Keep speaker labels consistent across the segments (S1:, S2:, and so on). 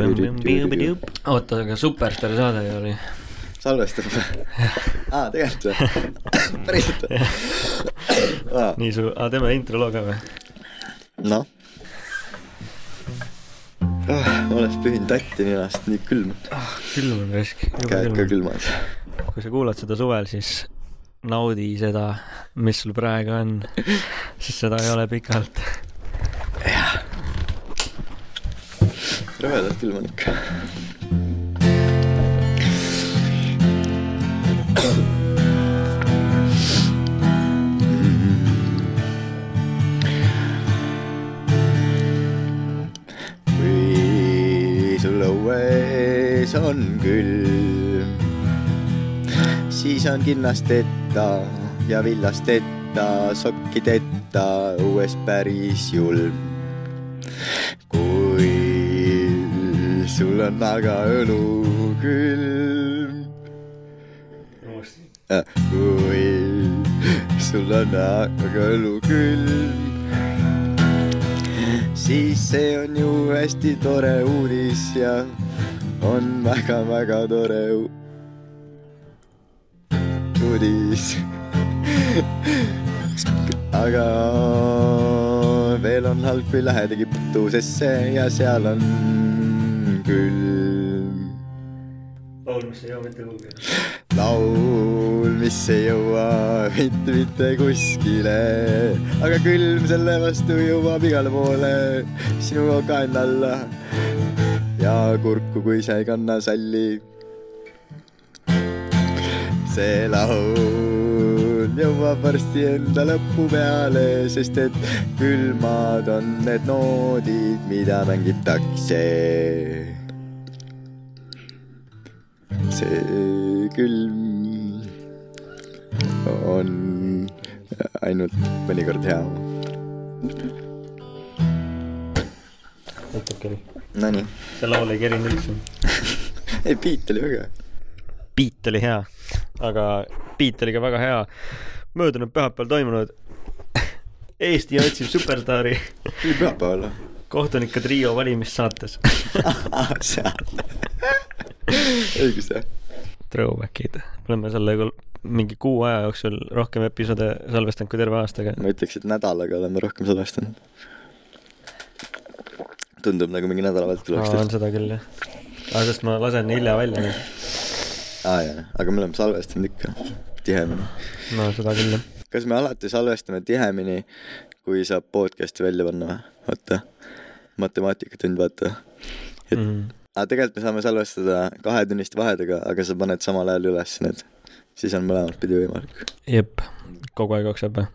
S1: oota ,
S2: oota , aga Superstaari saade ju oli .
S3: salvestab või ? aa , tegelikult või ? päriselt või ?
S2: nii su , teeme intro loo ka või ?
S3: noh . olles pühinud tatti nii ennast , nii külm ,
S2: külm on risk .
S3: käed ka külmad .
S2: kui sa kuulad seda suvel , siis naudi seda , mis sul praegu on , sest seda ei ole pikalt .
S3: rõvedalt külm on ikka . kui sul õues on külm , siis on kinnasteta ja villasteta , sokkideta õues päris julm . kui sul on aga õlu külm , kui sul on aga õlu külm , siis see on ju hästi tore uudis ja on väga-väga tore u- uudis aga veel on halb , kui lähedagi putusesse ja seal on külm
S2: laul , mis ei jõua mitte kuhugi .
S3: laul , mis ei jõua mitte , mitte kuskile , aga külm selle vastu jõuab igale poole sinu kaenla alla ja kurku , kui sa ei kanna salli . see laul jõuab varsti enda lõpu peale , sest et külmad on need noodid , mida mängitakse . see külm on ainult mõnikord hea .
S2: aitab küll .
S3: Nonii ,
S2: see laul ei kerinud üldse .
S3: ei beat oli väga hea .
S2: beat oli hea , aga beat oli ka väga hea . möödunud pühapäeval toimunud Eesti otsib superstaari
S3: oli pühapäeval või ?
S2: kohtunike trio valimissaates .
S3: seal , õigus jah .
S2: Throwbackid , oleme selle kol- mingi kuu aja jooksul rohkem episoode salvestanud kui terve aastaga .
S3: ma ütleks , et nädalaga oleme rohkem salvestanud . tundub nagu mingi nädala vältel oleks
S2: on
S3: tehtud .
S2: seda küll jah , aga sest ma lasen hilja välja nüüd .
S3: aa jaa , aga me oleme salvestanud ikka tihemini .
S2: no seda küll jah .
S3: kas me alati salvestame tihemini , kui saab podcast'i välja panna või ? oota , matemaatikatund , vaata . et
S2: Mhm.
S3: mm. , aga tegelikult me saame salvestada kahetunniste vahedega , aga sa paned samal ajal üles need , siis on mõlemat pidi võimalik .
S2: jep , kogu aeg jookseb või ?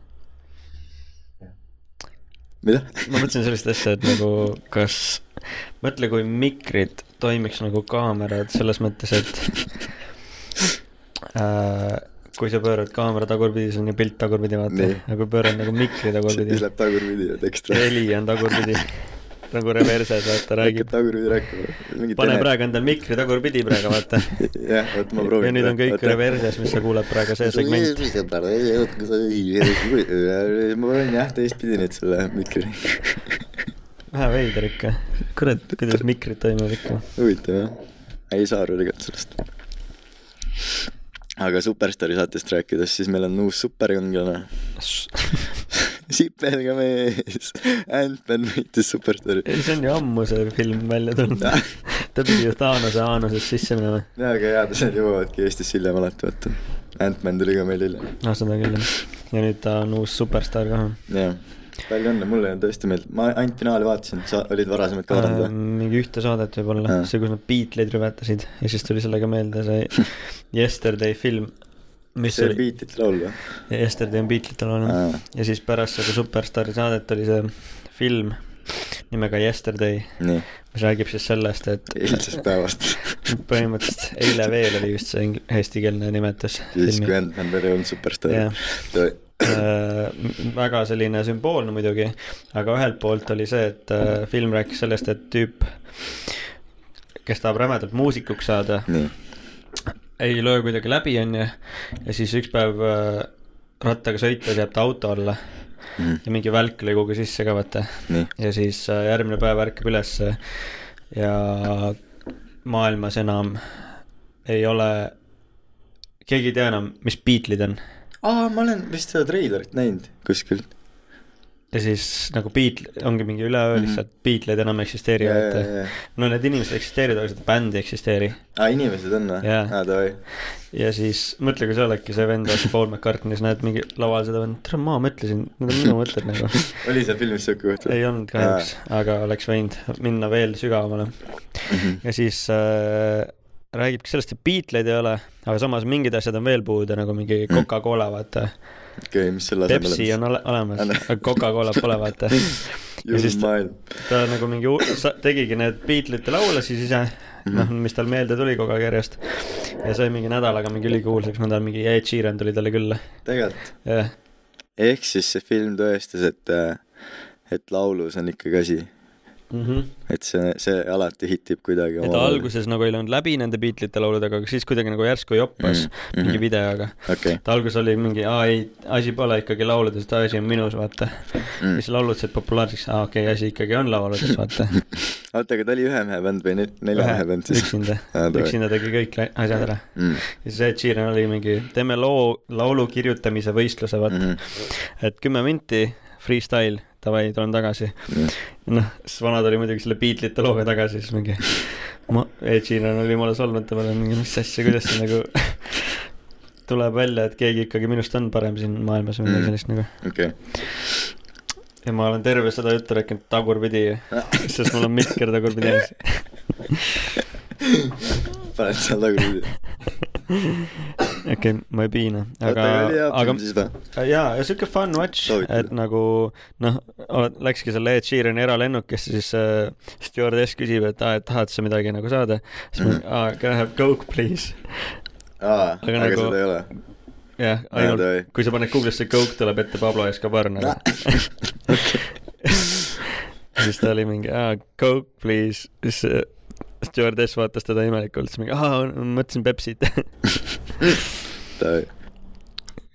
S3: mida ?
S2: ma mõtlesin sellist asja , et nagu kas , mõtle , kui mikrid toimiks nagu kaamerad selles mõttes , et äh, kui sa pöörad kaamera tagurpidi , siis on ju pilt tagurpidi , vaata
S3: Nii. .
S2: aga kui pöörad nagu mikri tagurpidi
S3: siis , läheb tagurpidi ja tekst .
S2: heli on tagurpidi , nagu reverse'd , vaata , räägib .
S3: tagurpidi rääkima .
S2: pane praegu endal mikri tagurpidi praegu , vaata .
S3: jah , oot ma proovin .
S2: ja nüüd on kõik reverse'is , mis sa kuuled praegu , see segment .
S3: ma panen jah teistpidi nüüd selle mikri ,
S2: vähe veider ikka . kurat , kuidas mikrid toimivad ikka .
S3: huvitav jah , ei saa aru tegelikult sellest . aga Superstaari saatest rääkides , siis meil on uus superkangelane , sipelga mees , Ant-Man võitis Superstaari .
S2: see on ju ammu see film välja tulnud . ta pidi ju Taanose Aanusest sisse minema .
S3: jaa , aga jaa , asjad jõuavadki Eestisse hiljem alati , vaata . Ant-Man tuli ka meil hiljem .
S2: noh , seda küll jah . ja nüüd ta on uus superstaar ka .
S3: jah , palju õnne , mulle tõesti meeldib , ma ainult finaali vaatasin , sa olid varasemalt ka
S2: Ähm,
S3: vaadanud või ?
S2: Äh, mingi ühte saadet võib-olla ,
S3: Aa.
S2: see , kus nad Beatleid rüvetasid ja siis tuli sellega meelde see Yesterday film , mis
S3: see
S2: see
S3: oli
S2: oli ,
S3: Beatles laul või ?
S2: Yesterday on Beatlesite laul
S3: Aa.
S2: jah . ja siis pärast seda superstaari saadet oli see film nimega Yesterday ,
S3: nii ,
S2: mis räägib siis sellest , et
S3: eilsest päevast .
S2: põhimõtteliselt eile veel oli just see ing- eestikeelne nimetus .
S3: siis , kui Ant-Man veel ei olnud superstaar
S2: Jah. .
S3: ta
S2: Äh, väga selline sümboolne muidugi , aga ühelt poolt oli see , et äh, film rääkis sellest , et tüüp , kes tahab rämedalt muusikuks saada ,
S3: nii ,
S2: ei löö kuidagi läbi , onju , ja siis üks päev äh, rattaga sõites jääb ta auto alla
S3: mm. .
S2: ja mingi välk lõi kogu sisse ka vaata .
S3: nii ,
S2: ja siis äh, järgmine päev ärkab ülesse ja maailmas enam ei ole , keegi ei tea enam , mis Beatlesid on .
S3: aa , ma olen vist seda treilerit näinud kuskil .
S2: ja siis nagu Beatles , ongi mingi üleöö
S3: Mhm.
S2: lihtsalt mm -hmm. Beatlesid enam ei eksisteeri , et äh, no need inimesed eksisteerivad , aga seda bändi ei eksisteeri .
S3: aa , inimesed on või ?
S2: Jaa.
S3: aa , davai .
S2: ja siis mõtle , kui sa oledki see vend , oled Paul McCartney's , näed mingi laval seda vend , tere , ma mõtlesin , need on minu mõtted nagu .
S3: oli seal filmis siuke koht
S2: ei olnud kahjuks , aga oleks võinud minna veel sügavamale .
S3: Mhm.
S2: ja siis äh, räägibki sellest , et Beatleid ei ole , aga samas mingid asjad on veel puudu , nagu mingi
S3: Mhm.
S2: Coca-Cola , vaata .
S3: okei , mis selle asemel
S2: Pepsi on ole- olemas ,
S3: Anna.
S2: aga Coca-Cola pole , vaata . ja
S3: julm
S2: siis ta,
S3: maailm .
S2: ta nagu mingi , tegigi need Beatlesite laule siis ise , noh ,
S3: Mhm.
S2: mis tal meelde tuli kogu aeg järjest . ja sai mingi nädalaga mingi ülikuulsaks , nädal mingi Ed Sheeran tuli talle külla ,
S3: tegelikult ,
S2: jah .
S3: ehk siis see film tõestas , et , et laulus on ikkagi asi , Mhm.
S2: et
S3: et see , see alati hitib kuidagi .
S2: ta alguses nagu ei löönud läbi nende Beatlesite lauludega , aga siis kuidagi nagu järsku joppas mm
S3: Mhm,
S2: -hmm. mingi
S3: mhm.
S2: videoga .
S3: okei ,
S2: ta alguses oli mingi , aa ei , asi pole ikkagi lauludes , asi on minus , vaata mm. . mis laulud said populaarseks , aa okei okay, , asi ikkagi on lauludes , vaata .
S3: oota , aga ta oli ühe mehe bänd või nel- nelja mehe bänd siis ?
S2: üksinda
S3: Aa, , tore.
S2: üksinda tegi kõik la- asjad ära .
S3: mm. .
S2: ja siis Ed Sheeran oli mingi , teeme loo , laulu kirjutamise võistluse , vaata
S3: Mm-hmm.
S2: mm . -hmm. et kümme minti , freestyle , davai , tulen tagasi .
S3: Mm.
S2: noh , siis vana tuli muidugi selle Beatlesite looga tagasi , siis mingi ma , Ed Sheeran oli mulle solvunud , ta mõtles mingi , mis asja , kuidas see nagu tuleb välja , et keegi ikkagi minust on parem siin maailmas või midagi
S3: Mm.
S2: sellist nagu .
S3: okei ,
S2: ja ma olen terve seda juttu rääkinud tagurpidi , sest mul on mikker tagurpidi ees .
S3: paned seal nagu tagurpidi .
S2: okei okay, , ma ei piina ,
S3: oota ,
S2: aga
S3: aga oli , hea
S2: aga
S3: film siis või ?
S2: jaa , ja siuke fun watch ,
S3: Soovitan.
S2: et nagu noh , läkski selle Ed Sheerani eralennukisse , siis äh, stjuardess küsib , et aa , et tahad sa midagi nagu saada , siis
S3: Mhm.
S2: ma , aa , can I have coke please .
S3: aa ,
S2: aga
S3: aga
S2: nagu-
S3: seda ei ole .
S2: jah ,
S3: davai.
S2: ainult kui sa paned Google'isse coke , tuleb ette Pablo Escobar nagu . siis ta oli mingi aa , coke please , siis äh, stjuardess vaatas teda imelikult , siis mingi aa , mõtlesin Pepsit
S3: davai ,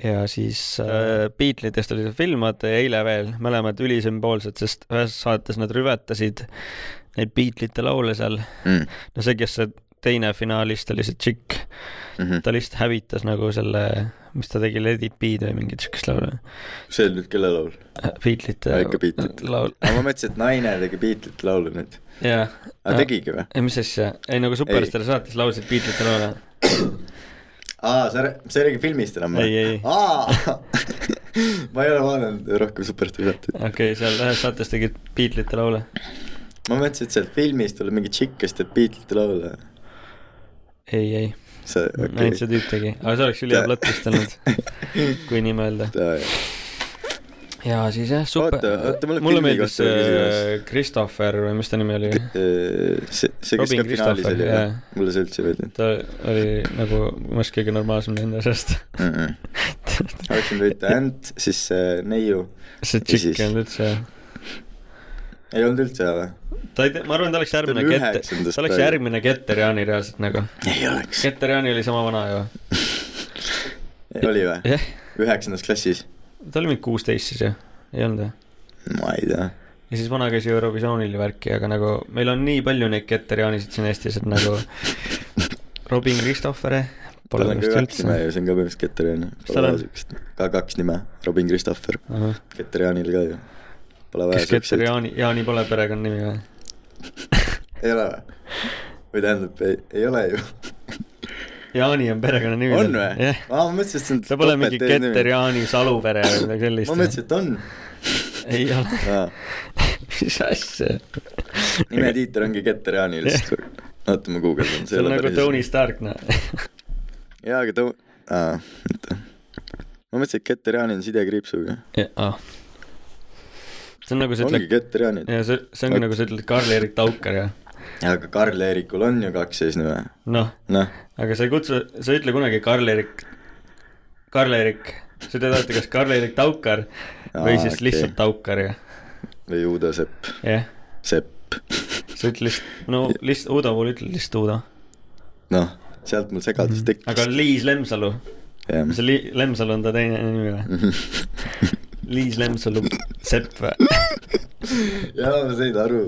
S2: ja siis äh, Beatlesitest oli see film , vaata ja eile veel , mõlemad ülisümboolsed , sest ühes saates nad rüvetasid neid Beatlesite laule seal .
S3: Mm,
S2: no see , kes see teine finaalist oli , see tšikk ,
S3: mm-hmm.
S2: ta lihtsalt hävitas nagu selle , mis ta tegi , Let it be'd või mingit siukest laulu .
S3: see oli nüüd kelle laul ?
S2: Beatlesite
S3: Aa, ikka Beatlesite.
S2: laul ,
S3: aga ma mõtlesin , et naine tegi Beatlesite laulu nüüd .
S2: jaa .
S3: aga tegigi või ?
S2: ei , mis asja , ei nagu Superstar saates laulsid Beatlesite laule .
S3: aa , sa , sa ei räägi filmist enam
S2: Ei, ei.
S3: aa , ma ei ole vaadanud rohkem Superstar saateid .
S2: okei okay, , seal ühes saates tegid Beatlesite laule .
S3: ma mõtlesin , et sealt filmist tuleb mingi tšikk , kes teeb Beatlesite laule .
S2: ei , ei ,
S3: see , okei
S2: ainult see tüüp tegi , aga see oleks ülihea
S3: Ta-
S2: plott vist olnud , kui nii mõelda .
S3: okay. .
S2: ja siis jah , super
S3: Oota, oota, mul on
S2: mulle
S3: filmi
S2: meeldis
S3: kohta veel
S2: see
S3: küsimus.
S2: Christopher või mis ta nimi oli ,
S3: e, see , see , kes
S2: Robin
S3: ka finaalis
S2: Christopher,
S3: oli , jah
S2: jaa. ,
S3: mulle see üldse ei meeldinud
S2: ta oli nagu minu arust kõige normaalsem nende seast .
S3: mm . -mm. oleks võinud võita Ant , siis see neiu ,
S2: see
S3: Ja siis-
S2: tšikk ei olnud üldse ,
S3: ei olnud üldse hea või ?
S2: ta ei tea , ma arvan , ta oleks järgmine
S3: oli
S2: Keter ,
S3: üheksandast
S2: ta oleks
S3: praegu.
S2: järgmine Keter Jaani reaalselt nagu .
S3: ei oleks .
S2: Keter Jaani oli sama vana ju .
S3: oli või ?
S2: jah ,
S3: üheksandas klassis ?
S2: ta oli mingi kuusteist siis ju , ei olnud või ?
S3: ma ei tea .
S2: ja siis vana käis ju Eurovisioonil ja värki , aga nagu meil on nii palju neid Keter Jaanisid siin Eestis , et nagu Robin Christopher pole
S3: tal on
S2: minu
S3: ka
S2: arust
S3: kaks nime
S2: üldse .
S3: ju , see on ka põhimõtteliselt Keterjan .
S2: tal
S3: Pole vaja
S2: on?
S3: siukest , ka kaks nime , Robin Christopher , Keterjanil ka ju . Pole vaja
S2: kas Keter
S3: siukseid ,
S2: Jaani , Jaani pole perekonnanimi või ?
S3: ei ole või ? või tähendab , ei , ei ole ju .
S2: Jaani on perekonnanimi .
S3: on või ?
S2: jah ,
S3: aa , ma mõtlesin , et see on
S2: ta pole mingi Keter . Jaani Salupere või midagi sellist .
S3: ma mõtlesin , et on .
S2: et ei ole ,
S3: aa ,
S2: mis asja .
S3: nimetiiter ongi Keterjanil lihtsalt . oota , ma guugeldan ,
S2: see
S3: see ei
S2: on
S3: ole
S2: nagu Tony
S3: päris .
S2: Stark , noh .
S3: jaa , aga Tony , aa , oota . ma mõtlesin , et Keterjan on sidekriipsuga .
S2: see ah. on nagu sa
S3: ongi
S2: ütled ,
S3: Keterjanid .
S2: ja see , see ongi nagu sa ütled Karl-Erik Taukar ja
S3: aga Karl-Eerikul on ju kaks eesnime .
S2: noh ,
S3: noh ,
S2: aga sa ei kutsu , sa ei ütle kunagi Karl-Erik , Karl-Erik , sa ütled alati kas Karl-Erik Taukar või
S3: Aa,
S2: siis
S3: okei.
S2: lihtsalt Taukar ja ,
S3: või Uudo Sepp ,
S2: jah ,
S3: Sepp
S2: sa ütled lihtsalt , no lihtsalt Uudo puhul ütled lihtsalt Uudo ,
S3: noh , sealt mul
S2: Mhm.
S3: segadus tekkis .
S2: aga Liis Lemsalu
S3: jah
S2: mis see Li- , Lemsalu on ta teine nimi või ? Liis Lemsalu sepp või ?
S3: jaa , ma sain aru .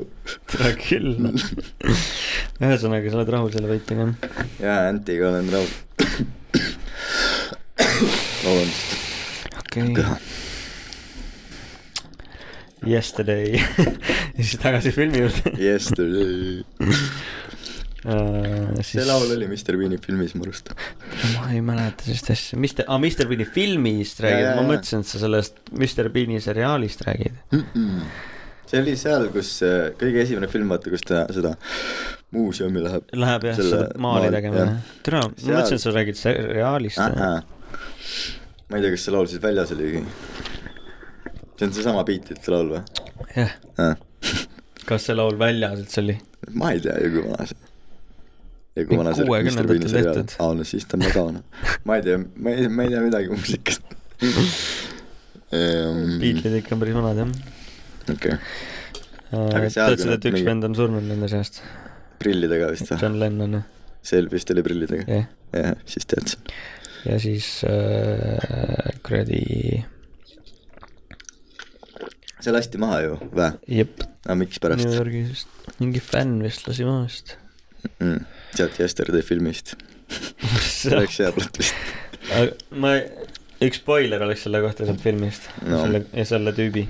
S2: hea küll . ühesõnaga , sa oled rahul selle võitjaga , jah ?
S3: jaa , Antiga olen rahul . vabandust ,
S2: okei
S3: köha
S2: okay. .. Yesterday ja siis tagasi filmi juurde .
S3: Yesterday .
S2: uh, .
S3: see laul oli . Mr Bean'i filmis mu arust .
S2: ma ei mäleta sellist asja , mis te , aa , Mr Bean'i filmist
S3: Jaa,
S2: räägid
S3: jaa, ,
S2: ma
S3: jaa.
S2: mõtlesin , et sa sellest Mr Bean'i seriaalist räägid .
S3: see oli seal , kus äh, kõige esimene film , vaata , kus ta seda muuseumi läheb .
S2: Läheb jah , seda maali tegema , jah . türa , ma
S3: Seal-
S2: mõtlesin , et sa räägid seriaalist
S3: ma . ei tea , kas see laul siis väljas oligi . see on seesama Beatlesite laul või ?
S2: jah , kas see laul väljas üldse oli ?
S3: ma ei tea ju , kui vana see . ja
S2: Mingi
S3: kui vana see Mr
S2: kuuekümnendatel
S3: Bean'i seriaal
S2: tehtud. ,
S3: aa no siis ta on väga vana . ma ei tea , ma ei , ma ei tea midagi muusikast . Beatlesite .
S2: Beatlesid ikka on päris vanad jah .
S3: okei okay. ,
S2: tead
S3: Aga seal
S2: seda , et üks
S3: küll mingi-
S2: vend on surnud nende seast ,
S3: prillidega vist või ?
S2: John Lennon noh.
S3: see vist oli prillidega ,
S2: jah ,
S3: jah , siis teadsin .
S2: ja siis äh, kuradi ,
S3: see lasti maha ju , vä ?
S2: jep ,
S3: aga mikspärast
S2: New ? Yorgis vist , mingi fänn vist lasi maast .
S3: mm. . sealt Yesterday filmist . see oleks hea plott vist .
S2: aga ma , üks spoiler oleks selle kohta sealt filmist no. ,
S3: No.
S2: selle , selle tüübi ,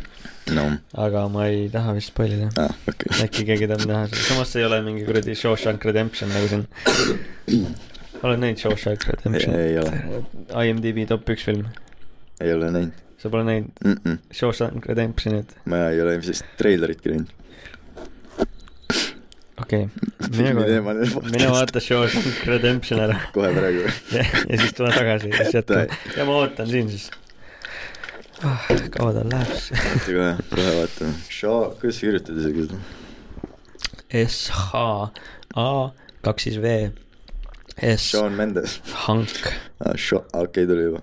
S3: noh ,
S2: aga ma ei taha vist spoilida .
S3: aa , okei .
S2: äkki keegi tahab näha seda , samas see ei ole mingi kuradi Shawshank Redemption nagu siin . oled näinud Shawshank Redemption ?
S3: Ei- ei ole. .
S2: IMDB top üks film ,
S3: ei ole näinud
S2: sa pole näinud
S3: mm . -mm.
S2: Shawshank Redemptionit ,
S3: ma ei ole ilmselt treileritki näinud .
S2: okei
S3: Filmi
S2: okay. .
S3: teemal ei ole
S2: mine
S3: podcast.
S2: vaata Shawshank Redemption ära
S3: kohe praegu .
S2: ja, ja siis tule tagasi ja siis jätkame ja ma ootan siin siis ah, . kaua tal läheb ?
S3: kohe , kohe vaatame . Shaw , kuidas sa kirjutad isegi seda ?
S2: S H A kaks siis V S
S3: Sean Mendes .
S2: Hank
S3: aa , Shaw , okei , tuli juba .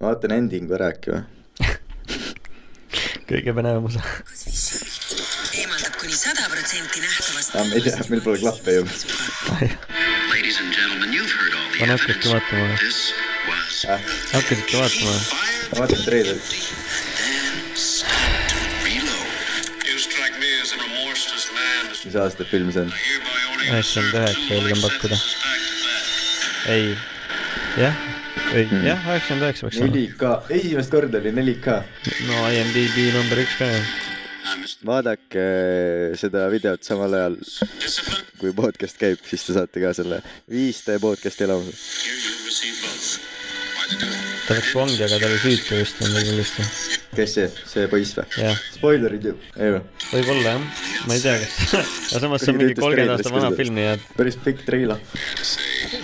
S3: ma vaatan endingu ära äkki või ?
S2: kõige põnevam osa
S1: eemaldab kuni sada protsenti nähtavast
S3: aa , ma ei tea , meil pole klappe ju .
S4: Ladies and gentlemen, you've heard all the
S2: Pan
S4: evidence.
S2: hakkabki vaatama või
S4: This was
S2: hakkasidki vaatama või
S4: fire
S3: ma vaatan treilerit .
S4: and stop to reload. You strike me as a remorseless man.
S3: mis aasta film see on ?
S2: üheksakümmend üheksa julgen pakkuda ei jah ei mm. jah üheksakümmend üheksa peaks olema
S3: 4K , esimest korda oli 4K .
S2: no IMDB number üks ka ju
S3: vaadake eh, seda videot samal ajal , kui podcast käib , siis te saate ka selle 5D podcast'i elamuse .
S2: ta läks vangi aga ta oli süütu vist või midagi sellist ju.
S3: kes see , see poiss või ?
S2: jah
S3: spoilerid ju , ei või ?
S2: võibolla jah ma ei tea kas aga samas see on
S3: Kuidagi
S2: mingi
S3: töötas
S2: kolmkümmend
S3: treileris
S2: aasta vana
S3: küll.
S2: film nii et
S3: päris pikk treiler .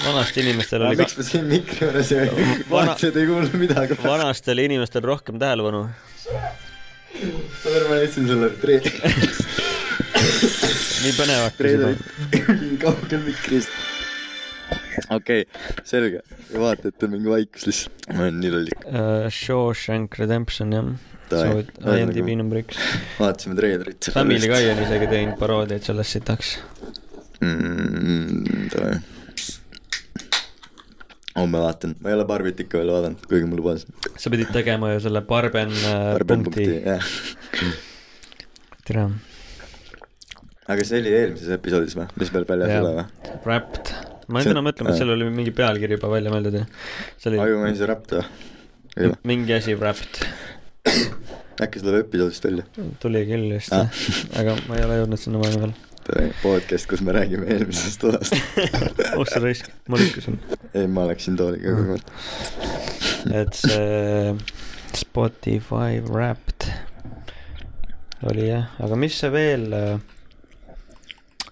S2: vanasti inimestel oli ka
S3: miks ma siin mikri juures ei
S2: Vana-
S3: vaatasin , ei kuulnud midagi . ma
S2: vanasti oli inimestel rohkem tähelepanu
S3: arvan , et siin selle treileri ,
S2: nii põnev hakkas juba
S3: treileri kaugel mikrist . okei okay, , selge . vaatajate mingi vaikus lihtsalt . ma olen nii lollik .
S2: Uh, Shawshank Redemption jah ,
S3: Davai.
S2: soovid
S3: Ühesõnaga-
S2: IMDB number üks .
S3: vaatasime treilerit .
S2: Family Guy on isegi teinud paroodiaid sellest sitaks .
S3: mm, . Davai . homme vaatan , ma ei ole Barbit ikka veel vaadanud , kuigi mul lubas .
S2: sa pidid tegema ju selle Barben äh,
S3: Barben punkti ,
S2: punkti ,
S3: jah .
S2: tere ,
S3: aga see oli eelmises episoodis või , mis meil väljas ei ole
S2: jah
S3: või ?,
S2: Wrapped . ma
S3: See-
S2: jäin täna mõtlema ,
S3: aa.
S2: et seal oli mingi pealkiri juba välja mõeldud ju . see oli
S3: ajumehise rapta või ?
S2: mingi asi Wrapped ,
S3: äkki see tuleb episoodist välja ?
S2: tuli küll vist
S3: Aa.
S2: jah , aga ma ei ole jõudnud sinna vahepeal .
S3: äh, podcast , kus me räägime eelmisest osast .
S2: oh sa raisk , ma lükkasin ,
S3: ei , ma läksin tooliga kogu aeg .
S2: et see Spotify Wrapped oli jah , aga mis see veel äh,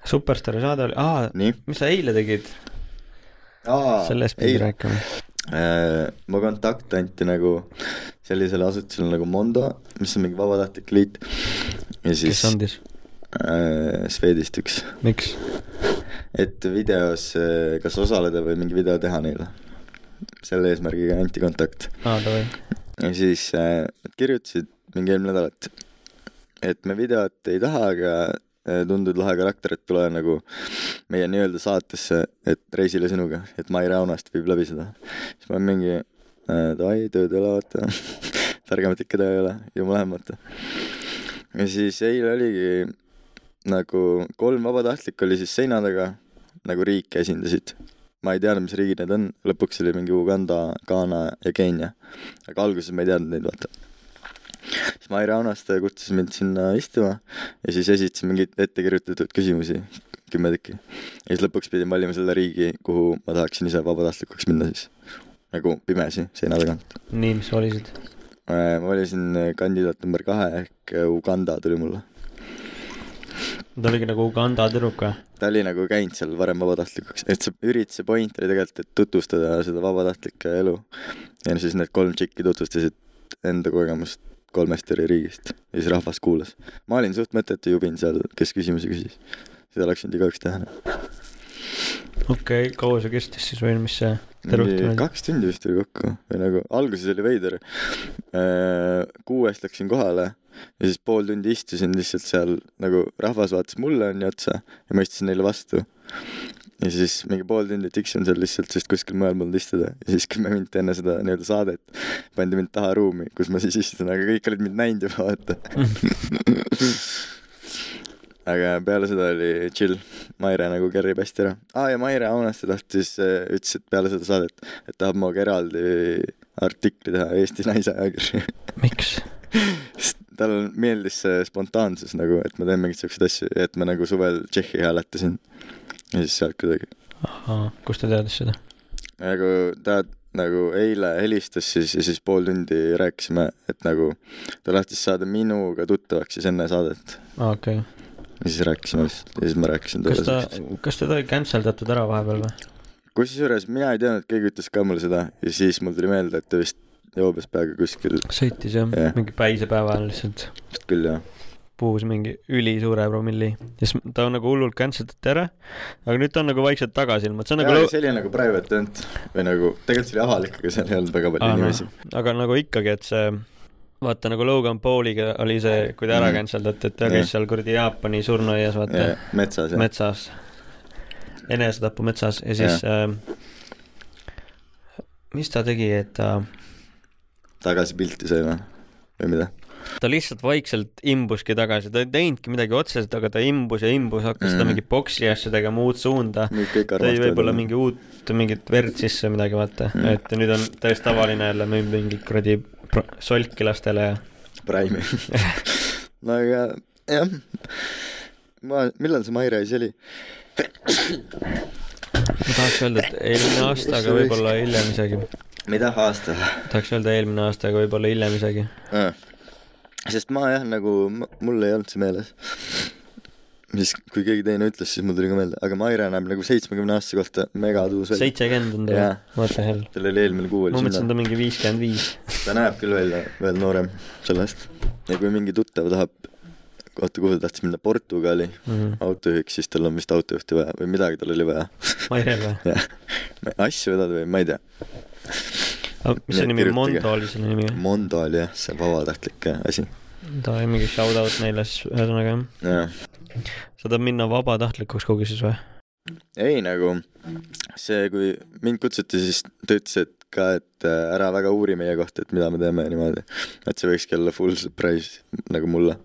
S2: superstaari saade oli , aa ,
S3: nii .
S2: mis sa eile tegid , sellest pidi
S3: ei ,
S2: rääkima .
S3: Äh, mu kontakt anti nagu sellisele asutusele nagu Mondo , mis on mingi vabatahtlik liit . ja
S2: kes
S3: siis
S2: andis ,
S3: äh, Swedist üks ,
S2: miks ?
S3: et videos äh, kas osaleda või mingi video teha neile . selle eesmärgiga anti kontakt .
S2: aa , davai ,
S3: ja siis äh, nad kirjutasid mingi eelmine nädal , et , et me videot ei taha , aga äh, tundud lahe karakter , et tule nagu meie nii-öelda saatesse , et reisile sinuga , et Mai Raunast viib läbi seda . siis ma mingi äh, davai , tööd ei ole , vaata . targemat ikka taga ei ole , jumala hämmata . ja siis eile oligi nagu kolm vabatahtlikku oli siis seina taga , nagu riike esindasid . ma ei teadnud , mis riigid need on , lõpuks oli mingi Uganda , Ghana ja Keenia . aga alguses ma ei teadnud neid , vaata . siis Mai Raunaste kutsus mind sinna istuma ja siis esitasin mingeid ettekirjutatud küsimusi , kümme tükki . ja siis lõpuks pidin valima selle riigi , kuhu ma tahaksin ise vabatahtlikuks minna siis . nagu pimesi seina tagant .
S2: nii , mis sa valisid ?
S3: ma valisin kandidaat number kahe ehk Uganda tuli mulle .
S2: ta oligi nagu Uganda tüdruk või ?
S3: ta oli nagu käinud seal varem vabatahtlikuks , et see ürituse point oli tegelikult , et tutvustada seda vabatahtlike elu . ja siis need kolm tšikki tutvustasid enda kogemust kolmest eri riigist ja siis rahvas kuulas . ma olin suht mõttetu jubin seal , kes küsimusi küsis . seda oleks võinud igaüks teha .
S2: okei okay, , kaua see kestis siis või mis see tüdruk
S3: Mingi
S2: tuli ?
S3: kaks tundi vist oli kokku või nagu alguses oli veider . kuuest läksin kohale ja siis pool tundi istusin lihtsalt seal nagu rahvas vaatas mulle onju otsa ja ma istusin neile vastu . ja siis mingi pool tundi tiksin seal lihtsalt , sest kuskil mujal polnud istuda ja siis kümme minti enne seda nii-öelda saadet pandi mind taha ruumi , kus ma siis istusin , aga kõik olid mind näinud juba vaata aga peale seda oli chill , Maire nagu kerib hästi ära . aa ja Maire Aunaste tahtis , ütles , et peale seda saadet , et tahab minuga eraldi artikli teha Eesti Naise ajakirja .
S2: miks ?
S3: talle meeldis see spontaansus nagu , et ma teen mingeid siukseid asju , et ma nagu suvel Tšehhi hääletasin . ja siis sealt kuidagi .
S2: ahhaa , kust ta teadis seda ?
S3: nagu ta nagu eile helistas siis ja siis pool tundi rääkisime , et nagu ta tahtis saada minuga tuttavaks siis enne saadet .
S2: aa , okei okay. .
S3: ja siis rääkisime lihtsalt ja siis ma rääkisin
S2: kas
S3: talle
S2: ta
S3: siukseid- ,
S2: kas teda ei cancel datud ära vahepeal või ?
S3: kusjuures mina ei teadnud , keegi ütles ka mulle seda ja siis mul tuli meelde , et ta vist joobes peaga kuskil ,
S2: sõitis jah
S3: Jah.
S2: yeah. , mingi päise päeva ajal lihtsalt
S3: vist küll jah .
S2: puhus mingi ülisuure promilli ja siis ta on nagu hullult cancel dati ära , aga nüüd ta on nagu vaikselt tagasi ilmunud , see on nagu
S3: Nagu see oli nagu private event või nagu , tegelikult see oli avalik , aga seal ei olnud väga palju
S2: Aa,
S3: ah,
S2: noh.
S3: inimesi .
S2: aga nagu ikkagi , et see , vaata nagu Logan Pauliga oli see , kui ta ära
S3: Mhm.
S2: cancel dati , et ta
S3: Jah.
S2: käis seal kuradi Jaapani surnuaias , vaata ,
S3: metsas jah .
S2: metsas , enesetapu metsas ja siis äh, mis ta tegi , et ta ,
S3: tagasi pilti sai või , või mida ?
S2: ta lihtsalt vaikselt imbuski tagasi , ta ei teinudki midagi otseselt , aga ta imbus ja imbus , hakkas mm. seda
S3: Mhm.
S2: mingi boksi asja tegema , uut suunda ,
S3: nüüd kõik
S2: tõi
S3: armastavad .
S2: võib-olla mingi uut , mingit verd sisse , midagi vaata mm. ,
S3: Mhm.
S2: et nüüd on täiesti tavaline jälle , müüb mingit kuradi pro- solki lastele ja
S3: Prime'i . no aga jah , ma , millal see Maire siis oli ?
S2: ma tahaks öelda , et eelmine aasta , aga võib-olla hiljem isegi .
S3: mida aastal ?
S2: tahaks öelda eelmine aasta , aga võib-olla hiljem isegi .
S3: Jaa. Äh. sest ma jah , nagu ma- mul ei olnud see meeles . siis , kui keegi teine ütles , siis mul tuli ka meelde , aga Maire näeb nagu seitsmekümne aastase kohta megatuus välja .
S2: seitsekümmend on ta
S3: Jaa. ,
S2: what the hell .
S3: tal oli eelmine kuu
S2: ma
S3: oli
S2: mõtlesin ,
S3: sinna
S2: ta . mingi viiskümmend viis .
S3: ta näeb küll välja veel noorem sellest . ja kui mingi tuttav tahab , oota , kuhu ta tahtis minna , Portugali
S2: Mhm.
S3: autojuhiks , siis tal on vist autojuhti vaja või midagi tal oli vaja .
S2: Mairel või ?
S3: jah , asju vedada või ma ei tea .
S2: mis see
S3: Nii,
S2: nimi ,
S3: kirjutage.
S2: Mondo oli selle nimi või ?
S3: Mondo oli jah , see vabatahtlik äh, asi .
S2: ta oli mingi shout-out neile siis , ühesõnaga jah .
S3: jah
S2: sa tahad minna vabatahtlikuks kuhugi siis või ?
S3: ei nagu see , kui mind kutsuti , siis ta ütles , et ka , et äh, ära väga uuri meie kohta , et mida me teeme ja niimoodi . et see võikski olla full surprise nagu mulle ,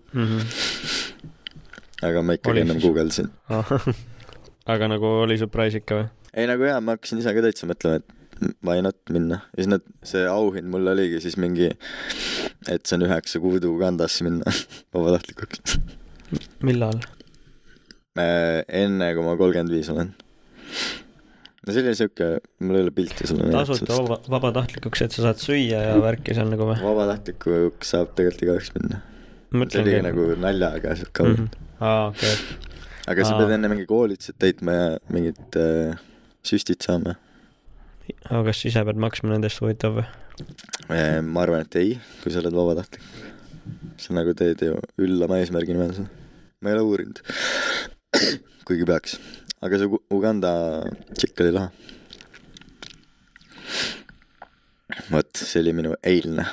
S3: aga ma
S2: Oli
S3: ikkagi ennem
S2: siis?
S3: guugeldasin .
S2: Mhm. aga nagu oli surprise ikka või ?
S3: ei nagu jaa , ma hakkasin ise ka täitsa mõtlema , et m- why not minna ja siis nad , see auhind mul oligi siis mingi , et see on üheksa kuud Ugandasse minna vabatahtlikuks .
S2: millal ?
S3: enne kui ma kolmkümmend viis olen . no see oli siuke , mul ei ole pilti sulle .
S2: tasuta vaba , vabatahtlikuks , et sa saad süüa ja värki seal nagu või ?
S3: vabatahtlikuks saab tegelikult igaüks minna . see oli nagu naljaga siuke mm . -hmm.
S2: Mhm. aa , okei .
S3: aga sa
S2: Aa.
S3: pead enne mingi koolitused täitma ja mingid äh, süstid saama .
S2: aga kas ise pead maksma nende eest , huvitav või ?
S3: ma arvan , et ei , kui sa oled vabatahtlik . sa nagu teed ju üllama eesmärgi nimel seda . ma ei ole uurinud . kuigi peaks . aga see Ugu- Uganda tšikk oli lahe . vot , see oli minu eilne .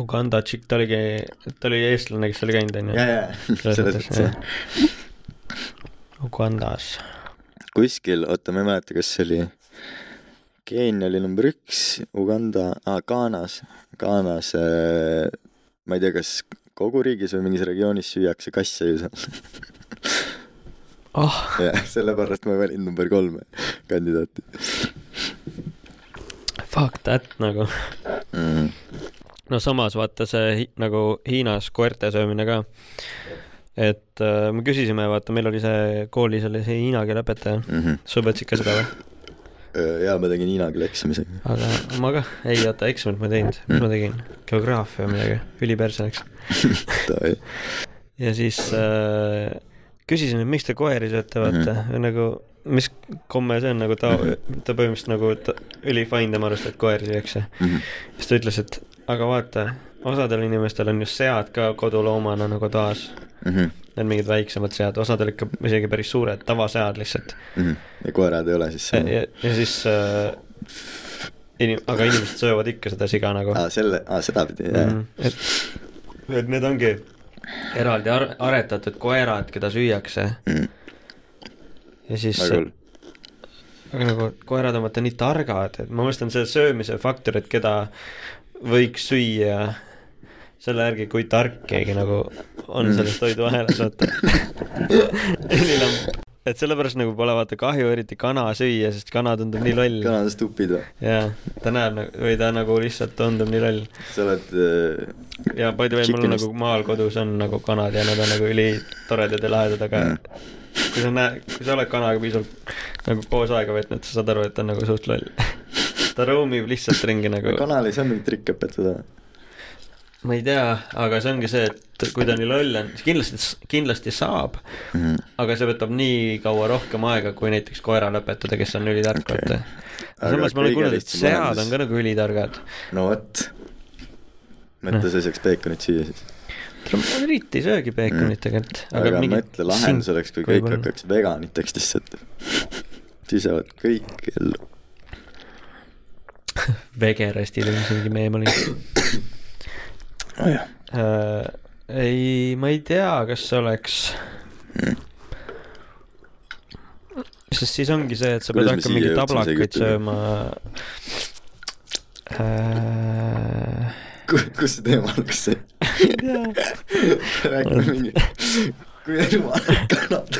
S2: Uganda tšikk , ta oligi , ta oli eestlane , kes oli käinud ,
S3: ja ,
S2: onju .
S3: ja , selles mõttes jah .
S2: Ugandas .
S3: kuskil , oota , ma ei mäleta , kas see oli Keenia oli number üks , Uganda ah, , Ghanas , Ghanas äh, ma ei tea , kas kogu riigis või mingis regioonis süüakse kasse ju seal .
S2: oh ,
S3: jah , sellepärast ma valin number kolm kandidaati
S2: fuck that nagu .
S3: mm. .
S2: no samas vaata see hi- nagu Hiinas koerte söömine ka . et äh, me küsisime , vaata , meil oli see koolis oli see hiina keele õpetaja .
S3: Mm -hmm.
S2: sa õpetasid ka seda või ?
S3: ja Äh, ma tegin hiina keele eksami isegi .
S2: aga ma ka , ei oota , eksamit ma ei teinud , mis ma tegin , geograafia või midagi , üliperse läks . ja siis äh, küsisin , et miks te koeri sööte , vaata mm , -hmm. nagu mis komme see on nagu ta , ta põhimõtteliselt nagu ta, üli fine tema arust , et koeri süüakse .
S3: Mhm.
S2: siis ta ütles , et aga vaata , osadel inimestel on ju sead ka koduloomana nagu toas ,
S3: mhm,
S2: need mingid väiksemad sead , osadel ikka isegi päris suured tavasead lihtsalt .
S3: mhm. ja koerad ei ole siis
S2: ja ,
S3: seal
S2: ja , ja siis äh, inim- , aga inimesed söövad ikka seda siga nagu
S3: aa , selle , aa sedapidi , jah
S2: Mhm, et , et need ongi eraldi ar- , aretatud koerad , keda süüakse
S3: mm. .
S2: ja siis ,
S3: väga hull .
S2: aga nagu koerad on vaata nii targad , et ma mõtlen selle söömise faktor , et keda võiks süüa selle järgi , kui tark keegi nagu on
S3: Mm.
S2: selles toiduahelas , vaata . ülilamp , et sellepärast nagu pole vaata kahju eriti kana süüa , sest kana tundub nii loll .
S3: Kanadas tupid või ?
S2: jaa , ta näeb nagu , või ta nagu lihtsalt tundub nii loll
S3: sa oled äh,
S2: ja by the way , mul on
S3: Chickenist.
S2: nagu maal kodus on nagu kanad ja nad on nagu ülitoredad ja lahedad , aga
S3: Mm.
S2: kui sa näed , kui sa oled kanaga piisavalt nagu koos aega veetnud , sa saad aru , et ta on nagu suht loll . ta roomib lihtsalt ringi nagu ,
S3: kanal ei saa mingit trikke õpetada .
S2: ma ei tea , aga see ongi see , et kui ta nii loll on , siis kindlasti , kindlasti saab ,
S3: Mm.
S2: aga see võtab nii kaua rohkem aega , kui näiteks koera lõpetada , kes on ülitark
S3: Okei.
S2: okay. ,
S3: Aga
S2: vaata . samas ma olen
S3: kõige
S2: kuulnud , et
S3: lihtsam
S2: sead
S3: lahendus-
S2: on ka nagu ülitargad .
S3: no vot . mõtle , sa ei saaks peekonit süüa siis .
S2: ma eriti ei söögi peekonit tegelikult .
S3: Mm. aga, aga mõtle , lahendus oleks , kui kõik hakkaks veganiteks lihtsalt . siis jäävad kõik ellu .
S2: vegerestid või mis mingi meem oli .
S3: nojah ,
S2: ei , ma ei tea , kas see oleks . sest siis ongi see , et sa pead
S3: Kuidas me
S2: hakkama
S3: siia
S2: mingeid
S3: jõudsime see
S2: tablakaid
S3: jutuga?
S2: sööma . Äh,
S3: kus see teema algas ? räägime mingi , kui rumalad kanad .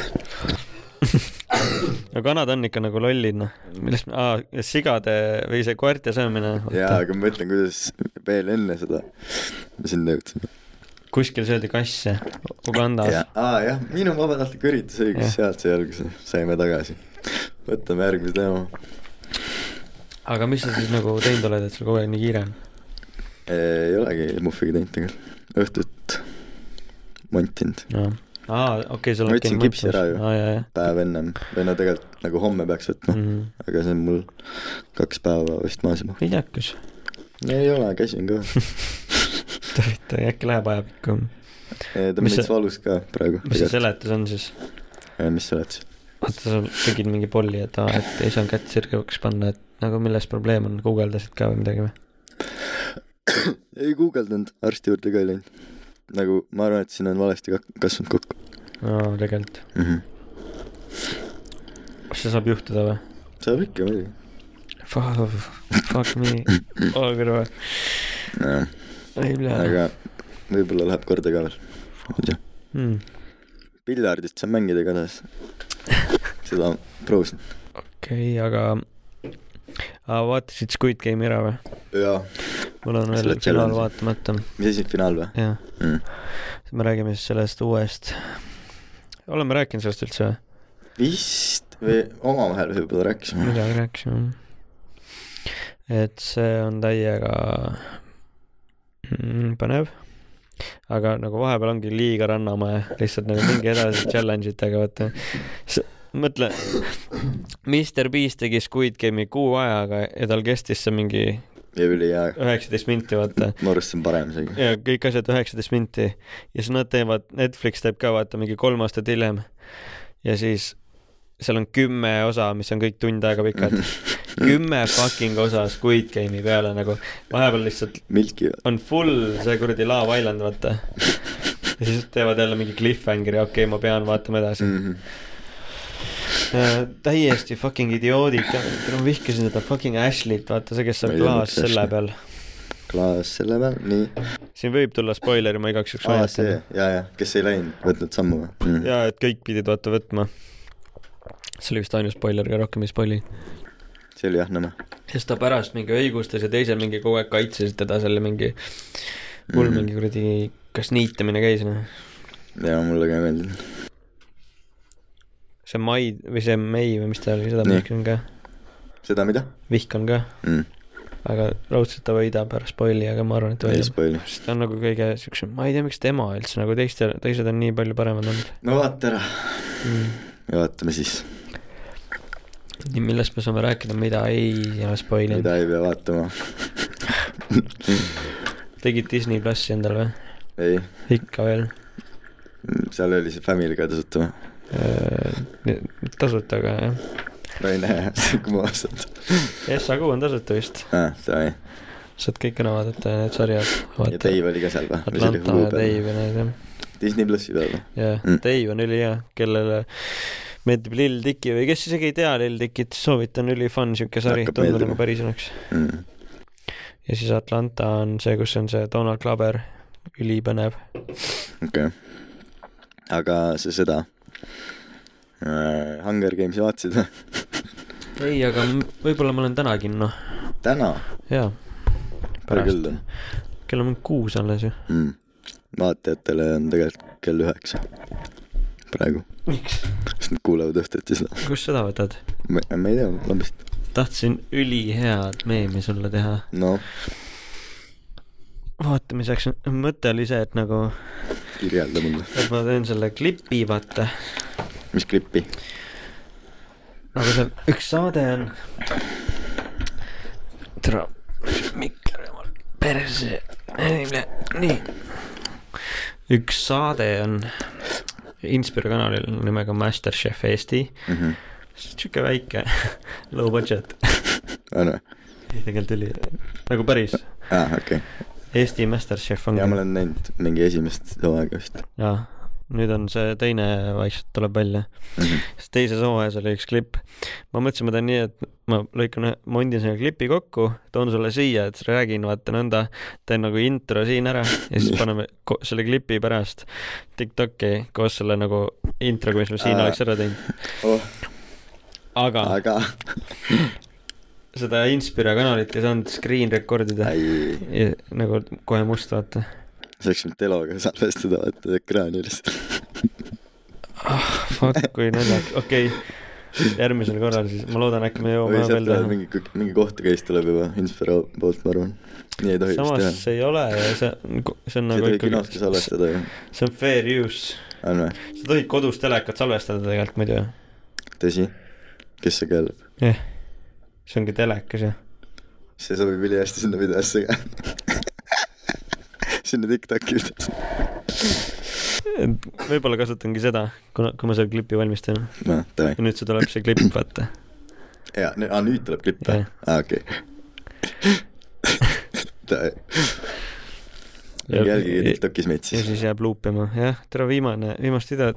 S2: no kanad on ikka nagu lollid noh , millest , sigade või see koerte söömine .
S3: jaa , aga ma mõtlen , kuidas veel enne seda me sinna jõudsime .
S2: kuskil söödi kasse , Ugandas
S3: ja , aa jah , minu vabatahtlik üritus õigus ,
S2: Jah.
S3: sealt sai alguse , saime tagasi . võtame järgmise teema .
S2: aga mis sa siis nagu teinud oled , et sul kogu aeg nii kiire on ?
S3: ei olegi Muffiga teinud tegelikult , õhtut montinud .
S2: jah . aa , okei okay, , sul
S3: ma
S2: on
S3: võtsin
S2: okei,
S3: kipsi ära ju.
S2: aa jaa ,
S3: päev ennem või no tegelikult nagu homme peaks võtma
S2: jaa
S3: mm , -hmm.
S2: mm, .
S3: aga see on mul kaks päeva vist maas juba .
S2: viljakas .
S3: ei ole , käsin ka .
S2: huvitav , äkki läheb ajapikku .
S3: ta on
S2: Mis
S3: veits
S2: sa-
S3: valus ka praegu .
S2: mis see seletus on siis ?
S3: mis sa oled siis ?
S2: vaata , sa tegid mingi polli , et aa , et ei saanud kätt sirgeks panna , et nagu milles probleem on , guugeldasid ka või midagi või ?
S3: ei guugeldanud , arsti juurde ka ei läinud . nagu ma arvan , et siin on valesti kak- kasvanud kokku
S2: aa , tegelikult .
S3: mm . -hmm.
S2: kas see saab juhtuda või ?
S3: saab ikka muidugi .
S2: Fuck , fuck me , oo kõrva ,
S3: nojah ,
S2: ei pea .
S3: aga võib-olla läheb korda ka veel . ma ei tea .
S2: Hmm,
S3: piljardist saan mängida igatahes . seda proovisin .
S2: okei , aga , aa , vaatasid Squid Game'i ära või ?
S3: jaa .
S2: mul on
S3: Selle
S2: veel
S3: challenge'i.
S2: finaal vaatamata ,
S3: mis asi , finaal või ?
S2: jah
S3: Mm.
S2: me räägime siis sellest uuest , oleme rääkinud sellest üldse või ?
S3: vist või omavahel võib-olla rääkisime .
S2: midagi rääkisime . et see on täiega mm, põnev , aga nagu vahepeal ongi liiga rannamäe , lihtsalt nagu mingi edasi challenge itega , vaata . mõtle , Mr Beast tegi Squid Game'i kuu ajaga ja tal kestis see mingi
S3: ja ülihea
S2: üheksateist minti , vaata .
S3: mu arust see on parem isegi .
S2: ja kõik asjad üheksateist minti ja siis nad teevad , Netflix teeb ka vaata mingi kolm aastat hiljem ja siis seal on kümme osa , mis on kõik tund aega pikad , kümme fucking osa Squid Game'i peale nagu , vahepeal lihtsalt
S3: Milki ,
S2: on full see kuradi Love Island , vaata . ja siis teevad jälle mingi cliffhanger'i , okei okay, , ma pean vaatama edasi mm .
S3: Mhm.
S2: -hmm. täiesti fucking idioodid , ma vihkasin seda fucking Ashley't , vaata see , kes
S3: Ma
S2: saab
S3: ei tea,
S2: klaas
S3: miks
S2: selle
S3: Ashley.
S2: peal .
S3: klaas selle peal , nii .
S2: siin võib tulla spoiler , ma igaks juhuks
S3: aa , see
S2: vaatan .,
S3: ja , ja , kes ei läinud , võtnud sammu või ? Mhm.
S2: ja et kõik pidid vaata võtma . see oli vist ainus spoiler , aga rohkem ei spoil'i .
S3: see oli jah nõme .
S2: sest ta pärast mingi õigustas ja teisel mingi kogu aeg kaitsesid teda selle mingi , mul
S3: Mhm.
S2: mingi kuradi , kas niitamine käis noh ,
S3: ja mulle ka ei meeldinud .
S2: see Mai või see May või mis ta oli , seda ma
S3: Nii.
S2: vihkan ka ,
S3: seda mida
S2: vihkan ka ,
S3: mm. ?
S2: aga raudselt ta võidab ära spoil'i , aga ma arvan , et
S3: ei
S2: võidab .
S3: spoil'i .
S2: sest ta on nagu kõige siukse , ma ei tea , miks tema üldse nagu teiste , teised on nii palju paremad olnud
S3: no vaata ära
S2: mm. .
S3: ja vaatame siis ,
S2: nii , millest me saame rääkida , mida ei ole spoilinud ?
S3: mida ei pea vaatama .
S2: tegid Disney plussi endale või ?
S3: ei ,
S2: ikka veel ?
S3: seal oli see Family ka tasuta või ?
S2: tasuta , Äh, aga jah .
S3: ma ei näe , kui ma Ah, vastan .
S2: SAQ on tasuta vist ,
S3: aa , sai .
S2: saad kõik ära vaadata , need sarjad .
S3: ja Dave oli ka seal või ? või see oli
S2: Atlanta
S3: Hulu
S2: ja
S3: peal ?
S2: Dave ja need jah .
S3: Disney plussi peal või ?
S2: jah
S3: Mm.
S2: mm. , Dave on ülihea , kellele meeldib Lil Dicky või kes isegi ei tea Lil Dickit , soovitan , ülifunn siuke sari ,
S3: Hakkab
S2: tundub
S3: meeldima.
S2: nagu päris oleks .
S3: mm. ?
S2: ja siis Atlanta on see , kus on see Donald Glover , ülipõnev .
S3: okei okay. . aga see seda äh, Hunger Gamesi vaatasid või ?
S2: ei , aga m- võib-olla ma olen noh. täna kinno .
S3: täna ?
S2: jaa ,
S3: pärast .
S2: pärast
S3: küll . on
S2: kell on mingi kuus alles ju .
S3: mm. . vaatajatele on tegelikult kell üheksa praegu ,
S2: miks ?
S3: sest nad kuulavad õhtuti seda .
S2: kust seda võtad ?
S3: ma ma ei tea , lambist .
S2: tahtsin ülihead meemi sulle teha .
S3: no
S2: vaatamiseks , mõte oli see , et nagu ,
S3: kirjelda mulle ,
S2: et ma teen selle klipi , vaata .
S3: mis klippi ?
S2: nagu seal üks saade on . tere , mikker jumal , perse , nii . üks saade on Inspire kanalil nimega Masterchef Eesti
S3: Mhm.
S2: sihuke väike low budget ,
S3: on või ?
S2: tegelikult oli nagu päris
S3: aa , Ah, okei .
S2: Eesti Masterchef on
S3: ja ma olen näinud mingi esimest hooaega vist
S2: ja nüüd on see teine vaikselt tuleb välja ,
S3: mm . -hmm.
S2: sest teises hooajas oli üks klipp . ma mõtlesin , ma teen nii , et ma lõikan , mondin selle klipi kokku , toon sulle siia , et räägin , vaata nõnda , teen nagu intro siin ära ja siis
S3: Nii.
S2: paneme ko- selle klipi pärast Tiktoki koos selle nagu introga , mis me siin
S3: Aa.
S2: oleks ära teinud .
S3: Oh,
S2: aga
S3: aga
S2: seda Inspira kanalit ei saanud screen record ida
S3: ei ,
S2: Ja nagu kohe must vaata .
S3: saaks nüüd teloga salvestada , vaata ekraani lihtsalt .
S2: Fuck , kui naljakas , okei okay. . järgmisel korral siis , ma loodan , äkki me jõuame
S3: või
S2: ära
S3: sealt
S2: veel
S3: tuleb
S2: teha .
S3: mingi , mingi kohtukäis tuleb juba Inspiro poolt , ma arvan . nii ei tohi
S2: samas
S3: vist teha .
S2: see ei ole ja see , see on
S3: sa ei
S2: nagu
S3: tohi kinos ka salvestada ju .
S2: see on fair use .
S3: on või ?
S2: sa tohid kodus telekat salvestada tegelikult muidu ju .
S3: tõsi ? kes see kell ?
S2: jah , see ongi telekas ju .
S3: see sobib ülihästi sinna videosse ka . sinna Tiktoki videosse .
S2: võib-olla kasutangi seda , kuna , kui ma selle klipi valmistan .
S3: noh ,
S2: ja
S3: davai .
S2: nüüd see tuleb see klipp , vaata .
S3: jaa , aa nüüd tuleb klipp või
S2: Jah. ?
S3: aa , okei . davai . jälgige
S2: ja
S3: Tiktokis meid siis .
S2: siis jääb luupima , jah , tere viimane , viimast videot .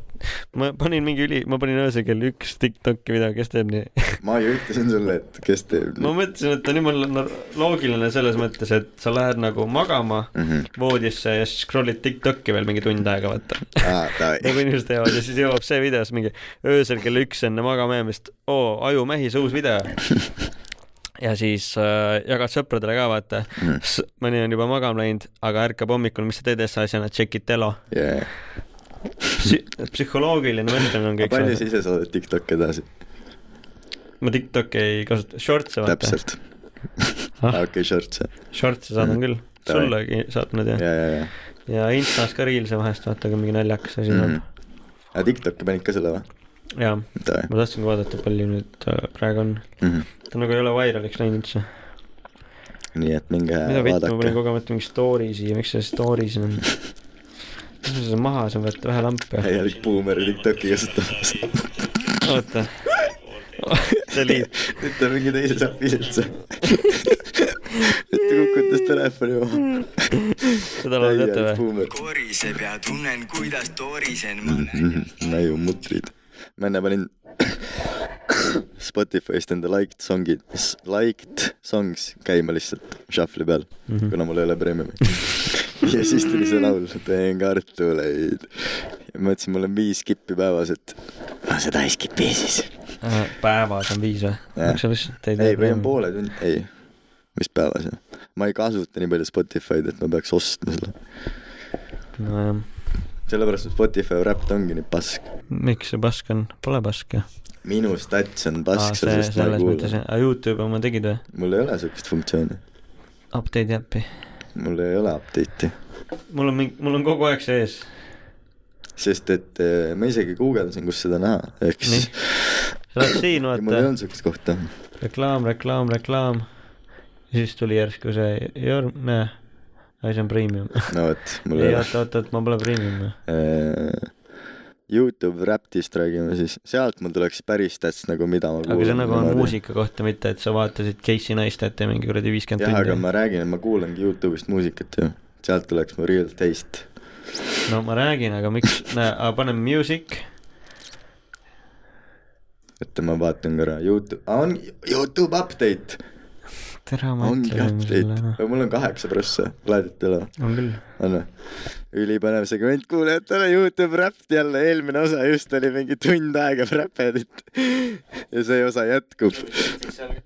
S2: ma panin mingi üli , ma panin öösel kell üks Tiktoki video , kes teeb nii
S3: ma ju ütlesin sulle , et kes teeb .
S2: ma mõtlesin , et ta on jumala no- loogiline selles mõttes , et sa lähed nagu magama
S3: mõtlen .
S2: voodisse ja siis scroll'id Tiktoki veel mingi tund aega , vaata .
S3: aa ,
S2: nagu
S3: davai .
S2: inimesed teevad ja siis jõuab see videos mingi öösel kell üks enne magama jäämist , oo , Aju Mehis uus video . ja siis äh, jagad sõpradele ka , vaata . mõni on juba magama läinud , aga ärkab hommikul , mis sa teed S-asjana , tšekid telo .
S3: jajah .
S2: psühholoogiline mõtlemine on kõik
S3: palju sa . ise saadad Tiktoki edasi ?
S2: ma Tiktoki ei kasuta , shorts'e vaata .
S3: täpselt .
S2: Ah.
S3: okei , shorts .
S2: Shorts'e saadan küll ,
S3: Davai.
S2: sulle saatnud
S3: ja ,
S2: ju .
S3: ja , ja .
S2: ja Instas ka Reels'e vahest vaata , kui mingi naljakas asi tuleb
S3: Mhm. aga Tiktoki panid ka selle või ?
S2: mm. . jaa ,
S3: davai .
S2: ma tahtsingi vaadata , palju nüüd äh, praegu on .
S3: Mhm.
S2: ta nagu ei ole vairaliks läinud üldse .
S3: nii et minge
S2: mida vitt , ma panin
S3: Äh, vaadake .
S2: kogemata mingi story siia , miks see story siin on ? mis ma selle maha saan võtta , vähe lampi või ?
S3: täielik buumer Tiktoki kasutamas .
S2: oota . delete ,
S3: nüüd ta on mingi teises appis üldse . et ta kukutas telefoni maha .
S2: seda laulu teate või ?
S3: buumer .
S5: koriseb ja
S3: Mhm,
S5: tunnen , kuidas torisen ma .
S3: näiu mutrid . ma enne panin Spotify'st enda liked songid , liked songs käima lihtsalt shuffle'i peal mm ,
S2: Mhm.
S3: -hmm. kuna mul ei ole premiumi . ja siis tuli see laul , teen kartuleid . ja ma mõtlesin , mul on viis kippi päevas , et no seda ei skipi siis .
S2: Äh, päevas on viis või ?
S3: Jah.
S2: kas sa vist teed
S3: ei , või on ? poole tund , ei , vist päevas jah . ma ei kasuta nii palju Spotify'd , et ma peaks ostma selle .
S2: nojah ,
S3: sellepärast , et Spotify Wrapped ongi nii pask .
S2: miks see pask on , pole paska .
S3: minu stats on pask ,
S2: selles
S3: sellest ma ei
S2: mõttes ,
S3: kuule .
S2: aga Youtube'i oma tegid või ?
S3: mul ei ole siukest funktsiooni .
S2: Update'i äppi .
S3: mul ei ole update'i ,
S2: mul on mingi , mul on kogu aeg see ees .
S3: sest et eh, ma isegi guugeldasin , kus seda näha , ehk
S2: nii
S3: siis .
S2: sa oled siin ,
S3: ja mul ei
S2: vaata
S3: olnud , siukest kohta .
S2: reklaam , reklaam , reklaam . ja siis tuli järsku see Jörn , näe . ei , see on premium .
S3: no vot , mul
S2: ei ,
S3: ei ole .
S2: oota , oota , oota , ma pole premium või ?
S3: Youtube Raptist räägime siis , sealt mul tuleks päris täts nagu mida ma
S2: aga see
S3: kuulan
S2: nagu on
S3: niimoodi.
S2: muusika kohta , mitte et sa vaatasid Casey Neistat ja mingi kuradi
S3: jah ,
S2: viiskümmend
S3: aga ma
S2: tundi .
S3: räägin , et ma kuulangi Youtube'ist muusikat ju , sealt tuleks mu real taste .
S2: no ma räägin , aga miks , näe , aga paneme music .
S3: oota , ma vaatan korra , Youtube , on Youtube update ,
S2: tere , ma
S3: ongi
S2: ütlen sulle ära
S3: update ,. mul on kaheksa prossa , laaditi üle ,
S2: on küll .
S3: on või ? ülipõnev segment kuulajatele , Youtube Rapt jälle , eelmine osa just oli mingi tund aega räpedit ja see osa jätkub .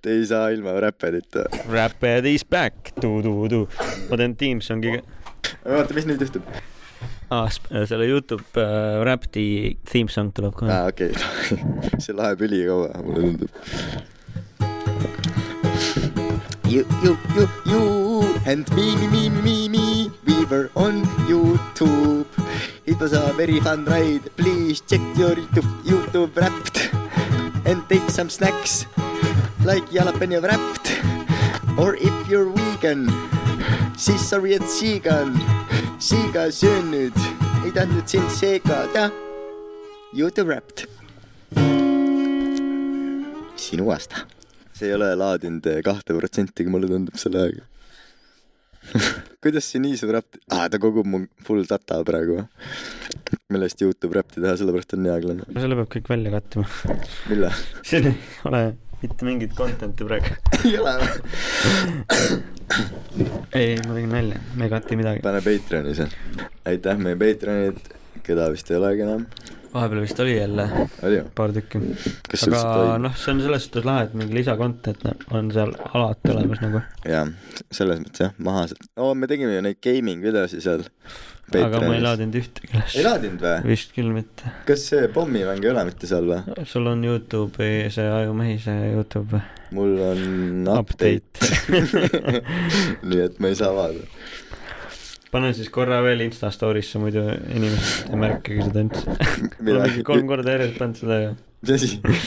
S3: Te ei saa ilma räpedita .
S2: Rapid is back , tu-tu-tu . ma teen Teamsongi ka .
S3: vaata , mis nüüd juhtub
S2: aa , selle Youtube äh, Rapti theme song tuleb kohe
S3: aa , okei okay. , see läheb ülikaua , mulle tundub . You , you , you , you and me , me , me , me , me , we were on Youtube . It was a very fun ride , please check your Youtube , Youtube wrapped and take some snacks like jalapeno wrapped or if you're vegan , siis sa oled siigan , siiga söön nüüd , ei tahtnud sind segada Youtube Wrapped . sinu aasta . see ei ole laadinud eh, kahte protsentigi , mulle tundub selle ajaga . kuidas see nii saab räppi ah, , ta kogub mu full data praegu , millest Youtube räppi teha , sellepärast on nii aeglane .
S2: no selle peab kõik välja kattima .
S3: millal ?
S2: siin ei ole mitte mingit content'i praegu .
S3: ei ole või ?
S2: ei , ma tegin nalja , me ei kati midagi .
S3: pane Patreonis . aitäh meie Patreonid , keda vist ei olegi enam .
S2: vahepeal vist oli jälle
S3: oli ju ?
S2: paar tükki .
S3: kas sul seda
S2: aga
S3: oli ?
S2: noh , see on selles suhtes lahe , et mingi lisakontent on seal alati olemas nagu .
S3: jah , selles mõttes jah , maha sealt . oo , me tegime ju neid gaming videosi seal .
S2: aga ma ei laadinud ühtegi
S3: ei
S2: üles .
S3: laadinud või ?
S2: vist küll mitte .
S3: kas see pommimäng ei ole mitte seal või ?
S2: sul on Youtube'i see Ajumehi see Youtube või ?
S3: mul on update, update. . nii et ma ei saa vaadata .
S2: panen siis korra veel Insta story'sse , muidu inimesed ei märkagi seda üldse . ma olen mingi kolm korda järjest pannud seda ,
S3: mis asi ?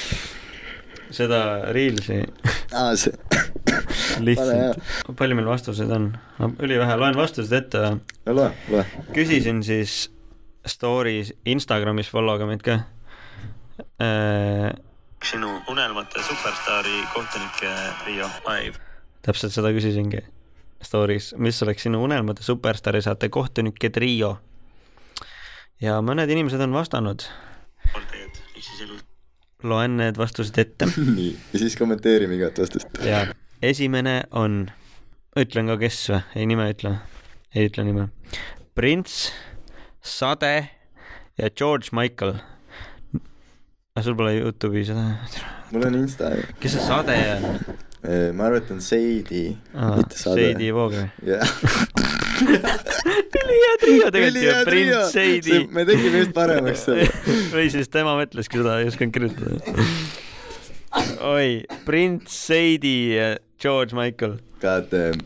S2: seda Reelsi
S3: aa , see .
S2: lihtsalt . palju meil vastuseid on ? ülivähe , loen vastused ette .
S3: no loe , loe .
S2: küsisin siis story's Instagramis , follow'ge meid ka . Äh,
S5: sinu unelmate superstaari kohtunike Riio live .
S2: täpselt seda küsisingi story's , mis oleks sinu unelmate superstaari saate kohtunike trio . ja mõned inimesed on vastanud ,
S5: poolt teed , mis siis elus
S2: loen need vastused ette
S3: nii , ja siis kommenteerime igat vastust .
S2: ja esimene on , ütlen ka , kes või , ei nime ütle , ei ütle nime . prints , Sade ja George Michael . aga sul pole Youtube'i seda ,
S3: mul on Insta .
S2: kes see Sade on ? Ah,
S3: ma arvan , et on Seidi , mitte Sade .
S2: Seidi Voog või ?
S3: jah .
S2: ülihea trio tegelikult ju , prints , Seidi .
S3: me tegime just paremaks selle .
S2: või siis tema mõtleski seda , ei osanud kirjutada . oi , prints , Seidi ja George Michael
S3: God damn .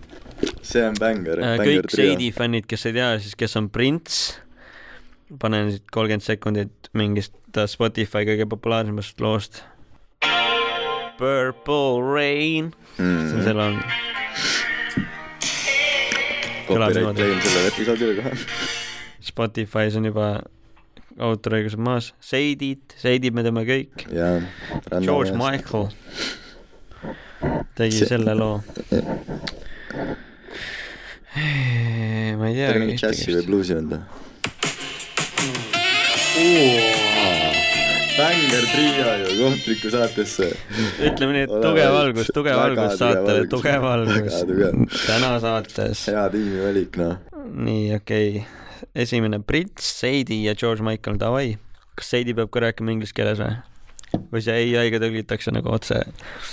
S3: see on bängar .
S2: Äh, kõik Seidi fännid , kes ei tea siis , kes on Prince , panen siit kolmkümmend sekundit mingist ta Spotify kõige populaarsemast loost . Purple Rain mm. ,
S3: Mhm.
S2: see on seal on , kõlab
S3: copyright
S2: niimoodi.
S3: claim sellele episoodile kohe .
S2: Spotify's on juba autoriõigused maas , Seidid , Seidid me teame kõik ,
S3: jaa .
S2: George . Michael tegi
S3: See-
S2: selle loo . ma ei tea .
S3: ta oli mingi džässi või bluusi vend või ? bängar trio ju kohtuliku saatesse .
S2: ütleme nii , et
S3: Ole
S2: tugev
S3: vait.
S2: algus , tugev
S3: Väga
S2: algus
S3: tugev
S2: saatele ,
S3: algus.
S2: tugev algus
S3: Väga tugev. .
S2: täna saates ,
S3: hea tiimi valik noh .
S2: nii okei okay. , esimene Brits , Seidi ja George Michael , davai . kas Seidi peab ka rääkima inglise keeles või ? või see ei haige tõlgitakse nagu otse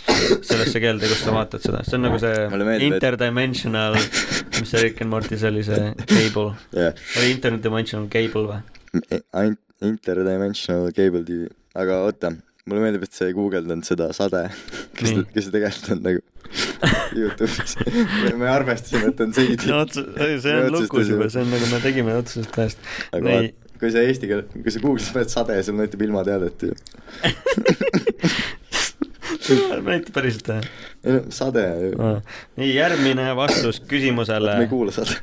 S2: sellesse keelde , kus sa vaatad seda , see on nagu
S3: Mulle
S2: see
S3: meeldib, et-
S2: interdimensional , mis see Rick and Morty's oli , see cable ,
S3: jah ,
S2: oli interdimensional cable või ?
S3: ainult interdimensional cable tv , aga oota , mulle meeldib , et sa ei guugeldanud seda sade , kes
S2: Nii.
S3: ta , kes ta tegelikult on nagu Youtube'is . me arvestasime , et on seidi
S2: no . otse , see on lukus juba , see on nagu me tegime otsusest ajast .
S3: aga
S2: nii ,
S3: vaat- kui sa eesti keel , kui sa Google'is paned sade , sul näitab ilmateadet ju .
S2: näitab päriselt või ?
S3: ei no sade ju ,
S2: nii , järgmine vastus
S3: me ei
S2: küsimusele ,
S3: kuula sade .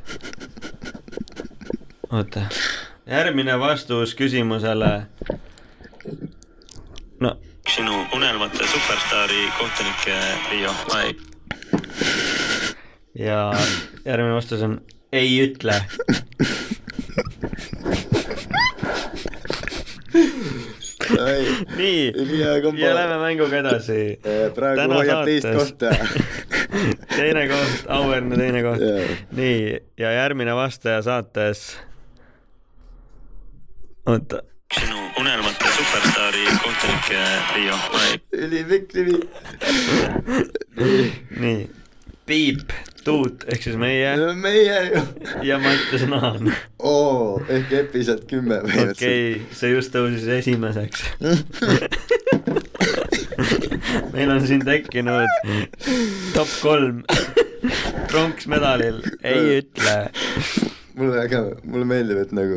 S2: oota , järgmine vastus küsimusele . no
S5: sinu unelmate superstaari kohtunike Riio Aeg .
S2: ja järgmine vastus on ei ütle . nii
S3: Nii hea kombo. Äh,
S2: ja lähme mänguga edasi .
S3: praegu
S2: Täna
S3: hoiab teist
S2: saates.
S3: kohta .
S2: teine koht , auväärne teine koht
S3: Jaa. .
S2: nii , ja järgmine vastaja saates . oota ,
S5: sinu unelmate superstaari kohtunike Riio Aeg .
S3: ülipikk nimi .
S2: nii , Piip , Tuut ehk siis meie
S3: meie ju .
S2: ja Mattias Naan .
S3: oo , ehk episood kümme
S2: okei
S3: põhimõtteliselt
S2: okay, , see just tõusis esimeseks . meil on siin tekkinud top kolm pronksmedalil , ei ütle .
S3: mulle väga , mulle meeldib , et nagu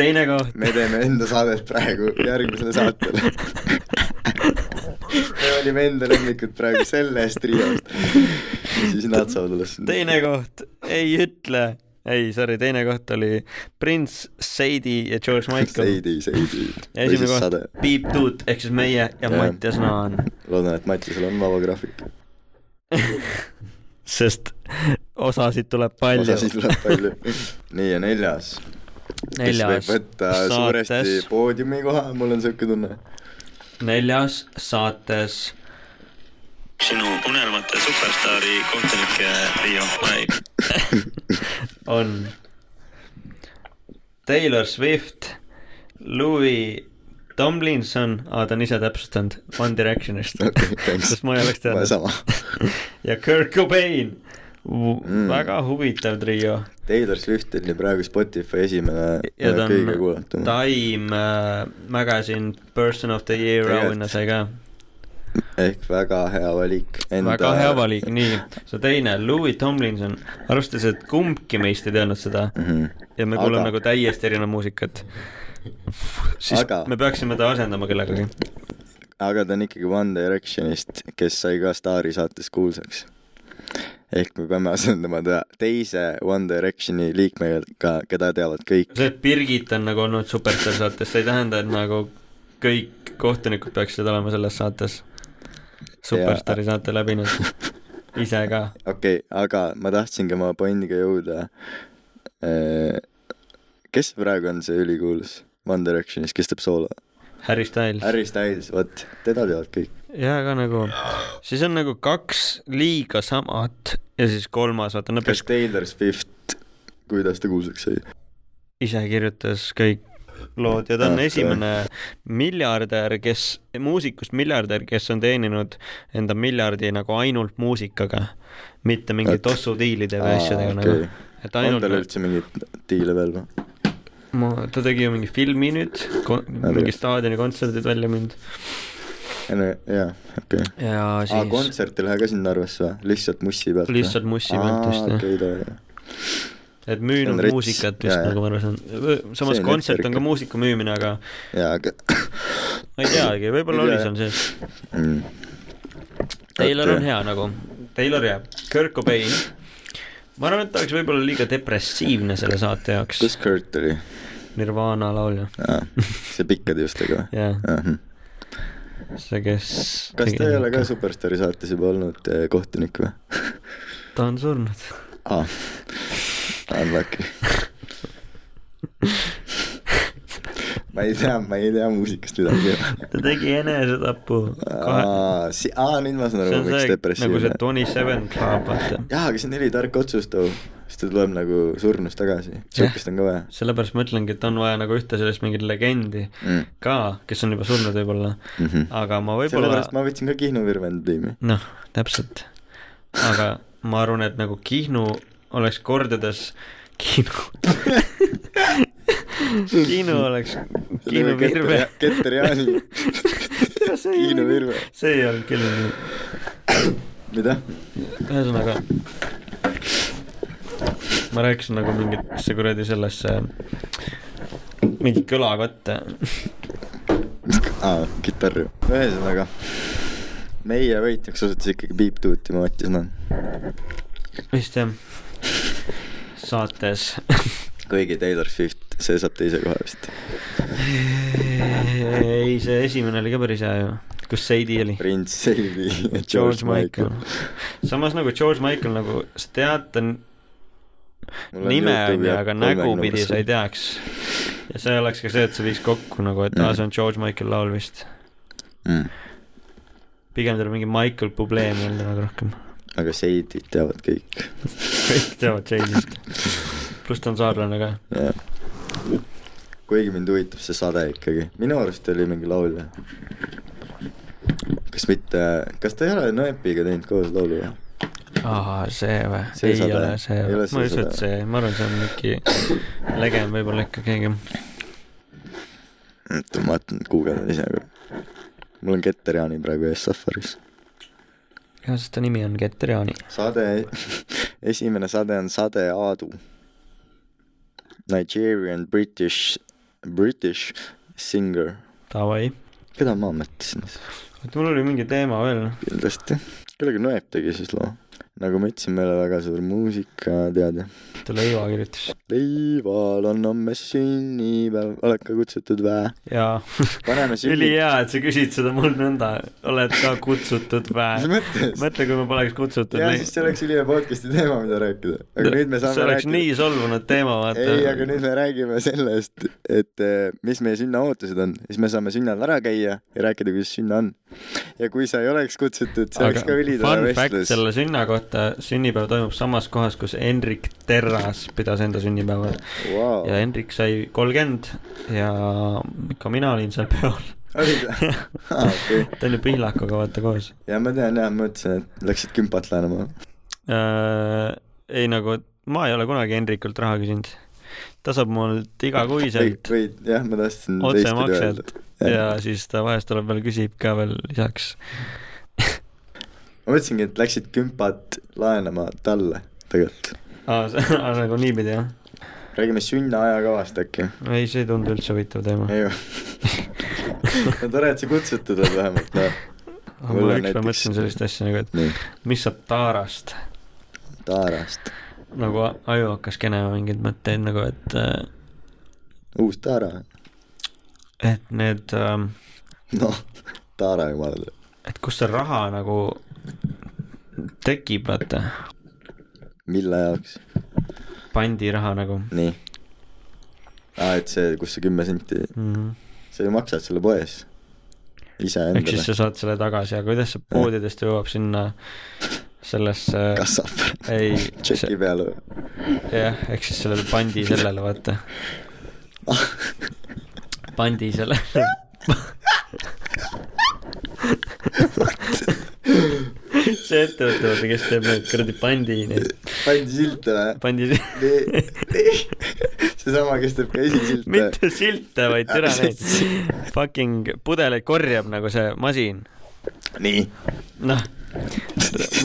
S2: teine koht .
S3: me teeme enda saadet praegu järgmisele saatele . me olime enda lemmikud praegu sellest riost . siis nad saavad alles .
S2: teine koht , ei ütle , ei sorry , teine koht oli Prince , Seidi ja George Michael .
S3: Seidi , Seidi .
S2: ja
S3: või
S2: esimene
S3: siis
S2: koht
S3: sade .,
S2: Piip Tuut ehk siis meie ja
S3: Jah.
S2: Mattias Naan .
S3: loodan , et Mattisel on vaba graafik .
S2: sest osasid tuleb palju .
S3: osasid tuleb palju . nii , ja neljas . kes võib
S2: neljas
S3: võtta suuresti
S2: saates ,
S3: poodiumi koha , mul on siuke tunne .
S2: neljas saates
S5: sinu unelmate superstaari kohtunike Riio Aeg .
S2: on Taylor Swift , Louis Tomlinson , aa ta on ise täpsustanud , One Directionist
S3: okei , thanks .
S2: sest ma ei oleks
S3: ma
S2: teadnud .
S3: sama .
S2: ja Kirk Cobain
S3: Mm.
S2: mm. , väga huvitav trio
S3: Taylor Swift oli praegu Spotify esimene
S2: ja ta
S3: kõige
S2: on
S3: kuulatum .
S2: Time äh, Magazine Person of the Year
S3: Tegelikult.
S2: auhinna sai ka .
S3: ehk väga hea valik .
S2: väga hea valik , nii , see teine , Louis Tomlinson , arvestades , et kumbki meist ei teadnud seda
S3: mm . -hmm.
S2: ja me
S3: Aga-
S2: kuuleme nagu täiesti erinevat muusikat , siis aga.
S3: Aga-
S2: me peaksime ta asendama kellegagi .
S3: aga ta on ikkagi One Directionist , kes sai ka Staari saates kuulsaks . ehk me peame asendama ta teise One Directioni liikmega , keda teavad kõik .
S2: see , et Birgit on nagu olnud Superstar saates , see ei tähenda , et nagu kõik kohtunikud peaksid olema selles saates Superstaari saate läbinud ise ka .
S3: okei okay, , aga ma tahtsingi oma pointiga jõuda . kes praegu on see ülikuulus One Directionis , kes teeb soolo ?
S2: Harry Styles .
S3: Harry Styles , vot , teda teavad kõik .
S2: jaa , aga nagu , siis on nagu kaks liiga samat ja siis kolmas , vaata , nad
S3: kas
S2: peaks
S3: Taylor Swift , kuidas ta kuulsaks sai ?
S2: ise kirjutas kõik lood ja ta on
S3: Ah,
S2: esimene miljardär , kes , muusikust miljardär , kes on teeninud enda miljardi nagu ainult muusikaga , mitte mingi
S3: Et-
S2: tossudiilide või asjadega nagu . et
S3: on tal
S2: ainult ,
S3: üldse mingeid diile veel või ?
S2: ta tegi ju mingi filmi nüüd , mingi staadionikontserdid välja mind
S3: ei no jaa , okei okay. .
S2: ja
S3: aa ,
S2: siis
S3: kontsert ei lähe ka sinna arvesse või ? lihtsalt mussi pealt ?
S2: lihtsalt mussi pealt vist jah .
S3: okei , tore .
S2: et müünud
S3: See on rets-
S2: muusikat vist
S3: jaa, jaa.
S2: nagu ma aru saan , samas
S3: See
S2: kontsert
S3: on
S2: on
S3: retserikas.
S2: ka muusika müümine , aga
S3: jaa , aga
S2: ma ei teagi , võib-olla
S3: Ei
S2: oli
S3: tea,
S2: seal sees .
S3: mm. .
S2: Taylor on hea nagu , Taylor jääb , Kirk Cobain , ma arvan , et ta oleks võib-olla liiga depressiivne selle saate jaoks
S3: kus , Kurt oli ?
S2: Nirvana laulja ,
S3: see pikkade justega või ?
S2: jah ,
S3: ahah .
S2: see , kes
S3: kas ta ei ole ka Superstaari saates juba olnud eh, kohtunik või ?
S2: ta on surnud .
S3: aa , unlucky . ma ei tea , ma ei tea muusikast midagi .
S2: ta tegi enesetapu .
S3: aa , nüüd ma saan
S2: see
S3: aru ,
S2: on see
S3: miks
S2: nagu
S3: depressiivne
S2: see . Twenty Seven Club , vaata .
S3: jaa , aga see on nelitark otsus too , oh. siis ta tuleb nagu surnust tagasi , sihukest on ka vaja .
S2: sellepärast ma ütlengi , et on vaja nagu ühte sellest mingit legendi
S3: Mm.
S2: ka , kes on juba surnud võib-olla ,
S3: Mhm.
S2: aga ma võib-olla
S3: sellepärast ma võtsin ka Kihnu Virvend Beami .
S2: noh , täpselt . aga ma arvan , et nagu Kihnu oleks kordades Kihnu , Kihnu oleks , Kihnu Virve .
S3: Keter Jaani . Kihnu Virve ,
S2: see ei olnud küll nii ,
S3: mida ?
S2: ühesõnaga . ma rääkisin nagu mingitesse kuradi sellesse , mingi kõlakotte .
S3: aa , kitarr ju . ühesõnaga , meie võitjaks osutus ikkagi Beep Tuuti , ma mõtlesin ,
S2: vist jah , saates .
S3: kuigi Taylor Swift , see saab teise koha vist .
S2: ei , see esimene oli ka päris hea ju , kus Seidi oli
S3: Prince Seidi ja
S2: George Michael . samas nagu George Michael nagu , sa tead ta n- nime on ju , aga nägupidi sa ei . teaks . ja see oleks ka see , et see viiks kokku nagu , et aa , see on George Michael laul vist .
S3: Mm.
S2: pigem tuleb mingi Michael Bublé meelde nagu rohkem .
S3: aga Seidit teavad kõik .
S2: kõik teavad Jane'ist . pluss ta on saarlane ka .
S3: kuigi mind huvitab see sade ikkagi , minu arust oli mingi laulja . kas mitte , kas ta ei ole Nõepiga teinud koos laulu või ?
S2: aa , see või ?
S3: See
S2: ei
S3: sada.
S2: ole see
S3: Ei ole , see
S2: ma ei usu ,
S3: sada.
S2: et see , ma arvan , see on mingi legend võib-olla ikka keegi .
S3: oota , ma vaatan , guugeldan ise ka . mul on Keter Jaani praegu ees Safaris .
S2: jah , sest ta nimi on Getter Jaani .
S3: sade , esimene sade on sade Aadu . Nigerian British , British singer .
S2: Davai .
S3: keda ma mõtlesin siis ?
S2: oota , mul oli mingi teema veel noh,
S3: kindlasti , kellega Nõep tegi siis loo . nagu ma ütlesin , meil on väga suur muusikateade .
S2: ta leiva kirjutas
S3: leival on homme sünnipäev , oled ka kutsutud vä ?
S2: jaa
S3: paneme sünni- .
S2: ülihea , et sa küsid seda mul nõnda , oled ka kutsutud
S3: mis
S2: vä ?
S3: mõttes ?
S2: mõtle , kui ma poleks kutsutud .
S3: ja siis see oleks ülihea podcast'i teema , mida rääkida . aga nüüd me saame
S2: see oleks
S3: rääkida .
S2: nii solvunud teema , vaata .
S3: ei , aga nüüd me räägime sellest , et eh, mis meie sünna ootused on , siis me saame sünnal ära käia ja rääkida , kuidas sünna on . ja kui sa ei oleks kutsutud , see oleks ka ülitore
S2: fun fact
S3: vestlus .
S2: selle sünna kohta , sünnipäev toimub samas kohas , kus Henrik Terras pidas enda sünnipäeva
S3: Wow.
S2: ja Henrik sai kolmkümmend ja ka mina olin seal peol .
S3: oli see ? aa , okei .
S2: ta oli Pihlakuga vaata koos .
S3: ja ma tean jah , ma mõtlesin , et läksid kümpat laenama .
S2: ei nagu , ma ei ole kunagi Henrikult raha küsinud . ta saab mult
S3: või
S2: igakuiselt ,.
S3: või jah , ma tahtsin teistpidi öelda .
S2: otsemakselt ja siis ta vahest tuleb veel , küsib ka veel lisaks .
S3: ma mõtlesingi , et läksid kümpat laenama talle tegelikult .
S2: aa , see on nagu niipidi jah ?
S3: räägime sünna ajakavast äkki .
S2: ei , see ei tundu üldse huvitav teema .
S3: ei või ? no tore , et sa kutsutud oled vähemalt , noh .
S2: ma
S3: mul on
S2: ükspäev
S3: näiteks-
S2: mõtlesin sellist asja nagu , et
S3: nii ,
S2: mis saab Taarast ,
S3: Taarast .
S2: nagu a- aju hakkas kenema mingeid mõtteid nagu , et ,
S3: uus Taara või ?
S2: et need ,
S3: noh , Taara jumalale .
S2: et kust see raha nagu tekib , vaata ,
S3: mille jaoks ?
S2: pandiraha nagu
S3: nii . aa , et see , kus see kümme senti ,
S2: mm. .
S3: sa ju maksad selle poes .
S2: ehk siis
S3: iseendale .
S2: sa saad selle tagasi , aga kuidas see poodidest jõuab sinna sellesse ,
S3: kassab .
S2: ei ,
S3: Ah, tšeki peale või ?
S2: jah , ehk siis sellele pandi sellele , vaata . pandi sellele . see ettevõte , vaata , kes teeb neid kuradi pandi , neid
S3: pandi silte või ?
S2: pandi ,
S3: Nii- nii. seesama , kes teeb ka esisilte .
S2: mitte silte , vaid türa neid fucking pudeleid korjab nagu see masin .
S3: nii .
S2: noh ,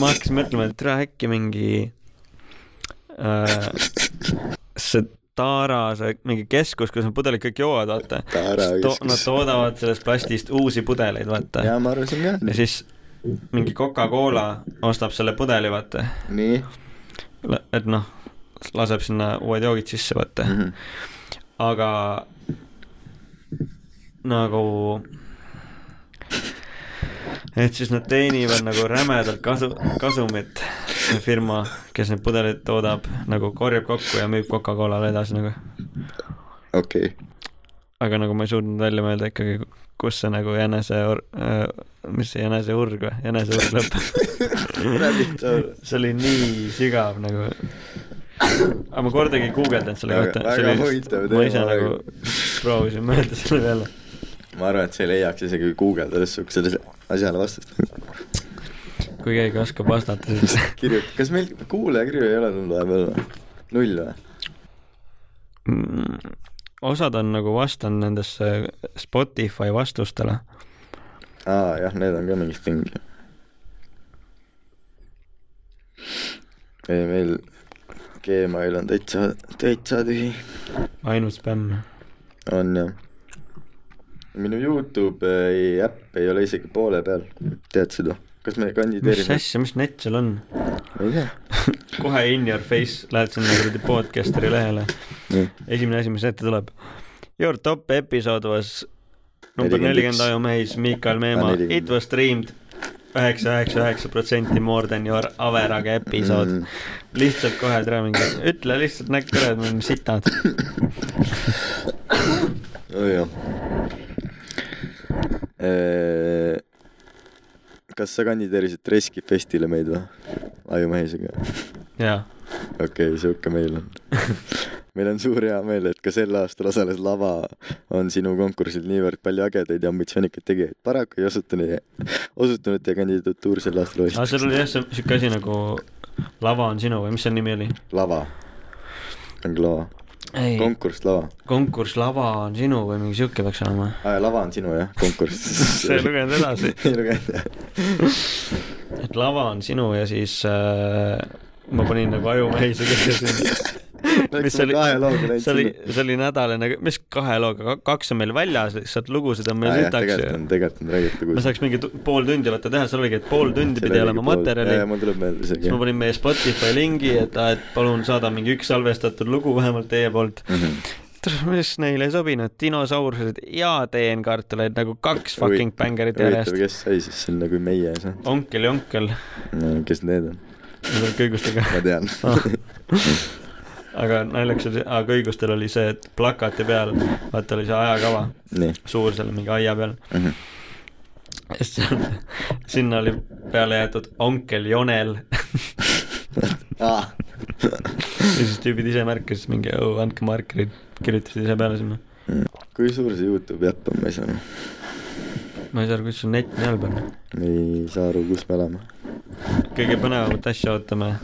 S2: ma hakkasin mõtlema , et türa äkki mingi äh, see Tara , see mingi keskus , kus need pudelid kõik joovad , vaata .
S3: Tara
S2: To,
S3: keskus.
S2: nad toodavad sellest plastist uusi pudeleid , vaata .
S3: ja ma arvasin ka .
S2: ja siis mingi Coca-Cola ostab selle pudeli , vaata .
S3: nii .
S2: et noh , laseb sinna uued joogid sisse , vaata .
S3: Mhm.
S2: aga nagu et siis nad teenivad nagu rämedalt kasu , kasumit , see firma , kes need pudelid toodab , nagu korjab kokku ja müüb Coca-Colale edasi nagu .
S3: okei .
S2: aga nagu ma ei suutnud välja mõelda ikkagi , kus see nagu jänese , mis see jäneseurg või , jäneseurg
S3: Rabbit hole.
S2: lõpeb . see oli nii sigav nagu . aga ma kordagi ei guugeldanud selle
S3: Väga-
S2: kohta .
S3: väga huvitav
S2: ma ise
S3: teema,
S2: nagu
S3: aga-
S2: proovisin mõelda selle peale .
S3: ma arvan , et see leiaks isegi guugeldades siuksele asjale vastust .
S2: kui keegi oskab vastata , siis
S3: kirjuta , kas meil kuulajakirju ei ole tulnud vahepeal või ? null või ?
S2: Mm, osad on nagu vastanud nendesse Spotify vastustele
S3: aa jah , need on ka mingi thing . ei meil Gmail on täitsa , täitsa tühi .
S2: ainult spämm .
S3: on jah . minu Youtube äh, ei, äpp ei ole isegi poole peal , tead seda ? kas me
S2: mis
S3: kandideerime ?
S2: asja , mis net seal on ?
S3: ma ei tea .
S2: kohe in your face lähed sinna kuradi podcasteri lehele .
S3: nii ,
S2: esimene asi , mis ette tuleb . Your top episood was number
S3: 41.
S2: nelikümmend Aju Mehis , Miikal
S3: Ah,
S2: Meemaa ,
S3: 40.
S2: it was streamed üheksa , üheksa , üheksa protsenti more than your average episood
S3: Mhm.
S2: mm. . lihtsalt kohe tule mingi , ütle lihtsalt näkku ära , et me oleme sitad .
S3: nojah . Äh, kas sa kandideerisid Reski festile meid või ? Ajumehisega ?
S2: jaa ,
S3: okei okay, , sihuke meil on . meil on suur hea meel , et ka sel aastal osales Lava , on sinu konkursil niivõrd palju ägedaid ja ambitsioonikaid tegijaid . paraku ei osutunud , osutunud teie kandidatuur sel aastal
S2: aga seal
S3: võistlusteks .
S2: oli jah , see siuke asi nagu lava on sinu või mis selle nimi oli ?
S3: lava , ongi lava ,
S2: ei ,
S3: konkurss lava .
S2: konkurss Lava on sinu või mingi siuke peaks olema .
S3: aa , lava on sinu jah , konkurss
S2: sa ei lugenud edasi .
S3: ei Ah, lugenud jah .
S2: et lava on sinu ja siis äh, ma panin nagu ajumehise kirja
S3: Me oleme kahe looga läinud
S2: see oli
S3: sinna. ,
S2: see oli nädalane , mis kahe looga , kaks on meil väljas , lihtsalt lugusid on meil sitaks
S3: tegelikult
S2: ju
S3: on , tegelikult on räägitud
S2: me
S3: kuskil .
S2: saaks mingi tu- pool tundi vaata teha , seal oligi , et pool tundi pidi olema materjali ,
S3: mul tuleb meelde
S2: siis
S3: isegi
S2: ma . panin meie Spotify lingi , et , et palun saada mingi üks salvestatud lugu vähemalt teie poolt .
S3: Mhm.
S2: mis neile ei sobinud , dinosaurused ja teenkartuleid nagu kaks fucking bängarit järjest
S3: huvitav ,. kes sai siis sinna , kui meie ei saanud
S2: onkel ja onkel ,
S3: no, . kes need on ?
S2: need on kõigustega .
S3: ma tean .
S2: Ah. aga naljaks oli , aga kõigustel oli see , et plakati peal , vaata oli see ajakava ,
S3: nii . Mhm.
S2: suur seal mingi aia peal . ja siis seal- sinna oli peale jäetud onkel Jonel
S3: aa ,
S2: ja siis tüübid ise märkasid mingi , andke markerid , kirjutasid ise peale sinna .
S3: kui suur see Youtube'i äpp on , ma ei saa aru .
S2: ma ei saa aru , kuidas sul net nii halb on .
S3: ei saa aru , kus me oleme .
S2: kõige põnevamat asja ootame ,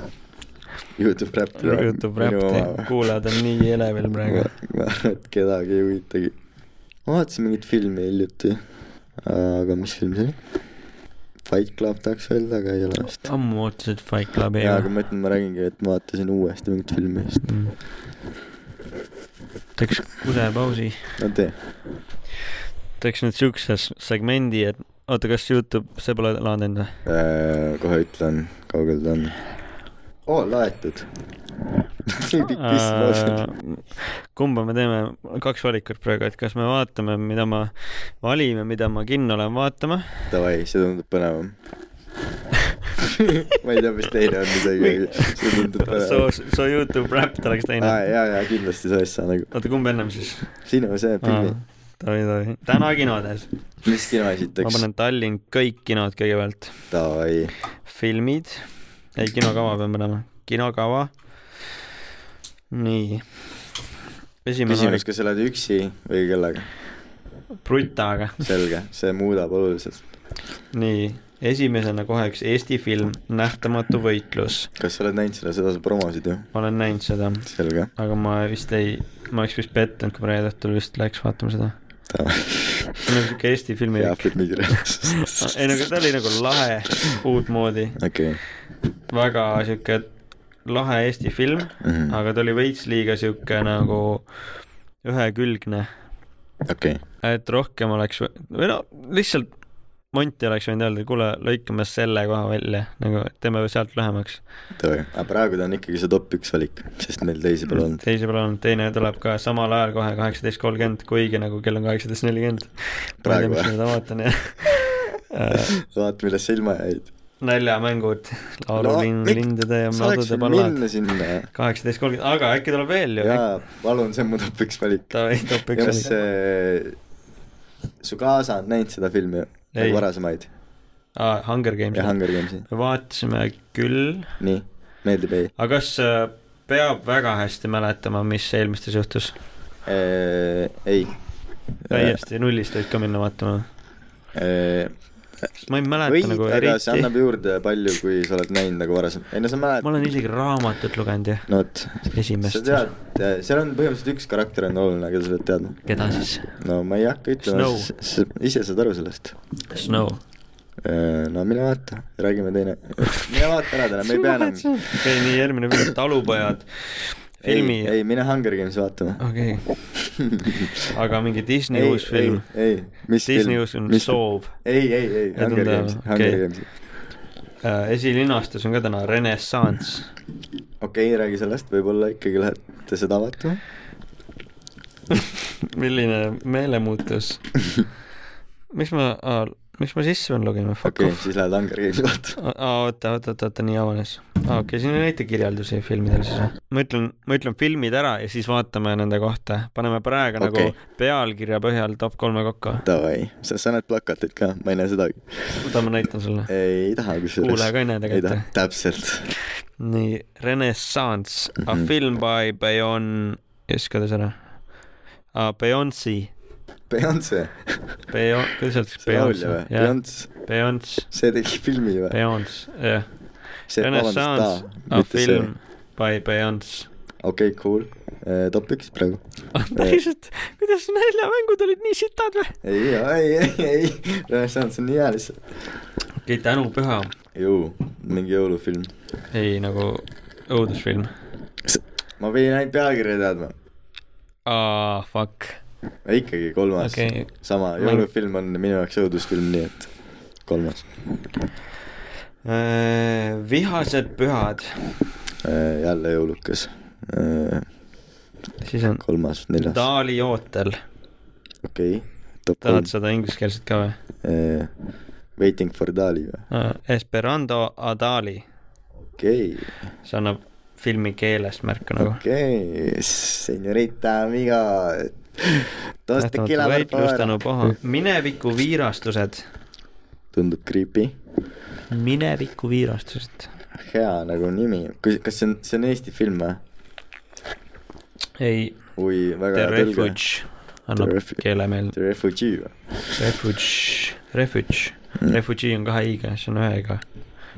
S3: Youtube Rappi .
S2: Youtube Rapti , kuulajad on nii elevil praegu .
S3: ma arvan , et kedagi ei huvitagi . ma vaatasin mingit filmi hiljuti . aga mis film see oli ? Fight Club tahaks öelda , aga ei ole vist .
S2: ammu ootasid Fight Clubi
S3: jaa , aga ma ütlen , ma räägingi , et ma vaatasin uuesti mingit filmi just .
S2: Mm. teeks kusepausi ,
S3: no tee .
S2: teeks nüüd siukse s- segmendi , et oota , kas Youtube , see pole laadinud või ?
S3: Äh, kohe ütlen , kaugel ta on . oo , laetud . nii pikk piss .
S2: kumba me teeme , kaks valikut praegu , et kas me vaatame , mida ma , valime , mida ma kinno olen vaatama
S3: Davai , see tundub põnevam . ma ei tea , mis teine on isegi , see tundub
S2: so ,
S3: põnevam .
S2: so Youtube Wrapped oleks
S3: aa
S2: teine .
S3: jaa , jaa , kindlasti see asja nagu .
S2: oota , kumb ennem siis ?
S3: sinu see pilli ,
S2: tohi , tohi . täna kinodes .
S3: mis kino
S2: ma
S3: esiteks ?
S2: panen Tallinn kõik kinod kõigepealt .
S3: Davai ,
S2: filmid , ei kinokava pean panema , kinokava . nii . esimene oli
S3: küsimus , kas sa oled üksi või kellega ?
S2: Brutaga ,
S3: selge , see muudab oluliselt .
S2: nii , esimesena kohe üks Eesti film Nähtamatu võitlus ,
S3: kas sa oled näinud seda , seda sa promosid ju ?
S2: ma olen näinud seda ,
S3: selge ,
S2: aga ma vist ei , ma oleks vist pettunud , kui ma reede õhtul vist läks vaatama seda .
S3: davai .
S2: see on nagu siuke Eesti filmi
S3: hea . filmi kirjeldus .
S2: ei , no aga ta oli nagu lahe , uutmoodi ,
S3: okei ,
S2: väga siuke lahe Eesti film
S3: Mhm.
S2: aga ta oli veits liiga siuke nagu ühekülgne
S3: okei .
S2: et rohkem oleks võ- või no lihtsalt Monti oleks võinud öelda , kuule , lõikame selle koha välja , nagu teeme sealt lühemaks .
S3: Davai , aga praegu ta on ikkagi see top üks valik , sest meil teisi
S2: Mm.
S3: pole olnud .
S2: teise peale on , teine tuleb ka samal ajal kohe kaheksateist kolmkümmend , kuigi nagu kell on kaheksateist nelikümmend . ma ei tea ,
S3: Praegu
S2: miks
S3: või?
S2: ma seda vaatan jah .
S3: vaata , millest sa ilma jäid .
S2: Äh, naljamängud , laululindude ja
S3: saaks
S2: madude
S3: veel
S2: pallad ,
S3: minna sinna .
S2: kaheksateist kolmkümmend , aga äkki tuleb veel ju ,
S3: jaa , palun , see on mu top üks valik .
S2: davai , top
S3: ja kas
S2: üks oli .
S3: see , su kaasa on näinud seda filmi ,
S2: Ei.
S3: nagu varasemaid
S2: aa , Hunger Games
S3: ja . Hunger Games'i ?
S2: me vaatasime küll ,
S3: nii , meeldib ei ?
S2: aga kas äh, peab väga hästi mäletama , mis eelmistes juhtus ?
S3: Äh, ei .
S2: täiesti nullist võid ka minna vaatama . ma ei mäleta
S3: võid ,
S2: nagu
S3: Äh, aga see
S2: eriti ,
S3: annab juurde palju , kui sa oled näinud nagu varasem . ei no sa
S2: ma olen
S3: mäletad ,
S2: isegi raamatut lugenud ja
S3: no vot , sa
S2: esimest ,
S3: tead , seal on põhimõtteliselt üks karakter on oluline , aga sa pead teadma .
S2: keda siis ?
S3: no ma ei hakka ütlema
S2: Snow. ,
S3: sa ise saad aru sellest .
S2: Snow .
S3: Äh, no mine vaata , räägime teine , mine vaata ära täna , me ei pea enam .
S2: okei , nii järgmine film , Talupojad , filmi ,
S3: ei , ei mine Hunger Games vaatama .
S2: okei , aga mingi Disney uus film ,
S3: ei , ei , mis
S2: Disney uus film , Soov .
S3: ei , ei , ei ,
S2: Ei
S3: Hunger
S2: tulnud
S3: Games ,
S2: ära,
S3: Hunger
S2: okei.
S3: Games .
S2: Äh, esilinastus on ka täna Renessanss ,
S3: okei , räägi sellest , võib-olla ikkagi lähete seda vaatama .
S2: milline meelemuutus . miks ma , miks ma sisse pean lugema , fuck
S3: okei
S2: off ,.
S3: siis lähed Hunger Gamesi vaatama .
S2: aa , oota , oota , oota , oota , nii avanes . aa , okei , siin on näitekirjeldusi filmidel siis või ? ma ütlen , ma ütlen filmid ära ja siis vaatame nende kohta . paneme praegu okay.
S3: Okei.
S2: nagu pealkirja põhjal top kolme kokku .
S3: Davai , sa , sa näed plakatit ka , ma ei näe sedagi .
S2: oota , ma näitan sulle .
S3: ei taha kusjuures .
S2: Kuulaja ka ei näe tegelikult, jah?
S3: täpselt .
S2: nii , Renaissance mm , -hmm. a film by Beyon , just kuidas ära uh, . Beyonce ,
S3: Beyonce ,
S2: Beyon , kuidas öeldakse ?
S3: see laulja või ?
S2: jah ,
S3: Beyonce ,
S2: Beyonce ,
S3: see tegi filmi või ?
S2: Beyonce , jah .
S3: see , vabandust ,
S2: Renaissance ,
S3: ta ,
S2: a
S3: mitte see .
S2: film by Beyonce .
S3: okei , cool . top üks praegu .
S2: päriselt , kuidas naljamängud olid nii sitad või ?
S3: ei , ei , ei , ei , Renaissance on nii hea lihtsalt .
S2: okei , tänupüha
S3: jõu , mingi jõulufilm .
S2: ei nagu õudusfilm .
S3: ma pidin ainult pealkirja teadma .
S2: aa , Ah, fuck .
S3: ikkagi kolmas
S2: Okei.
S3: okay. . sama ,
S2: Ma-
S3: jõulufilm on minu jaoks õudusfilm , nii et kolmas .
S2: Äh, vihased pühad ,
S3: Eh, jälle jõulukas .
S2: siis on
S3: kolmas , neljas ,
S2: Dali ootel .
S3: okei . top
S2: tahad
S3: kolm .
S2: seda ingliskeelset ka või ?
S3: Waiting for Dali või ?
S2: Esperanto Adali ,
S3: okei ,
S2: see annab filmi keelest märku nagu .
S3: okei , senorita amiga . Dos tequila por
S2: võitlus tänu
S3: favor .
S2: paha . mineviku viirastused ,
S3: tundub creepy
S2: mineviku viirastused .
S3: hea nagu nimi , kui , kas see on , see on Eesti film või ?
S2: ei ,
S3: oi , väga
S2: The
S3: hea tõlge .
S2: Refuge annab
S3: Refu-
S2: keele meelde .
S3: The Refugee või ?
S2: Refuge , Refuge ,
S3: Mm.
S2: Refugee on kahe i-ga , see on ühe i-ga ,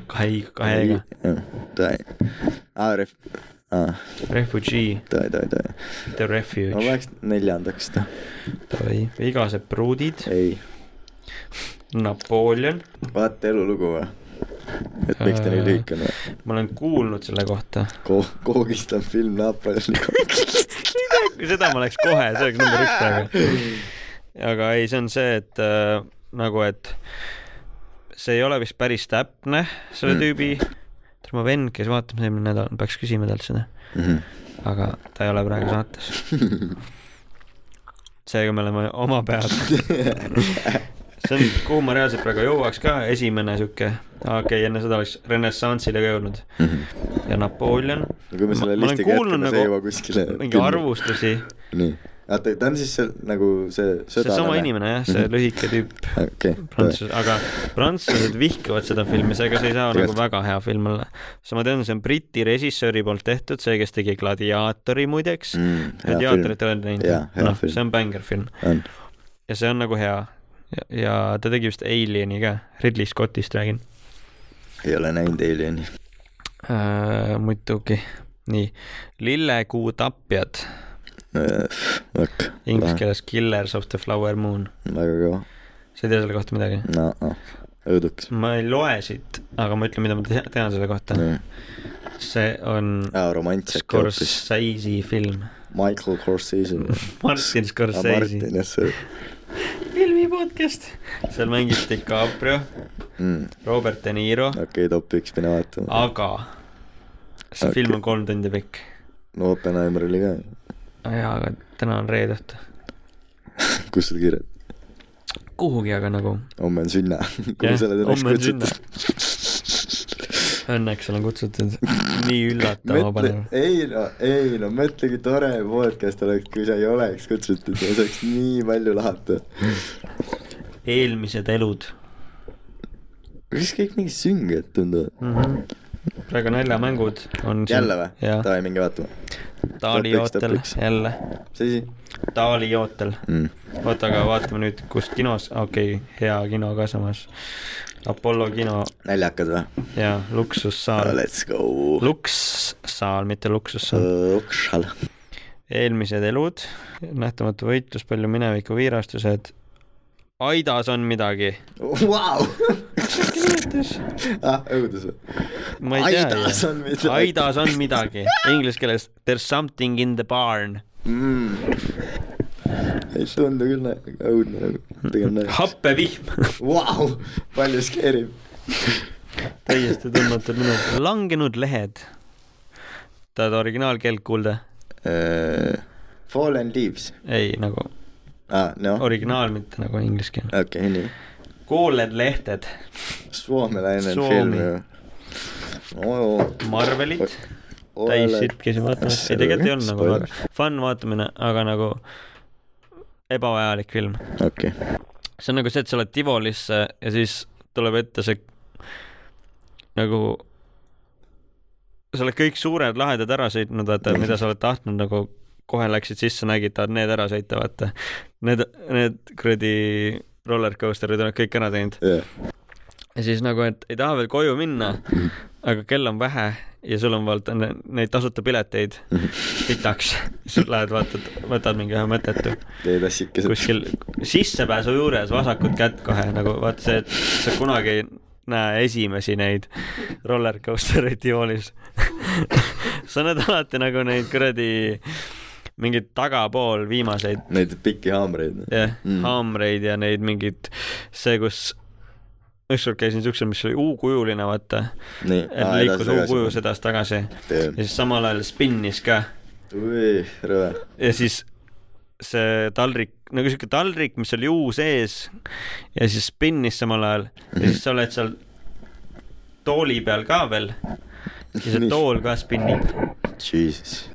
S2: kahe i-ga , kahe i-ga .
S3: tõe . aa , ref- , aa ,
S2: Refugee ,
S3: tõe , tõe , tõe .
S2: The
S3: ma
S2: Refuge ,
S3: paneks neljandaks ta ,
S2: davai , vigased pruudid ,
S3: ei .
S2: Napoleon ,
S3: vaata elulugu või ? et miks ta nii
S2: Äh.
S3: lühike on või ?
S2: ma olen kuulnud selle kohta .
S3: Ko- , koogistab film Napoleoni koogist .
S2: seda ma oleks kohe , see oleks number üks praegu . aga ei , see on see , et äh, nagu , et see ei ole vist päris täpne , selle
S3: Mm.
S2: mm. tüübi , tema vend , kes vaatab eelmine nädal , peaks küsima talt seda , aga ta ei ole praegu saates .
S3: Mhm.
S2: seega me oleme oma peal . see on , kuhu ma reaalselt praegu jõuaks ka , esimene sihuke , okei okay, , enne seda oleks renessansile ka jõudnud
S3: Mhm.
S2: ja Napoleon .
S3: kui me selle listiga jätkame , see ei jõua kuskile .
S2: mingi . nagu arvustusi ,
S3: nii , oota , ta on siis see nagu see sõda . Mhm.
S2: seesama inimene jah , see lühike tüüp ,
S3: okei , tõe .
S2: prantsus , aga prantslased vihkavad seda filmi , seega see ei saa nagu
S3: Tegelikult.
S2: väga hea film olla . siis ma tean , see on Briti režissööri poolt tehtud , see , kes tegi Gladiaatori muideks mm, . Gladiaatorit oled näinud
S3: Jaa, ? hea
S2: noh ,
S3: film.
S2: see on bängerfilm
S3: on .
S2: ja see on nagu hea . ja ta tegi vist Alieni ka , Ridley Scottist räägin
S3: ei ole näinud Alieni .
S2: äh, . muidugi , nii , Lillekuu tapjad ,
S3: Vakk .
S2: inglise keeles Killers of the Flower Moon .
S3: väga kõva .
S2: sa ei tea selle kohta midagi ?
S3: no , õuduks .
S2: ma ei loe siit , aga ma ütlen , mida ma tea- tean selle kohta . see on
S3: aa , romantsik Ah, hoopis .
S2: Scorsese film .
S3: Michael Corsese .
S2: Martin Scorsese
S3: Martin , jah , see .
S2: filmi podcast . seal mängib DiCaprio , Robert De Niro ,
S3: Mm, okei , top üks , mine vaatama .
S2: aga see
S3: Okei.
S2: okay. film on kolm tundi pikk .
S3: no Oppenheimer oli ka .
S2: jaa , aga täna on reede õhtu .
S3: kus sa kirjad ?
S2: kuhugi , aga nagu
S3: homme on sünna . kuhu
S2: jah ,
S3: sa oled ennast
S2: homme on sünna .
S3: kutsutud ?
S2: õnneks olen kutsutud nii üllatama
S3: mõtle
S2: panema ,.
S3: ei no , ei no mõtlegi tore podcast oleks , kui sa ei oleks kutsutud , see oleks nii palju lahata .
S2: eelmised elud
S3: kas kõik mingid sünged tunduvad mm ?
S2: mm . -hmm. praegu naljamängud on
S3: -hmm. jälle või ?
S2: jaa ,
S3: Davai , minge vaatama .
S2: Taali
S3: top üks, top
S2: ootel
S3: üks.
S2: jälle ,
S3: mis asi
S2: Taali ootel .
S3: mm. ?
S2: oota , aga vaatame nüüd , kus kinos , okei okay, , hea kino ka samas . Apollo kino
S3: naljakad või ?
S2: ja luksussaal ,
S3: Let's go .
S2: lukssaal , mitte
S3: Äh.
S2: luksussaal .
S3: Lukšal .
S2: eelmised elud , nähtamatu võitlus , palju mineviku viirastused . Aidas on midagi .
S3: Vau !
S2: kirjutas .
S3: ah , õudus või ?
S2: ma ei tea .
S3: Aidas on midagi.
S2: Aidas on midagi . Inglise keeles there is something in the barn .
S3: Mm. ei tundu küll nä- õudne nagu , pigem naljakas .
S2: happevihm .
S3: Vau , palju skeerib .
S2: täiesti tundmatud minu . langenud lehed . tahad originaalkeelt kuulda ?
S3: Fallen leaves .
S2: ei , nagu
S3: aa , noh ,
S2: originaal , mitte nagu inglise keel .
S3: okei , nii .
S2: kooled lehted ,
S3: soomelaine on
S2: Soomi.
S3: film ju . oo ,
S2: Marvelid , täis . sitkesi vaatamas , ei tegelikult ei olnud nagu väga fun vaatamine , aga nagu ebavajalik film .
S3: okei ,
S2: see on nagu see , et sa lähed Tivolisse ja siis tuleb ette see nagu sa oled kõik suured lahedad ära sõitnud , vaata , mida sa oled tahtnud nagu kohe läksid sisse , nägid , tahad need ära sõita , vaata . Need , need kuradi roller coaster'id oled kõik ära teinud .
S3: jah .
S2: ja siis nagu , et ei taha veel koju minna , aga kell on vähe ja sul on vaata ne- neid tasuta pileteid pitaks . siis lähed vaatad , võtad mingi ühe mõttetu
S3: teed assikesed .
S2: kuskil sissepääsu juures vasakut kätt kohe nagu vaata see , et sa kunagi ei näe esimesi neid roller coaster eid joonis . sa näed alati nagu neid kuradi mingeid tagapool viimaseid
S3: Neid pikki haamreid .
S2: jah mm. , haamreid ja neid mingeid , see , kus ükskord käisin siuksel , mis oli U-kujuline , vaata ,
S3: nii ,
S2: et liikus U-kujus . edasi-tagasi ja siis samal ajal spinnis ka
S3: oi , rõve .
S2: ja siis see taldrik , nagu siuke taldrik , mis oli U sees ja siis spinnis samal ajal ja siis sa oled seal tooli peal ka veel ja see
S3: Nii.
S2: tool ka spinnib .
S3: Jesus ,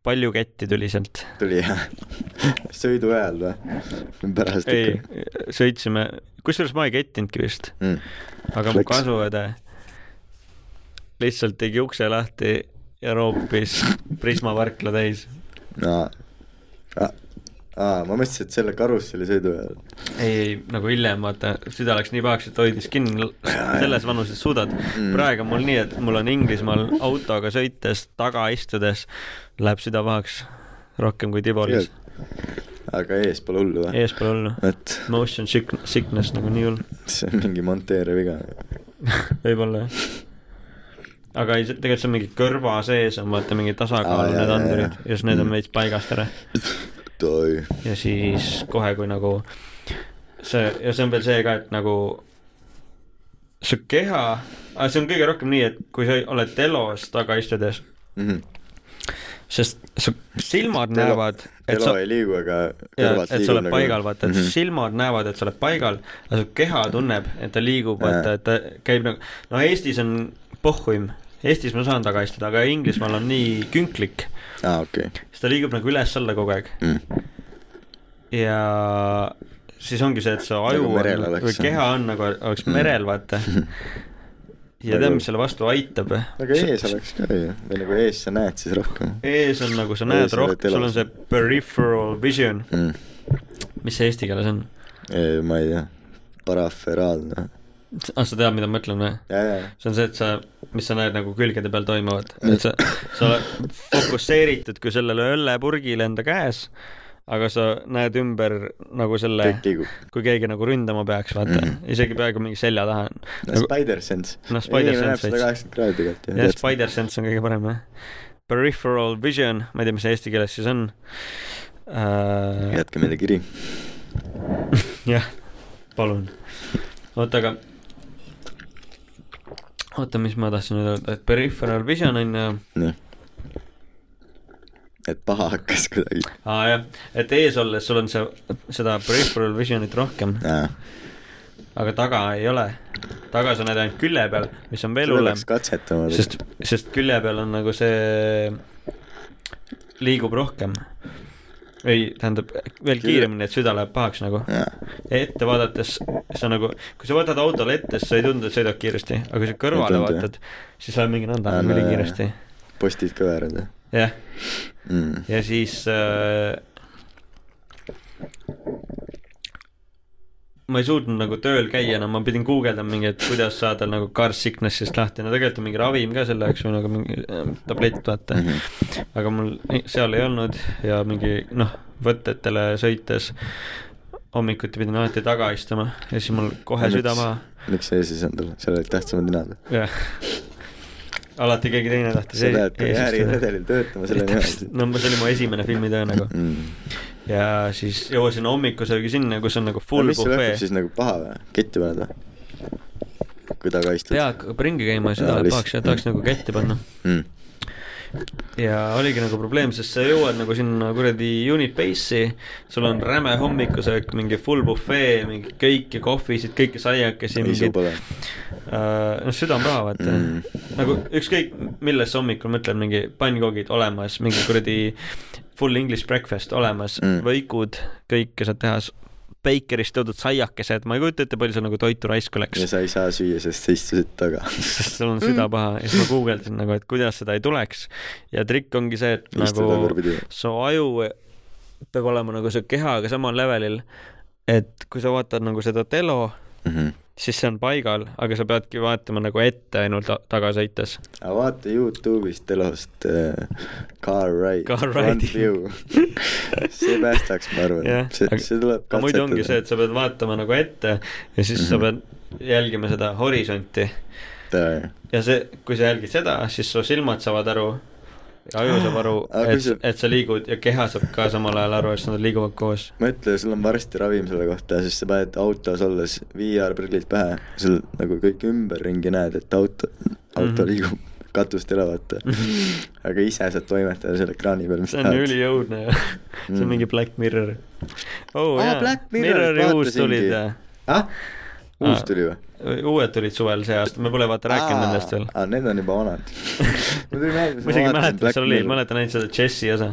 S2: palju ketti tuli sealt ?
S3: tuli jah . sõidu ajal või ? pärast
S2: ei
S3: ikka .,
S2: sõitsime , kusjuures ma ei kettinudki vist
S3: Mm.
S2: aga mu
S3: Läks.
S2: kasuõde lihtsalt tegi ukse lahti ja roopis Prisma parkla täis .
S3: aa , aa , ma mõtlesin , et selle karusselli sõidu ajal .
S2: ei , ei nagu hiljem vaata , süda läks nii pahaks , et hoidis kinni , selles vanuses suudad .
S3: Mm.
S2: praegu on mul nii , et mul on Inglismaal autoga sõites , taga istudes läheb süda pahaks rohkem kui Tibolis .
S3: aga ees pole hullu või ?
S2: eespool olnud .
S3: et
S2: Motion sick- sickness nagu nii hull ,
S3: see on mingi monteeriviga .
S2: võib-olla jah aga ei , tegelikult see on mingi kõrva sees on vaata mingi
S3: Aa,
S2: tasakaalu
S3: jaa,
S2: need
S3: jaa,
S2: andurid
S3: jaa. Mm.
S2: ja siis need on veits paigast ära
S3: oi ,
S2: ja siis kohe , kui nagu see ja see on veel see ka , et nagu su keha , see on kõige rohkem nii , et kui sa oled elos taga istudes ,
S3: Mhm.
S2: sest su silmad
S3: Telo-
S2: näevad , et
S3: elu
S2: sa ,
S3: ei liigu , aga kõrvad nagu- Mhm.
S2: et sa oled
S3: liiguvad
S2: paigal , vaata , et silmad näevad , et sa oled paigal , aga su keha tunneb , et ta liigub , vaata , et ta käib nagu , no Eestis on pohhuim , Eestis ma saan taga istuda , aga Inglismaal on nii künklik
S3: aa , okei . Mhm.
S2: siis ta liigub nagu üles-alla kogu aeg mm. . ja siis ongi see , et see aju
S3: Nagu merel
S2: on,
S3: oleks,
S2: või
S3: jah. Hmm.
S2: keha on nagu oleks mm. merel , vaata . ja tead , mis selle vastu aitab ?
S3: Mhm. aga Nagu- ees oleks ka ju , või nagu ees sa näed siis rohkem .
S2: ees on nagu sa näed
S3: Ees oled
S2: rohkem , sul on
S3: elas. Hmm.
S2: see peripheral vision , mis see eesti keeles on ?
S3: ma ei tea , paraferaalne .
S2: ah , sa tead , mida ma mõtlen või ?
S3: ja , ja ,
S2: see on see , et sa , mis sa näed nagu külgede peal toimuvat , et sa , sa oled fokusseeritud kui sellele õllepurgile enda käes , aga sa näed ümber nagu selle
S3: Kõik liigub. ,
S2: kui keegi nagu ründama peaks , vaata mm , -hmm. isegi peaaegu mingi selja taha on nagu, .
S3: Spider Sense .
S2: Noh, Spider
S3: inimene näeb
S2: Sense
S3: sada
S2: veits.
S3: kaheksakümmend kraadi tegelikult
S2: jah , spider sense on kõige parem jah . Peripheral vision , ma ei tea , mis see eesti keeles siis on äh, .
S3: jätke meile kiri .
S2: jah , palun . oota , aga oota , mis ma tahtsin nüüd öelda , et peripheral vision on äh, ju
S3: nii . et paha hakkas kuidagi .
S2: aa jah , et ees olles sul on see , seda peripheral vision'it rohkem ,
S3: aa ,
S2: aga taga ei ole . tagasi on nad ainult külje peal , mis on veel
S3: seda
S2: hullem
S3: peaks , katsetama .
S2: sest , sest külje peal on nagu see , liigub rohkem . ei , tähendab veel kiiremini , et süda läheb pahaks nagu . ette vaadates sa nagu , kui sa võtad autole ette , siis sa ei tundu , et sõidad kiiresti , aga kui sa kõrvale
S3: tundu, jah.
S2: vaatad , siis läheb mingi nõnda
S3: Aa,
S2: nagu
S3: no,
S2: ülikiiresti .
S3: postid ka väärad või
S2: jah ,
S3: mm. ?
S2: ja siis äh, ma ei suutnud nagu tööl käia enam , ma pidin guugeldama mingi , et kuidas saada nagu car sickness'ist lahti , no tegelikult on mingi ravim ka selle jaoks või nagu mingi äh, tablett , vaata .
S3: Mhm.
S2: aga mul ei- seal ei olnud ja mingi noh , võtetele sõites hommikuti pidin alati taga istuma ja siis mul kohe süda maha ,
S3: miks see siis on tal , seal olid tähtsamad ninad .
S2: jah . alati keegi teine tahtis
S3: sa
S2: e-
S3: pead ka
S2: eesistuda .
S3: ääriredelil töötama selle Mhm. Mm. nimel .
S2: no see oli mu esimene filmitöö nagu ja siis jõuasin hommikusöögi sinna , kus on nagu full
S3: mis sul hakkab
S2: bufee .
S3: siis nagu paha või ? ketti paned või ? kui taga istud ?
S2: pea hakkab ringi käima ja
S3: Jaa,
S2: süda läheb
S3: Ah, lihtsalt-
S2: pahaks ja tahaks nagu kätte panna .
S3: mm. .
S2: ja oligi nagu probleem , sest sa jõuad nagu sinna kuradi unit base'i , sul on räme hommikusöök , mingi full bufee , mingi kõiki kohvisid , kõiki saiakesi ,
S3: ei , sul
S2: mingid
S3: pole .
S2: Äh, noh , süda on paha , vaata mm.
S3: Mm. .
S2: nagu ükskõik , milles sa hommikul mõtled , mingi pannkoogid olemas , mingi kuradi full english breakfast olemas mm.
S3: Mm. ,
S2: võikud , kõike saad teha , beikerist toodud saiakesed , ma ei kujuta ette , palju seal nagu toitu raisku läks
S3: ja . sa ei saa süüa , sest sa istusid taga .
S2: sest sul on süda paha ja siis ma guugeldasin nagu , et kuidas seda ei tuleks . ja trikk ongi see , et
S3: Istu
S2: nagu
S3: tagurpidi.
S2: su aju peab olema nagu su kehaga samal levelil , et kui sa vaatad nagu seda telo ,
S3: Mhm.
S2: siis see on paigal , aga sa peadki vaatama nagu ette ainult ta- taga sõites .
S3: aga vaata Youtube'ist telost äh, Car Ride .
S2: Car Ride'i.
S3: see päästaks , ma arvan
S2: jah ,
S3: yeah. . see , see tuleb Mhm.
S2: aga muidu ongi see , et sa pead vaatama nagu ette ja siis mm -hmm. sa pead jälgima seda horisonti
S3: et .
S2: ja see , kui sa jälgid seda , siis su silmad saavad aru ja aju saab aru ,
S3: Aga kui
S2: et
S3: sa- ,
S2: et sa liigud ja keha saab ka samal ajal aru , et nad liiguvad koos .
S3: mõtle , sul on varsti ravim selle kohta , sest sa paned autos olles VR-prillid pähe , sul nagu kõik ümberringi näed , et auto , auto
S2: Mhm.
S3: liigub katust üle , vaata . aga ise saad toimetada seal ekraani peal , mis
S2: see on üliõudne ju , see on mingi Black Mirror oh, .
S3: Mm. Aa, Black Mirrorit
S2: uus tulid
S3: vaatasingi. , ah , uus tuli või ?
S2: uued tulid suvel see aasta , me pole vaata rääkinud nendest veel .
S3: aa , need on juba vanad Ma tulin meelde,
S2: ma
S3: et ma
S2: isegi ei
S3: vaatasin
S2: mäleta , mis
S3: Black
S2: seal oli ,
S3: Mirror.
S2: mäletan ainult seda Jesse osa .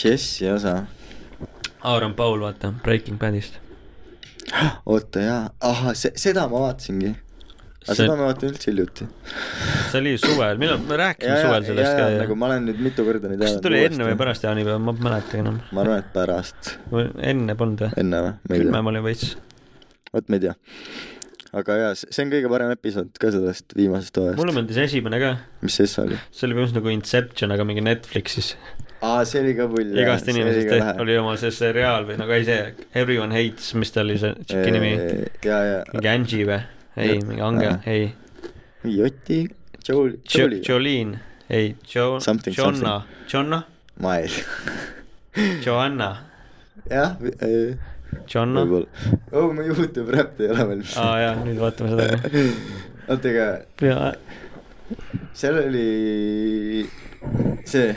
S3: Jesse osa ,
S2: Aaron Paul , vaata , Breaking Badist .
S3: oota jaa , ahah , see , seda ma vaatasingi . aga
S2: See-
S3: seda ma vaatan üldse hiljuti .
S2: see oli suvel , millal , me rääkisime suvel sellest ka
S3: nagu
S2: ju .
S3: ma olen nüüd mitu korda neid
S2: kas see tuli enne või ? pärast jaanipäeva , ma ei mäleta enam .
S3: ma arvan , et pärast ,
S2: enne polnud või ?
S3: enne või ? ma ei
S2: küll
S3: tea
S2: ma . olin veits .
S3: vot ma ei tea . aga jaa , see on kõige parem episood ka sellest viimasest
S2: mulle
S3: hooajast .
S2: meeldis esimene ka ,
S3: mis see siis oli ?
S2: see oli põhimõtteliselt nagu Inception , aga mingi Netflixis .
S3: aa , see oli ka pull .
S2: igast inimesest tehti- oli oma see seriaal või nagu ei see Everyone Hates , mis ta oli see tšiki nimi ,
S3: jaa ,
S2: mingi
S3: jaa .
S2: Angie või ? ei , mingi Ange
S3: Äh. ,
S2: ei .
S3: Joti , Joel , Joel .
S2: Jolene , ei , Jo- ,
S3: Something,
S2: Jonna , Jonna ,
S3: ma ei tea .
S2: Joanna ,
S3: jah ,
S2: Jonna .
S3: võib-olla . oo , mu Youtube räpp ei ole valmis .
S2: aa jaa , nüüd vaatame seda ka .
S3: oota , aga
S2: jaa ,
S3: seal oli see ,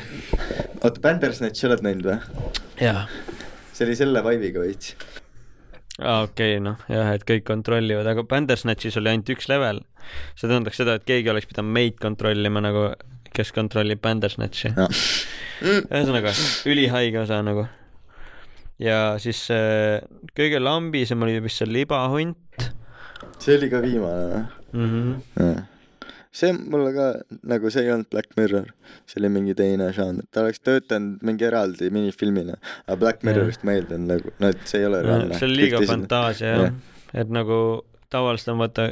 S3: oota , Bandersnatch oled näinud või ?
S2: jaa
S3: see oli selle vibe'iga veits .
S2: aa ah, okei okay, , noh jah , et kõik kontrollivad , aga Bandersnatchis oli ainult üks level . see tähendaks seda , et keegi oleks pidanud meid kontrollima nagu , kes kontrollib Bandersnatchi no. . ühesõnaga , ülihaige osa nagu . ja siis äh, kõige lambisem oli vist see libahunt
S3: see oli ka viimane või ?
S2: mm .
S3: Mhm.
S2: -hmm.
S3: see mulle ka nagu see ei olnud Black Mirror , see oli mingi teine žanr , ta oleks töötanud mingi eraldi minifilmina , aga Black Mirrorist ma eeldan nagu , no et see ei ole reaalne .
S2: see oli liiga fantaasia jah , et nagu tavaliselt on vaata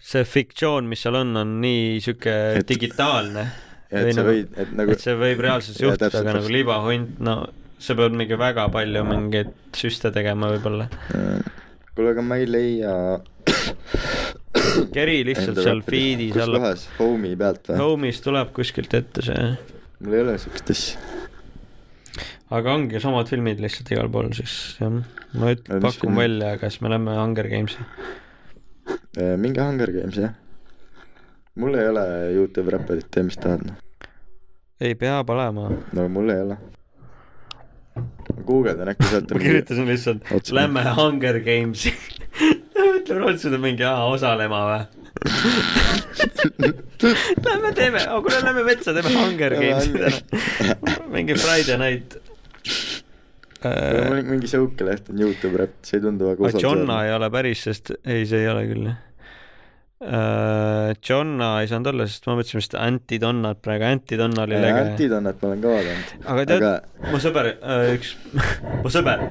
S2: see fiktsioon , mis seal on , on nii sihuke
S3: Et-
S2: digitaalne .
S3: et sa võid- et nagu-
S2: et see võib reaalsuses
S3: Jaa,
S2: juhtuda ,
S3: täpselt,
S2: aga nagu
S3: täpselt.
S2: libahunt , no sa pead mingi väga palju mingeid süste tegema võib-olla .
S3: kuule , aga ma ei leia .
S2: keri lihtsalt seal feed'is
S3: alla . kus
S2: alla ,
S3: kohas , Home'i pealt või ?
S2: home'is tuleb kuskilt ette see ,
S3: mul ei ole siukest asja .
S2: aga ongi samad filmid lihtsalt igal pool siis jah , ma üt-
S3: Aga , mis
S2: pakun
S3: filmid?
S2: välja , kas me lähme Hunger Games'i .
S3: minge Äh, Hunger Games jah . mul ei ole Youtube räpparit , tee mis tahad noh ,
S2: ei , peab olema
S3: no mul ei ole . ma guugeldan äkki sealt .
S2: ma kirjutasin lihtsalt
S3: Otse.
S2: lähme Hunger Games'i . ütle , Rootsil on mingi aa , osalema või ? Lähme teeme , kuule lähme metsa , teeme Hunger Games'i täna . mingi Friday night .
S3: mul on mingi sihuke leht on Youtube Rap , see ei tundu väga
S2: aga Jonna ei ole päris , sest ei , see ei ole küll jah . Jonna ei saanud olla , sest ma mõtlesin , et Anti-Donnat praegu , Anti-Donna oli
S3: Jonna .
S2: lege .
S3: Antidonnat ma olen ka vaadanud .
S2: aga tead aga... , mu sõber , üks mu sõber ,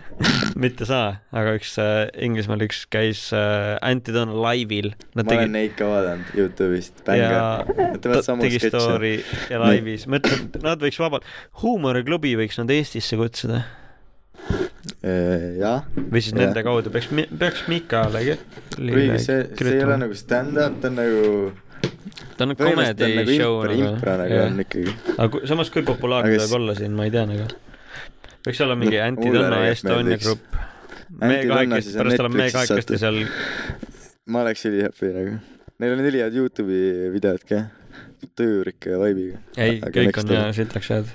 S2: mitte sa , aga üks äh, Inglismaal üks käis äh, Antidon laivil .
S3: ma tegi... olen neid ka vaadanud Youtube'ist .
S2: ja ta tegi story ja laivis , mõtlen , nad võiks vabalt , huumoriklubi võiks nad Eestisse kutsuda
S3: jah .
S2: või siis ja. nende kaudu peaks , peaks Mikale .
S3: kuigi see , see ei ole . nagu stand-up , ta on nagu .
S2: ta on comedy
S3: nagu
S2: show
S3: impro , impro nagu on
S2: aga ,
S3: ikkagi .
S2: aga kui- samas kui populaarne
S3: Aga
S2: ta
S3: siis- Noh,
S2: võib olla siin , ma ei tea nagu . võiks olla mingi
S3: Mulle
S2: Antidonna
S3: tegelikult
S2: Estonia
S3: meeldiks.
S2: grupp . me
S3: Antidonna
S2: kahekesti ,
S3: siis on
S2: pärast oleme me
S3: Netflixis
S2: kahekesti
S3: sattunud.
S2: seal ,
S3: ma oleks ülihappy nagu . Neil on ülihead Youtube'i videod ka . tujurika ja vaibiga .
S2: ei , kõik on jaa , sitaks head .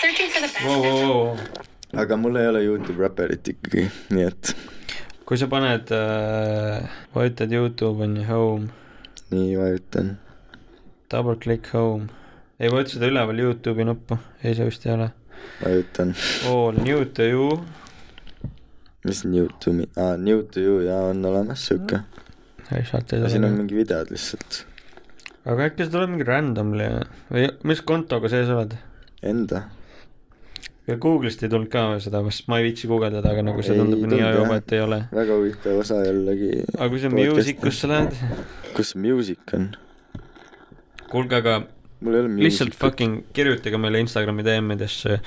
S6: Searching for the best.
S3: aga mul ei ole Youtube räpperit ikkagi , nii et
S2: kui sa paned äh, , vajutad Youtube on ju home ,
S3: nii ma ütlen .
S2: double click home . ei vajuta seda üleval Youtube'i nuppu , ei see vist ei ole .
S3: ma ütlen ,
S2: All new to you ,
S3: mis New to me , aa New to you jaa on olemas siuke .
S2: ei sealt ei
S3: siin on
S2: tule .
S3: mingi videod lihtsalt .
S2: aga äkki see tuleb mingi randomly või mis kontoga sees oled ?
S3: Enda .
S2: Google'ist ei tulnud ka seda , sest ma ei viitsi guugeldada , aga nagu see
S3: Ei
S2: tundub nii
S3: tulnud,
S2: ajuba ,
S3: jah.
S2: et ei ole .
S3: väga huvitav osa jällegi .
S2: aga kui sa Music usse lähed ,
S3: kus see Music on ?
S2: kuulge , aga
S3: mul ei ole Music .
S2: lihtsalt . fucking kirjutage meile Instagrami DM-idesse ,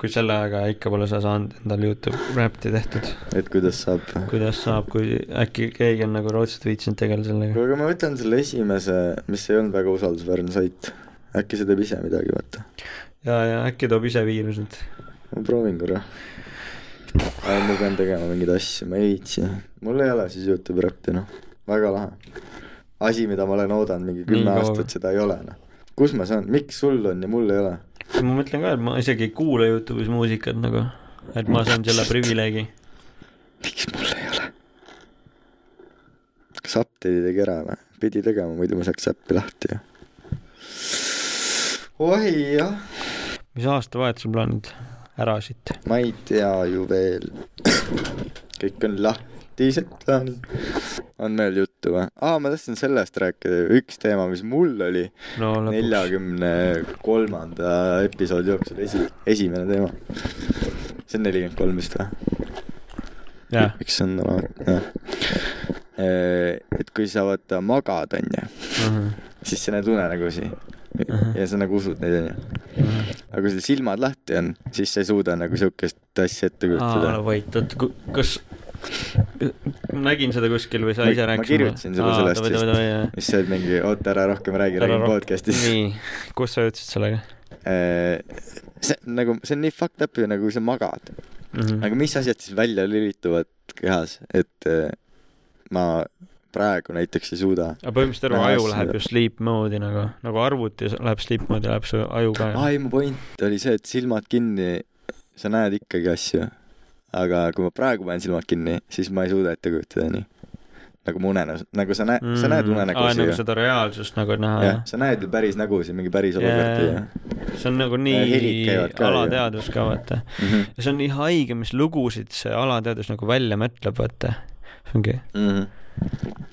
S2: kui selle ajaga ikka pole sa saanud endale Youtube Rapti tehtud
S3: et kuidas saab .
S2: kuidas saab , kui äkki keegi on nagu Rootsit viitsinud tegeleda sellega .
S3: kuule , aga ma võtan selle esimese , mis ei olnud väga usaldusväärne sait . äkki see teeb ise midagi , vaata .
S2: ja , ja äkki toob ise viirused .
S3: ma proovin korra . aga ma pean tegema mingeid asju , ma ei viitsi . mul ei ole siis Youtube Rappi , noh . väga lahe . asi , mida ma olen oodanud mingi kümme
S2: kaua või?
S3: aastat , seda ei ole , noh . kus ma saan , miks sul on ja mul ei ole ?
S2: ma mõtlen ka , et ma isegi ei kuula Youtube'is muusikat nagu , et ma saan selle privileegi .
S3: miks mul ei ole ? kas update'i tegi ära või ? pidi tegema , muidu ma saaks äppi lahti ju . oi jah ,
S2: mis aastavahetuse plaanid ? ära siit .
S3: ma ei tea ju veel . kõik on lahtised on . on veel juttu või ? aa , ma tahtsin sellest rääkida , üks teema , mis mul oli
S2: no lõpuks .
S3: neljakümne kolmanda episoodi jooksul esi , esimene teema . see on nelikümmend kolm vist või ?
S2: jah ,
S3: üks on olemas , jah . et kui sa vaata magad , onju , siis sa näed unenägusid
S2: Mhm.
S3: ja sa nagu usud neid , onju . aga kui sul silmad lahti on , siis sa ei suuda nagu siukest asja ette
S2: aa , nagu
S3: kujutada .
S2: vait , oot , kas , ma nägin seda kuskil või sa ise
S3: ma
S2: rääkisid ?
S3: kirjutasin sulle sellest vist , mis see oli mingi , oota ära rohkem räägi , räägin podcast'is .
S2: nii , kus sa jõudsid sellega
S3: Eh, see on nagu , see on nii fucked up ju nagu , kui sa magad .
S2: mm ?
S3: aga mis asjad siis välja lülituvad kehas , et eh, ma praegu näiteks ei suuda
S2: aga põhimõtteliselt terve
S3: Näha
S2: aju
S3: asju.
S2: läheb ju sleep mode'i nagu , nagu arvuti läheb sleep mode'i , läheb su aju ka .
S3: aa ei , mu point oli see , et silmad kinni , sa näed ikkagi asju . aga kui ma praegu panen silmad kinni , siis ma ei suuda ette kujutada nii . nagu mu unenäos , nagu sa näed mm. , sa näed
S2: aa ,
S3: unenägusid
S2: nagu
S3: ju .
S2: seda reaalsust nagu näha
S3: jah
S2: jah ,
S3: sa näed ju päris nägusid , mingi päris olukordi
S2: Jaa.
S3: ju .
S2: see on nagu
S3: Ja helid
S2: nii
S3: käivad ka ju.
S2: alateadvus ka vaata mm .
S3: Mhm.
S2: -hmm. ja see on nii haige , mis lugusid see alateadvus nagu välja mõtleb , vaata . ongi ,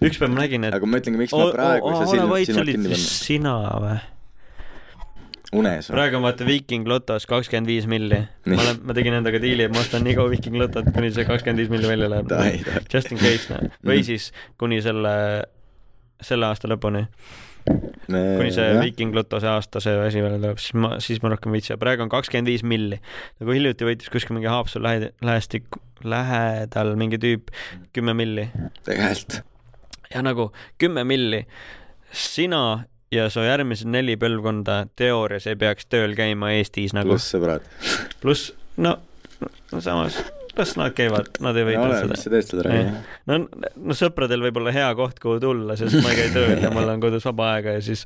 S2: üks päev ma nägin , et
S3: Mhm. aga ma ütlengi , miks ma
S2: O-
S3: praegu
S2: o-
S3: ei saa
S2: ole
S3: silm ,
S2: vait, see
S3: silmad
S2: olid
S3: kinni
S2: vist
S3: panna .
S2: sina või ?
S3: unes või ?
S2: praegu on vaata Viking Lotos kakskümmend viis milli .
S3: Nii.
S2: ma olen , ma tegin endaga diili , et ma ostan nii kaua Viking Lotot , kuni see kakskümmend viis milli välja
S3: Davai,
S2: läheb
S3: davai. .
S2: Just in case , noh .
S3: Mm.
S2: või siis kuni selle , selle aasta lõpuni
S3: Äh,
S2: kuni see Viking Loto see aasta see asi välja tuleb , siis ma , siis ma rohkem ei viitsi , praegu on kakskümmend viis milli . nagu hiljuti võitis kuskil mingi Haapsalu lähe- , lähestik , lähedal mingi tüüp
S3: Mm.
S2: kümme milli
S3: tegelikult .
S2: ja nagu kümme milli . sina ja su järgmised neli põlvkonda teoorias ei peaks tööl käima Eestis nagu ,
S3: pluss sõbrad .
S2: pluss no, no samas , las nad käivad , nad ei
S3: no ole ,
S2: võida
S3: mis sa
S2: seda .
S3: teed seda praegu .
S2: no , no sõpradel võib olla hea koht , kuhu tulla , sest ma ei käi tööl ja mul on kodus vaba aega ja siis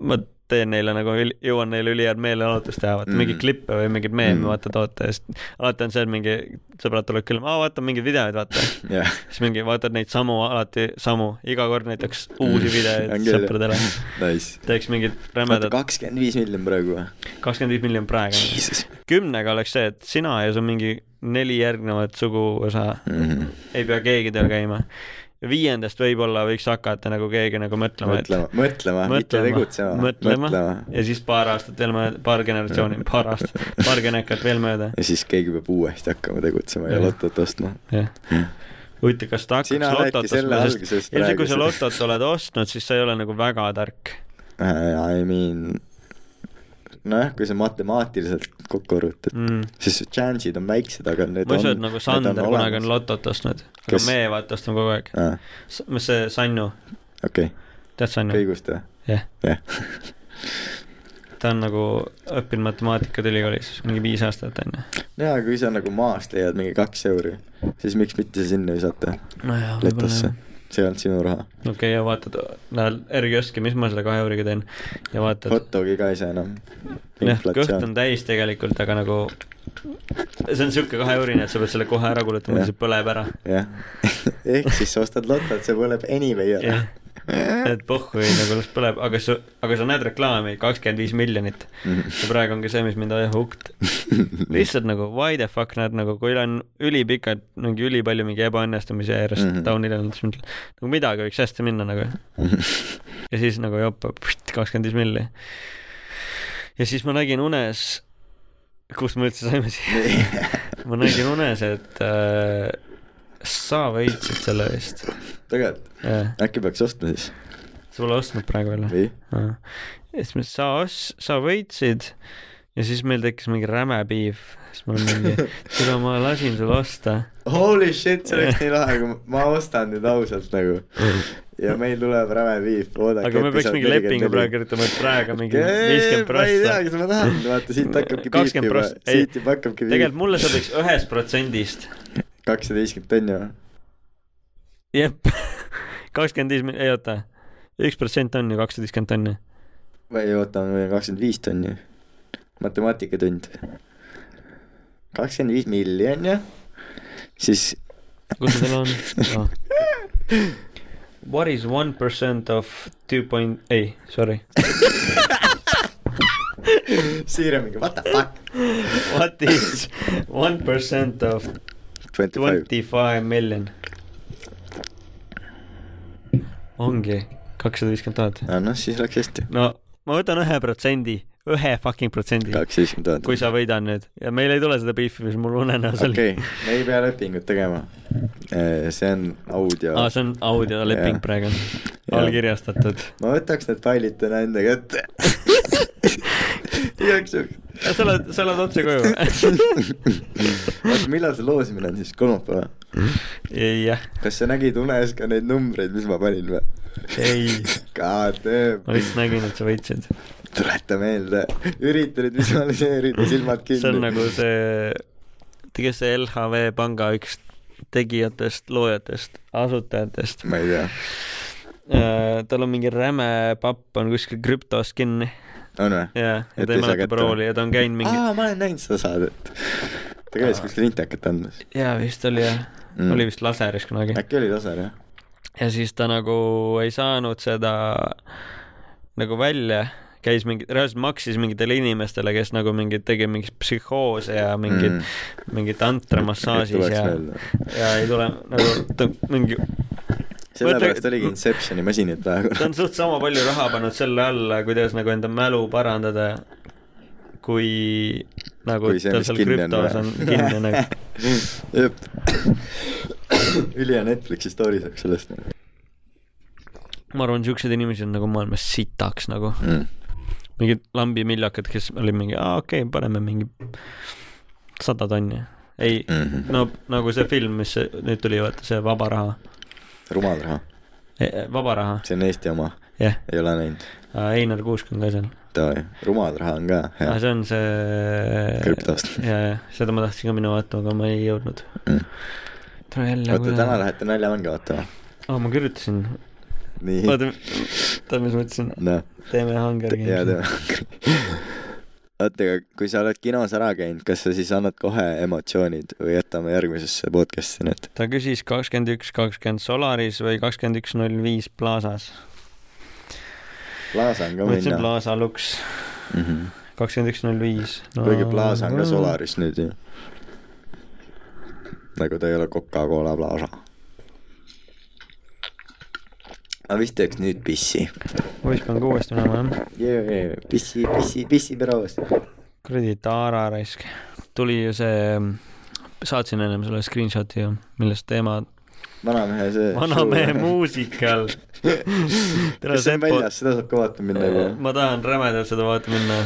S2: ma teen neile nagu , jõuan neile ülihead meeleolutust teha , vaata mm. mingeid klippe või mingeid meeme mm. vaata toota ja siis alati on see , et mingi sõbrad tulevad külla , ma vaatan mingeid videoid , vaata .
S3: jah ,
S2: siis mingi vaatad neid samu , alati samu , iga kord näiteks uusi
S3: On
S2: videoid
S3: küll, jah.
S2: sõpradele .
S3: nice .
S2: teeks mingit
S3: oota ,
S2: rämedat ,
S3: kakskümmend viis miljonit praegu või ?
S2: kakskümmend viis miljonit praegu .
S3: Jesus .
S2: kümnega oleks see , et sina ja sul mingi neli järgnevat suguosa
S3: Mhm.
S2: ei pea keegi teil käima . viiendast võib-olla võiks hakata nagu keegi nagu mõtlema , et
S3: mõtlema , mõtlema , mitte tegutsema ,
S2: mõtlema,
S3: mõtlema .
S2: mõtlema. ja siis paar aastat veel mööda , paar generatsiooni , paar aastat , paar genekat veel mööda ,
S3: ja siis keegi peab uuesti hakkama tegutsema ja
S2: Jah.
S3: lotot ostma .
S2: jah . huvitav , kas ta hakkaks
S3: Sina rääki
S2: lotot
S3: selle
S2: ostma , sest
S3: algusest
S2: ilmselt kui sa
S3: praegu.
S2: lotot oled ostnud , siis sa ei ole nagu väga tark .
S3: Äh, I mean , nojah , kui sa matemaatiliselt kokku arvutad
S2: Mm.
S3: siis su chance'id on väiksed , aga need
S2: ma ei usu , et
S3: on .
S2: nagu Sander kunagi on lotot ostnud , aga
S3: Kes- Ah.
S2: meie vaata ostame kogu aeg .
S3: aa ,
S2: mis see Sannu ,
S3: okei ,
S2: tead Sannu ?
S3: kõigust või ?
S2: jah ,
S3: jah ,
S2: ta on nagu õppinud matemaatikat ülikoolis , mingi viis aastat onju .
S3: jaa , kui sa nagu maast leiad mingi kaks euri , siis miks mitte sa sinna visata ,
S2: nojah ,
S3: letosse
S2: võib-olla .
S3: see ei olnud sinu raha .
S2: okei okay, , ja vaatad , lähed R-kioski , mis ma selle kahe euriga teen ja vaatad
S3: hot dogi ka ei saa enam .
S2: jah , kõht on täis tegelikult , aga nagu see on siuke kaheurine , et sa pead selle kohe ära kulutama ,
S3: Jah.
S2: see põleb ära .
S3: jah , ehk siis sa ostad lotot , see põleb anyway ära
S2: Jah. . et pohhu ei nagu las põleb , aga sa , aga sa näed reklaami , kakskümmend viis miljonit . ja praegu ongi see , mis mind ajab hukt . lihtsalt nagu why the fuck nad nagu , kui on ülipikad , mingi ülipalju mingi ebaõnnestumisi järjest mm
S3: Mhm.
S2: -hmm. taunil on , siis mõtled , nagu midagi võiks hästi minna nagu . ja siis nagu jopa , kakskümmend viis milli . ja siis ma nägin unes , kust me üldse saime siia . ma nägin unes , et äh, sa võitsid selle vist .
S3: tegelikult , äkki peaks ostma siis
S2: sa pole ostnud praegu veel või ?
S3: või ?
S2: ja siis ma , sa os- , sa võitsid ja siis meil tekkis mingi räme piiv . siis ma olin mingi , kuule ma lasin sul osta .
S3: Holy shit , see oleks nii lahe , kui ma ostan nüüd ausalt nagu . ja meil tuleb räme viif , oodake .
S2: aga me peaks mingi lepingu praegu kirjutama , et praegu mingi viiskümmend
S3: ma ei tea ,
S2: prossa .
S3: kas ma tahan , vaata siit hakkabki piip
S2: kakskümmend
S3: juba ,
S2: prossa , ei ,
S3: siit juba hakkabki
S2: tegelikult mulle sobiks ühest protsendist .
S3: kakssada viiskümmend tonni või ?
S2: jep , kakskümmend viis , ei oota , üks protsent on ju kakssada viiskümmend tonni .
S3: või oota , meil on kakskümmend viis tonni . matemaatikatund . kakskümmend viis milli on ju , siis
S2: kus see teil on oh. ? What is one percent of two point , ei , sorry .
S3: Siire mingi what the fuck .
S2: What is one percent of
S3: Twenty five .
S2: twenty five million ? ongi kakssada viiskümmend tuhat .
S3: noh , siis läks hästi .
S2: no ma võtan ühe protsendi , ühe fucking protsendi ,
S3: kakssada viiskümmend tuhat .
S2: kui sa võidan nüüd ja meil ei tule seda beefi , mis mul unenäos oli
S3: okei . okay, , me ei pea lepingut tegema . see on audio
S2: aa , Ah, see on audioleping
S3: Jah.
S2: praegu ,
S3: Jah.
S2: allkirjastatud .
S3: ma võtaks need failid täna enda kätte igaks juhuks .
S2: sa oled , sa oled otse koju või ?
S3: oota , millal see loosimine on siis , kolmapäeval ?
S2: jah ,
S3: kas sa nägid unes ka neid numbreid , mis ma panin või ?
S2: Ei.
S3: God damn
S2: ma . lihtsalt nägin , et sa võitsid .
S3: tuleta meelde , ürita nüüd visualiseerida , silmad kinni .
S2: see on nagu see , kes see LHV panga üks tegijatest , loojatest , asutajatest .
S3: ma ei tea ,
S2: Äh, tal on mingi räme papp on kuskil krüptos kinni
S3: on või ?
S2: ja , ja
S3: Et
S2: ta ei
S3: ei saa
S2: mäleta
S3: kätte.
S2: parooli ja ta on käinud mingi ,
S3: aa , ma olen näinud seda saadet . ta käis kuskil intekat andmas .
S2: jaa vist oli jah
S3: Mm.
S2: mm. , oli vist laseris kunagi .
S3: äkki oli tasar , jah ?
S2: ja siis ta nagu ei saanud seda nagu välja , käis mingi , reaalselt maksis mingitele inimestele , kes nagu mingi tegi mingeid psühhoose ja mingeid mm. , mingeid tantramassaažis ja , ja ei tule nagu ta mingi ,
S3: sellepärast
S2: Mõtle-
S3: oligi Inceptioni masinad praegu .
S2: ta on suht sama palju raha pannud selle alla , kuidas nagu enda mälu parandada , kui nagu
S3: Kui see,
S2: tal
S3: mis
S2: seal
S3: kinni on,
S2: krüptos
S3: või?
S2: on kinni nagu .
S3: jep . ülihea Netflixi story saaks sellest nagu.
S2: ma arvan , siukseid inimesi on nagu maailmas sitaks nagu ,
S3: mm. .
S2: mingid lambimiljokad , kes oli mingi , aa okei okay, , paneme mingi sada tonni . ei mm ,
S3: Mhm.
S2: -hmm. no nagu see film , mis see- nüüd tuli , vaata see Vaba raha ,
S3: rumal raha ,
S2: Vaba raha ,
S3: see on Eesti oma ,
S2: jah ,
S3: ei ole näinud .
S2: Einar Kuusk on ka seal .
S3: davai , rumal raha on ka hea
S2: aga Ah, see on see
S3: Krüptost.
S2: ja , ja seda ma tahtsin ka minna vaatama , aga ma ei jõudnud .
S3: mm. .
S2: tule jälle . nagu
S3: oota , täna lähete naljavangi vaatama ?
S2: aa , ma kirjutasin
S3: nii ,
S2: oota , oota , mis ma ütlesin ,
S3: noh ,
S2: teeme Hunger
S3: ja
S2: Games'i .
S3: tema . oota , aga kui sa oled kinos ära käinud , kas sa siis annad kohe emotsioonid või jätame järgmisesse podcast'i need ?
S2: ta küsis kakskümmend üks , kakskümmend Solaris või kakskümmend üks , null viis Plaza's .
S3: Plaza on ka
S2: ma ütlesin
S3: minna .
S2: Plaza Lux , kakskümmend üks , null viis .
S3: kuigi Plaza Mhm. on ka . Solaris nüüd ju . nagu ta ei ole Coca-Cola Plaza . ma vist teeks nüüd pissi .
S2: poiss pean ka uuesti minema jah .
S3: pissi , pissi , pissi peroos .
S2: kuradi Taara raisk . tuli ju see , saatsin ennem sulle screenshot'i ju , millest teema
S3: vanamehe see .
S2: vanamehe . muusikal . tere
S3: kas see on
S2: Seppo ,
S3: väljas , nagu? seda saab ka vaatama minna juba .
S2: ma tahan rämedalt seda vaatama minna .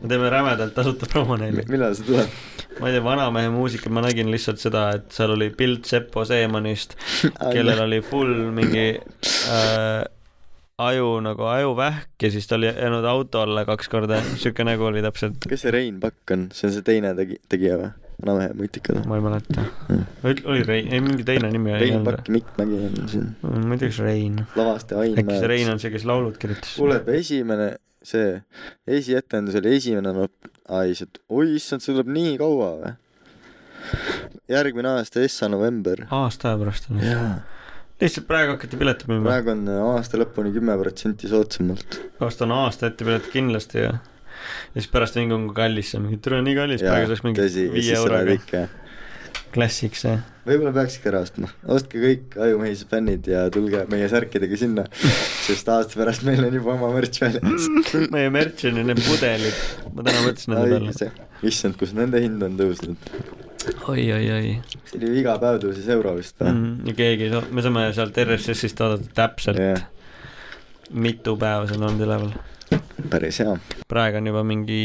S2: me teeme rämedalt tasuta promo neile .
S3: millal see tuleb ?
S2: ma ei tea , vanamehe muusikal ma nägin lihtsalt seda , et seal oli pilt Seppo Seemanist , kellel oli full mingi äh, aju nagu ajuvähk ja siis ta oli jäänud auto alla kaks korda , siuke nägu oli täpselt ,
S3: kes see Rein Pakk on , see on see teine tegi- , tegija või ? vanamehe mutikad või ?
S2: ma ei mäleta . oli Rein , ei mingi teine nimi oli .
S3: Rein Pakk , Mikk Mägi on siin ,
S2: ma ei tea , kas Rein .
S3: lavastaja Ain
S2: äkki see Rein on see , kes laulud kirjutas ?
S3: kuule , esimene , see , esietendus oli esimene nupp , ai , see , oi issand , see tuleb nii kaua või ? järgmine aasta , Essa november .
S2: aasta aja pärast on .
S3: jaa ,
S2: lihtsalt praegu hakati piletit müüma .
S3: praegu on aasta lõpuni kümme protsenti soodsamalt .
S2: ostan aasta ette piletit kindlasti ja ja siis pärast mingi on kui kallis see on , mingi türa nii kallis ,
S3: jaa
S2: praegu saaks , mingi
S3: tõsi , ja
S2: viie
S3: siis sa
S2: euroga
S3: lähed . ikka .
S2: klassik see .
S3: võib-olla peakski ära ostma , ostke kõik Ajumehise fännid ja tulge meie särkidega sinna , sest aasta pärast meil on juba oma mürts väljas .
S2: Mm, meie merch on ju need pudelid , ma nagu täna mõtlesin nende peale .
S3: õiguse , issand , kus nende hind on tõusnud .
S2: oi , oi , oi
S3: see oli ju iga päev tõusis euro vist või mm. ?
S2: mm, . ja keegi ei saa , me saame sealt RSS-ist vaadata täpselt
S3: Jah.
S2: yeah. , mitu päeva see on olnud üleval .
S3: päris hea ,
S2: praegu on juba mingi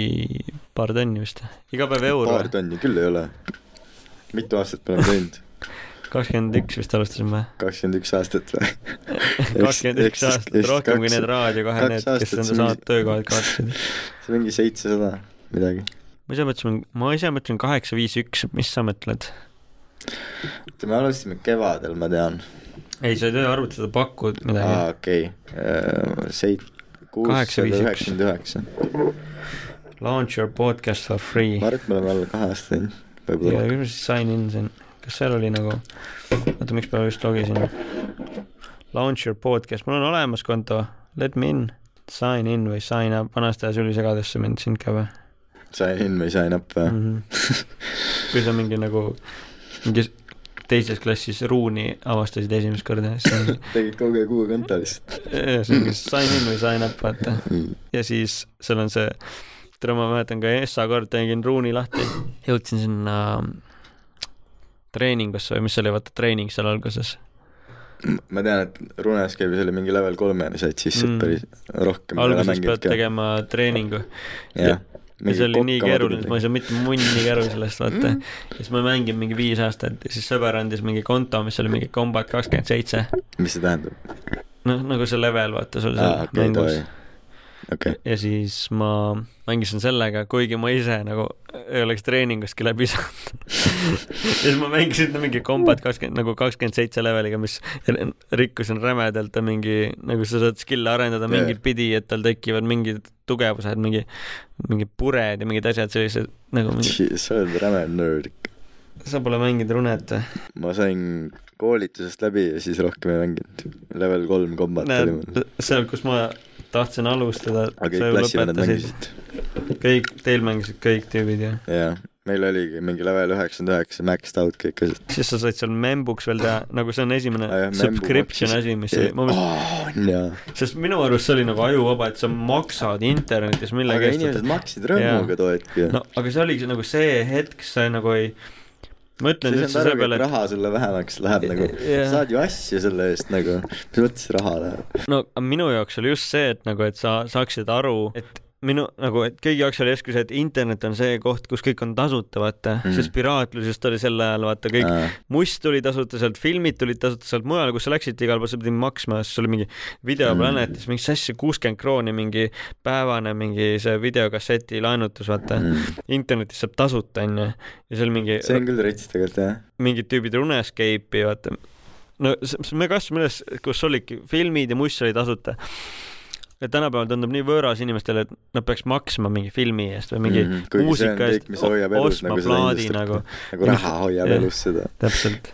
S2: paar tonni vist . iga päev euro ,
S3: paar tonni küll ei ole . mitu aastat me oleme teinud ?
S2: kakskümmend üks vist alustasime .
S3: kakskümmend üks aastat või ?
S2: kakskümmend üks aastat , rohkem kui need Raadio kahe
S3: kaks
S2: need , kes
S3: aastat
S2: enda
S3: see
S2: saad
S3: mingi-
S2: töökohad kaotasid .
S3: see on mingi seitsesada midagi .
S2: ma ise mõtlesin , ma ise mõtlen kaheksa , viis , üks , mis sa mõtled ?
S3: oota , me alustasime kevadel , ma tean .
S2: ei , sa ei tohi arvutada , sa pakud midagi .
S3: aa , okei , seit- ,
S2: Kaheksa,
S3: kuussada
S2: viis, üks.
S3: üheksakümmend üheksa .
S2: Launch your podcast for free .
S3: ma arvan , et me oleme alla kahe aasta teinud ,
S2: ja
S3: võib-olla .
S2: küll ma siis sign in siin . kas seal oli nagu , oota , miks ma just logisin ? Launch your podcast , mul on olemas konto , let me in . Sign in või sign up , vanasti ajas ülisegadesse mind sind ka või
S3: Sign in või sign up või ?
S2: mm ? -hmm. kui sa mingi nagu , mingi teises klassis ruuni avastasid esimest korda , siis on
S3: tegid kogu aeg uue konto lihtsalt .
S2: Ja see on kas sign in või sign up , vaata . ja siis seal on see , tere , ma mäletan ka ESA kord tegin ruuni lahti , jõudsin sinna ähm, treeningusse või mis see oli , vaata treening seal alguses .
S3: ma tean , et Runes käib selle mingi level kolmene said sisse
S2: Mm.
S3: mm. päris rohkem .
S2: alguses pead tegema treeningu .
S3: jah ,
S2: ja see oli nii keeruline , et ma ei saanud mitte munnigi aru sellest , vaata . ja siis ma mängin mingi viis aastat ja siis sõber andis mingi konto , mis oli mingi Combat kakskümmend seitse .
S3: mis see tähendab ?
S2: noh , nagu see level , vaata , sul
S3: aa ,
S2: seal
S3: okei ,
S2: mängus
S3: davai . okei ,
S2: ja siis ma mängisin sellega , kuigi ma ise nagu ei oleks treeningustki läbi saanud . ja siis ma mängisin seda mingi kombat kakskümmend , nagu kakskümmend seitse leveliga , mis r- rikkusin rämedalt ja mingi , nagu sa saad skill'e arendada
S3: Jaa.
S2: mingit pidi , et tal tekivad mingid tugevused , mingi , mingid pured ja mingid asjad sellised nagu mingi... ,
S3: sa oled räme nörd .
S2: sa pole mänginud Runet või ?
S3: ma sain koolitusest läbi ja siis rohkem ei mänginud . level kolm kombat oli
S2: näed
S3: mul .,
S2: seal , kus ma tahtsin alustada ,
S3: aga
S2: sa
S3: kõik
S2: ju
S3: klassivennad
S2: lõpetasid ,
S3: mängisid .
S2: kõik , teil mängisid kõik tüübid ja
S3: jaa , meil oligi mingi level üheksakümmend üheksa , maxed out kõik asjad .
S2: siis sa said seal membuks veel teha , nagu see on esimene
S3: Aa, jah, membu
S2: subscription
S3: maksis.
S2: asi , mis oli , ma mõtlesin ,
S3: on jaa .
S2: sest minu arust see oli nagu ajuvaba , et sa maksad internetis millegi
S3: aga
S2: eest
S3: inimesed . maksid rõõmuga too hetk ju .
S2: no aga see oligi nagu see hetk , sa nagu ei , ma ütlen
S3: siis
S2: üldse
S3: on
S2: selle
S3: aru ,
S2: peale
S3: et , raha sulle vähemaks läheb nagu
S2: Jah.
S3: yeah. , saad ju asju selle eest nagu , mis mõttes raha läheb ?
S2: et no aga minu jaoks oli just see , et nagu , et sa saaksid aru , et minu nagu , et kõigi jaoks oli justkui see , et internet on see koht , kus kõik on tasuta , vaata mm. , sest piraatlus just oli sel ajal , vaata kõik
S3: Aa.
S2: must tuli tasuta sealt , filmid tulid tasuta sealt mujale , kus sa läksid igal pool , sa pidid maksma , siis oli mingi videoplanetis mm. mingi sassi kuuskümmend krooni mingi päevane mingi see videokasseti laenutus , vaata mm. . internetis saab tasuta , onju . ja seal mingi
S3: see , on küll rets tegelikult jah ,
S2: mingid tüübid Runescape'i , vaata no s- s- me kasvasime üles , kus olidki filmid ja must oli tasuta . ja tänapäeval tundub nii võõras inimestele , et nad peaks maksma mingi filmi eest või mingi
S3: Mhm,
S2: mm -hmm. muusika eest , ostma plaadi nagu .
S3: nagu raha hoiab
S2: Jah.
S3: elus seda .
S2: täpselt .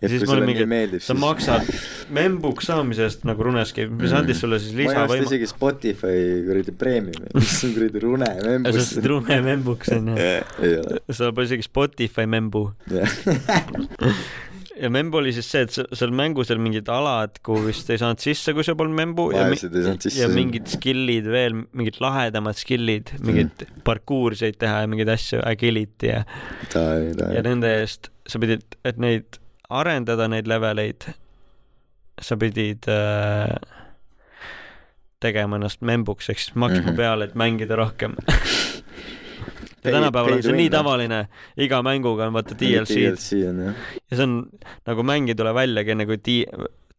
S2: ja siis
S3: kui
S2: mulle
S3: sulle
S2: mingi
S3: nii , meeldib ,
S2: sa maksad membuks saamise eest nagu runes käib , mis andis sulle siis
S3: Mm. ma ei osta
S2: lisavõimaluse .
S3: isegi Spotify kuradi preemiumi , mis on kuradi rune
S2: sa
S3: membus .
S2: ostsid rume membuks onju .
S3: ei ole ,
S2: seal pole isegi Spotify membu
S3: jah .
S2: ja membu oli siis see , et se- seal mängus oli mingid alad , kuhu vist ei saanud sisse , kui sul polnud membu ja,
S3: Vaesed ei saanud sisse.
S2: ja mingid skill'id veel , mingid lahedamad skill'id , mingeid mm. parkuurseid teha ja mingeid asju , agility ja ,
S3: tae ,
S2: ja
S3: tae .
S2: nende eest sa pidid , et neid arendada , neid leveleid , sa pidid äh, tegema ennast membuks ehk siis maksma mm
S3: Mhm.
S2: -hmm. peale , et mängida rohkem . ja tänapäeval on see nii . tavaline , iga mänguga on vaata DLC-d
S3: DLC on jah .
S2: ja see on nagu mäng ei tule väljagi enne kui D-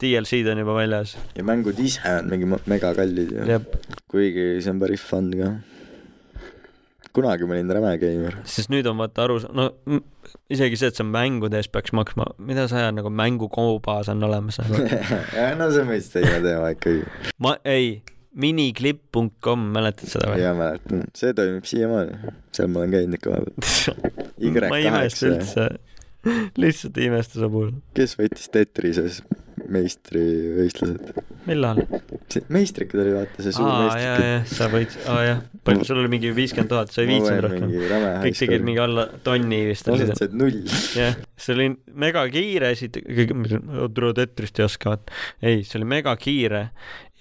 S2: DLC-d on juba väljas .
S3: ja mängud ise on mingi ma- megakallid ju .
S2: jah ,
S3: kuigi see on päris fun ka . kunagi ma olin räme geimer .
S2: sest nüüd on vaata aru , no m- isegi see , et sa mängude eest peaks maksma , mida sa ajad nagu mängukoobas on olemas nagu. .
S3: jah , no see on vist teine teema ikkagi .
S2: ma ei , miniklipp.com , mäletad seda või ?
S3: ja mäletan , Mm, see toimib siiamaani . seal ma olen käinud ikka vahepeal .
S2: ma ei imesta
S3: Y8 ,
S2: üldse , lihtsalt ei imesta su puhul .
S3: kes võitis Tetrises meistrivõistlused ?
S2: millal ?
S3: meistrikud oli vaata see suur
S2: aa , jaa ,
S3: meistrik .
S2: jaa , sa võid , aa jah , palju sul oli mingi viiskümmend tuhat , sa ei viitsinud rohkem .
S3: mingi räme
S2: kõik tegid mingi alla tonni vist .
S3: osad said null .
S2: jah , see oli megakiire , siis tuleb eetrist ei oska vaata . ei , see oli megakiire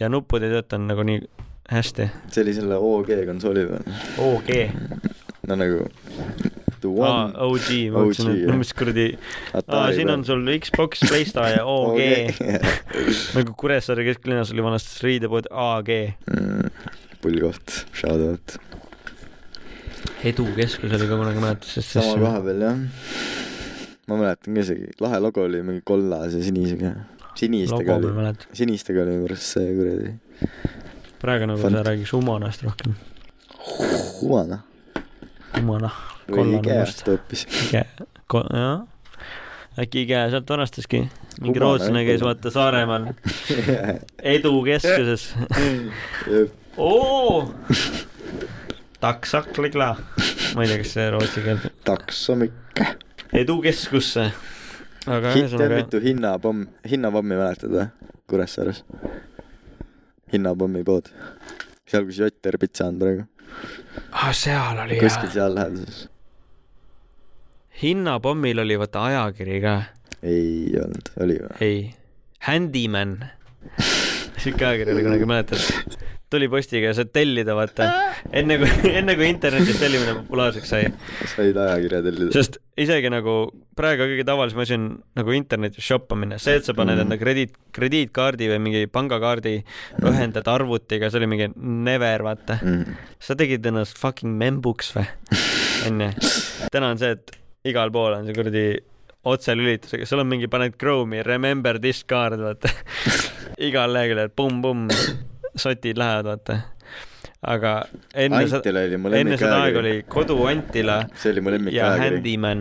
S2: ja nupud ei töötanud nagu nii hästi .
S3: see oli selle OG konsooli peal .
S2: OG .
S3: no nagu the
S2: aa
S3: one ,
S2: OG , Ah, ma mõtlesin , et
S3: jah.
S2: no mis kuradi , aa
S3: Atari
S2: siin
S3: peal.
S2: on sul Xbox , Playstation ja OG . nagu Kuressaare kesklinnas oli vanasti riidepood AG .
S3: Mm, pullkoht , shout out .
S2: edukeskus oli ka kunagi mäletas , sest
S3: sama koha peal jah . ma mäletan ka isegi , lahe logo oli mingi kollase sinisega .
S2: logo ma
S3: sinistega
S2: ei
S3: oli ,
S2: mäleta .
S3: sinistega oli minu arust see kuradi
S2: praegu nagu
S3: Fun-
S2: sa räägiks Humanast rohkem .
S3: humana
S2: Humana ,
S3: või
S2: kollane must .
S3: Ikeast hoopis .
S2: Ike , jah . äkki Ike sealt varastaski . mingi
S3: Kummaline
S2: rootslane käis
S3: võib-olla.
S2: vaata Saaremaal edukeskuses . oo , taksaklikla . ma ei tea , kas see rootsi keel ,
S3: taksomik .
S2: edukeskusse . aga
S3: tead
S2: ühesõnaga ,
S3: mitu hinnapomm , hinnapommi mäletad või ? Kuressaares . hinnapommi pood . seal , kus Jotter pitsa on praegu .
S2: Ah, seal oli jah
S3: kuskil . seal läheduses .
S2: hinnapommil oli vaata ajakiri ka ,
S3: ei olnud , oli või ?
S2: ei , Handyman . sihuke ajakiri oli kunagi , mäletad ? tuli postiga ja saad tellida , vaata , enne kui , enne kui internetis tellimine populaarseks sai
S3: said ajakirja tellida .
S2: sest isegi nagu praegu kõige tavalisem asi on nagu internetis shoppamine , see , et sa paned
S3: Mhm.
S2: enda krediit , krediitkaardi või mingi pangakaardi , ühendad arvutiga , see oli mingi never , vaata .
S3: Mm.
S2: sa tegid ennast fucking membuks või ? onju . täna on see , et igal pool on see kuradi otselülitusega , sul on mingi , paned Chrome'i , remember this card , vaata . igal leheküljel pumm-pumm , sotid lähevad , vaata . aga enne seda ,
S3: Antila oli mu
S2: enne
S3: lemmik
S2: seda aega oli
S3: ajakiri .
S2: kodu Antila
S3: see oli mu lemmik
S2: ja
S3: ajakiri .
S2: Handyman .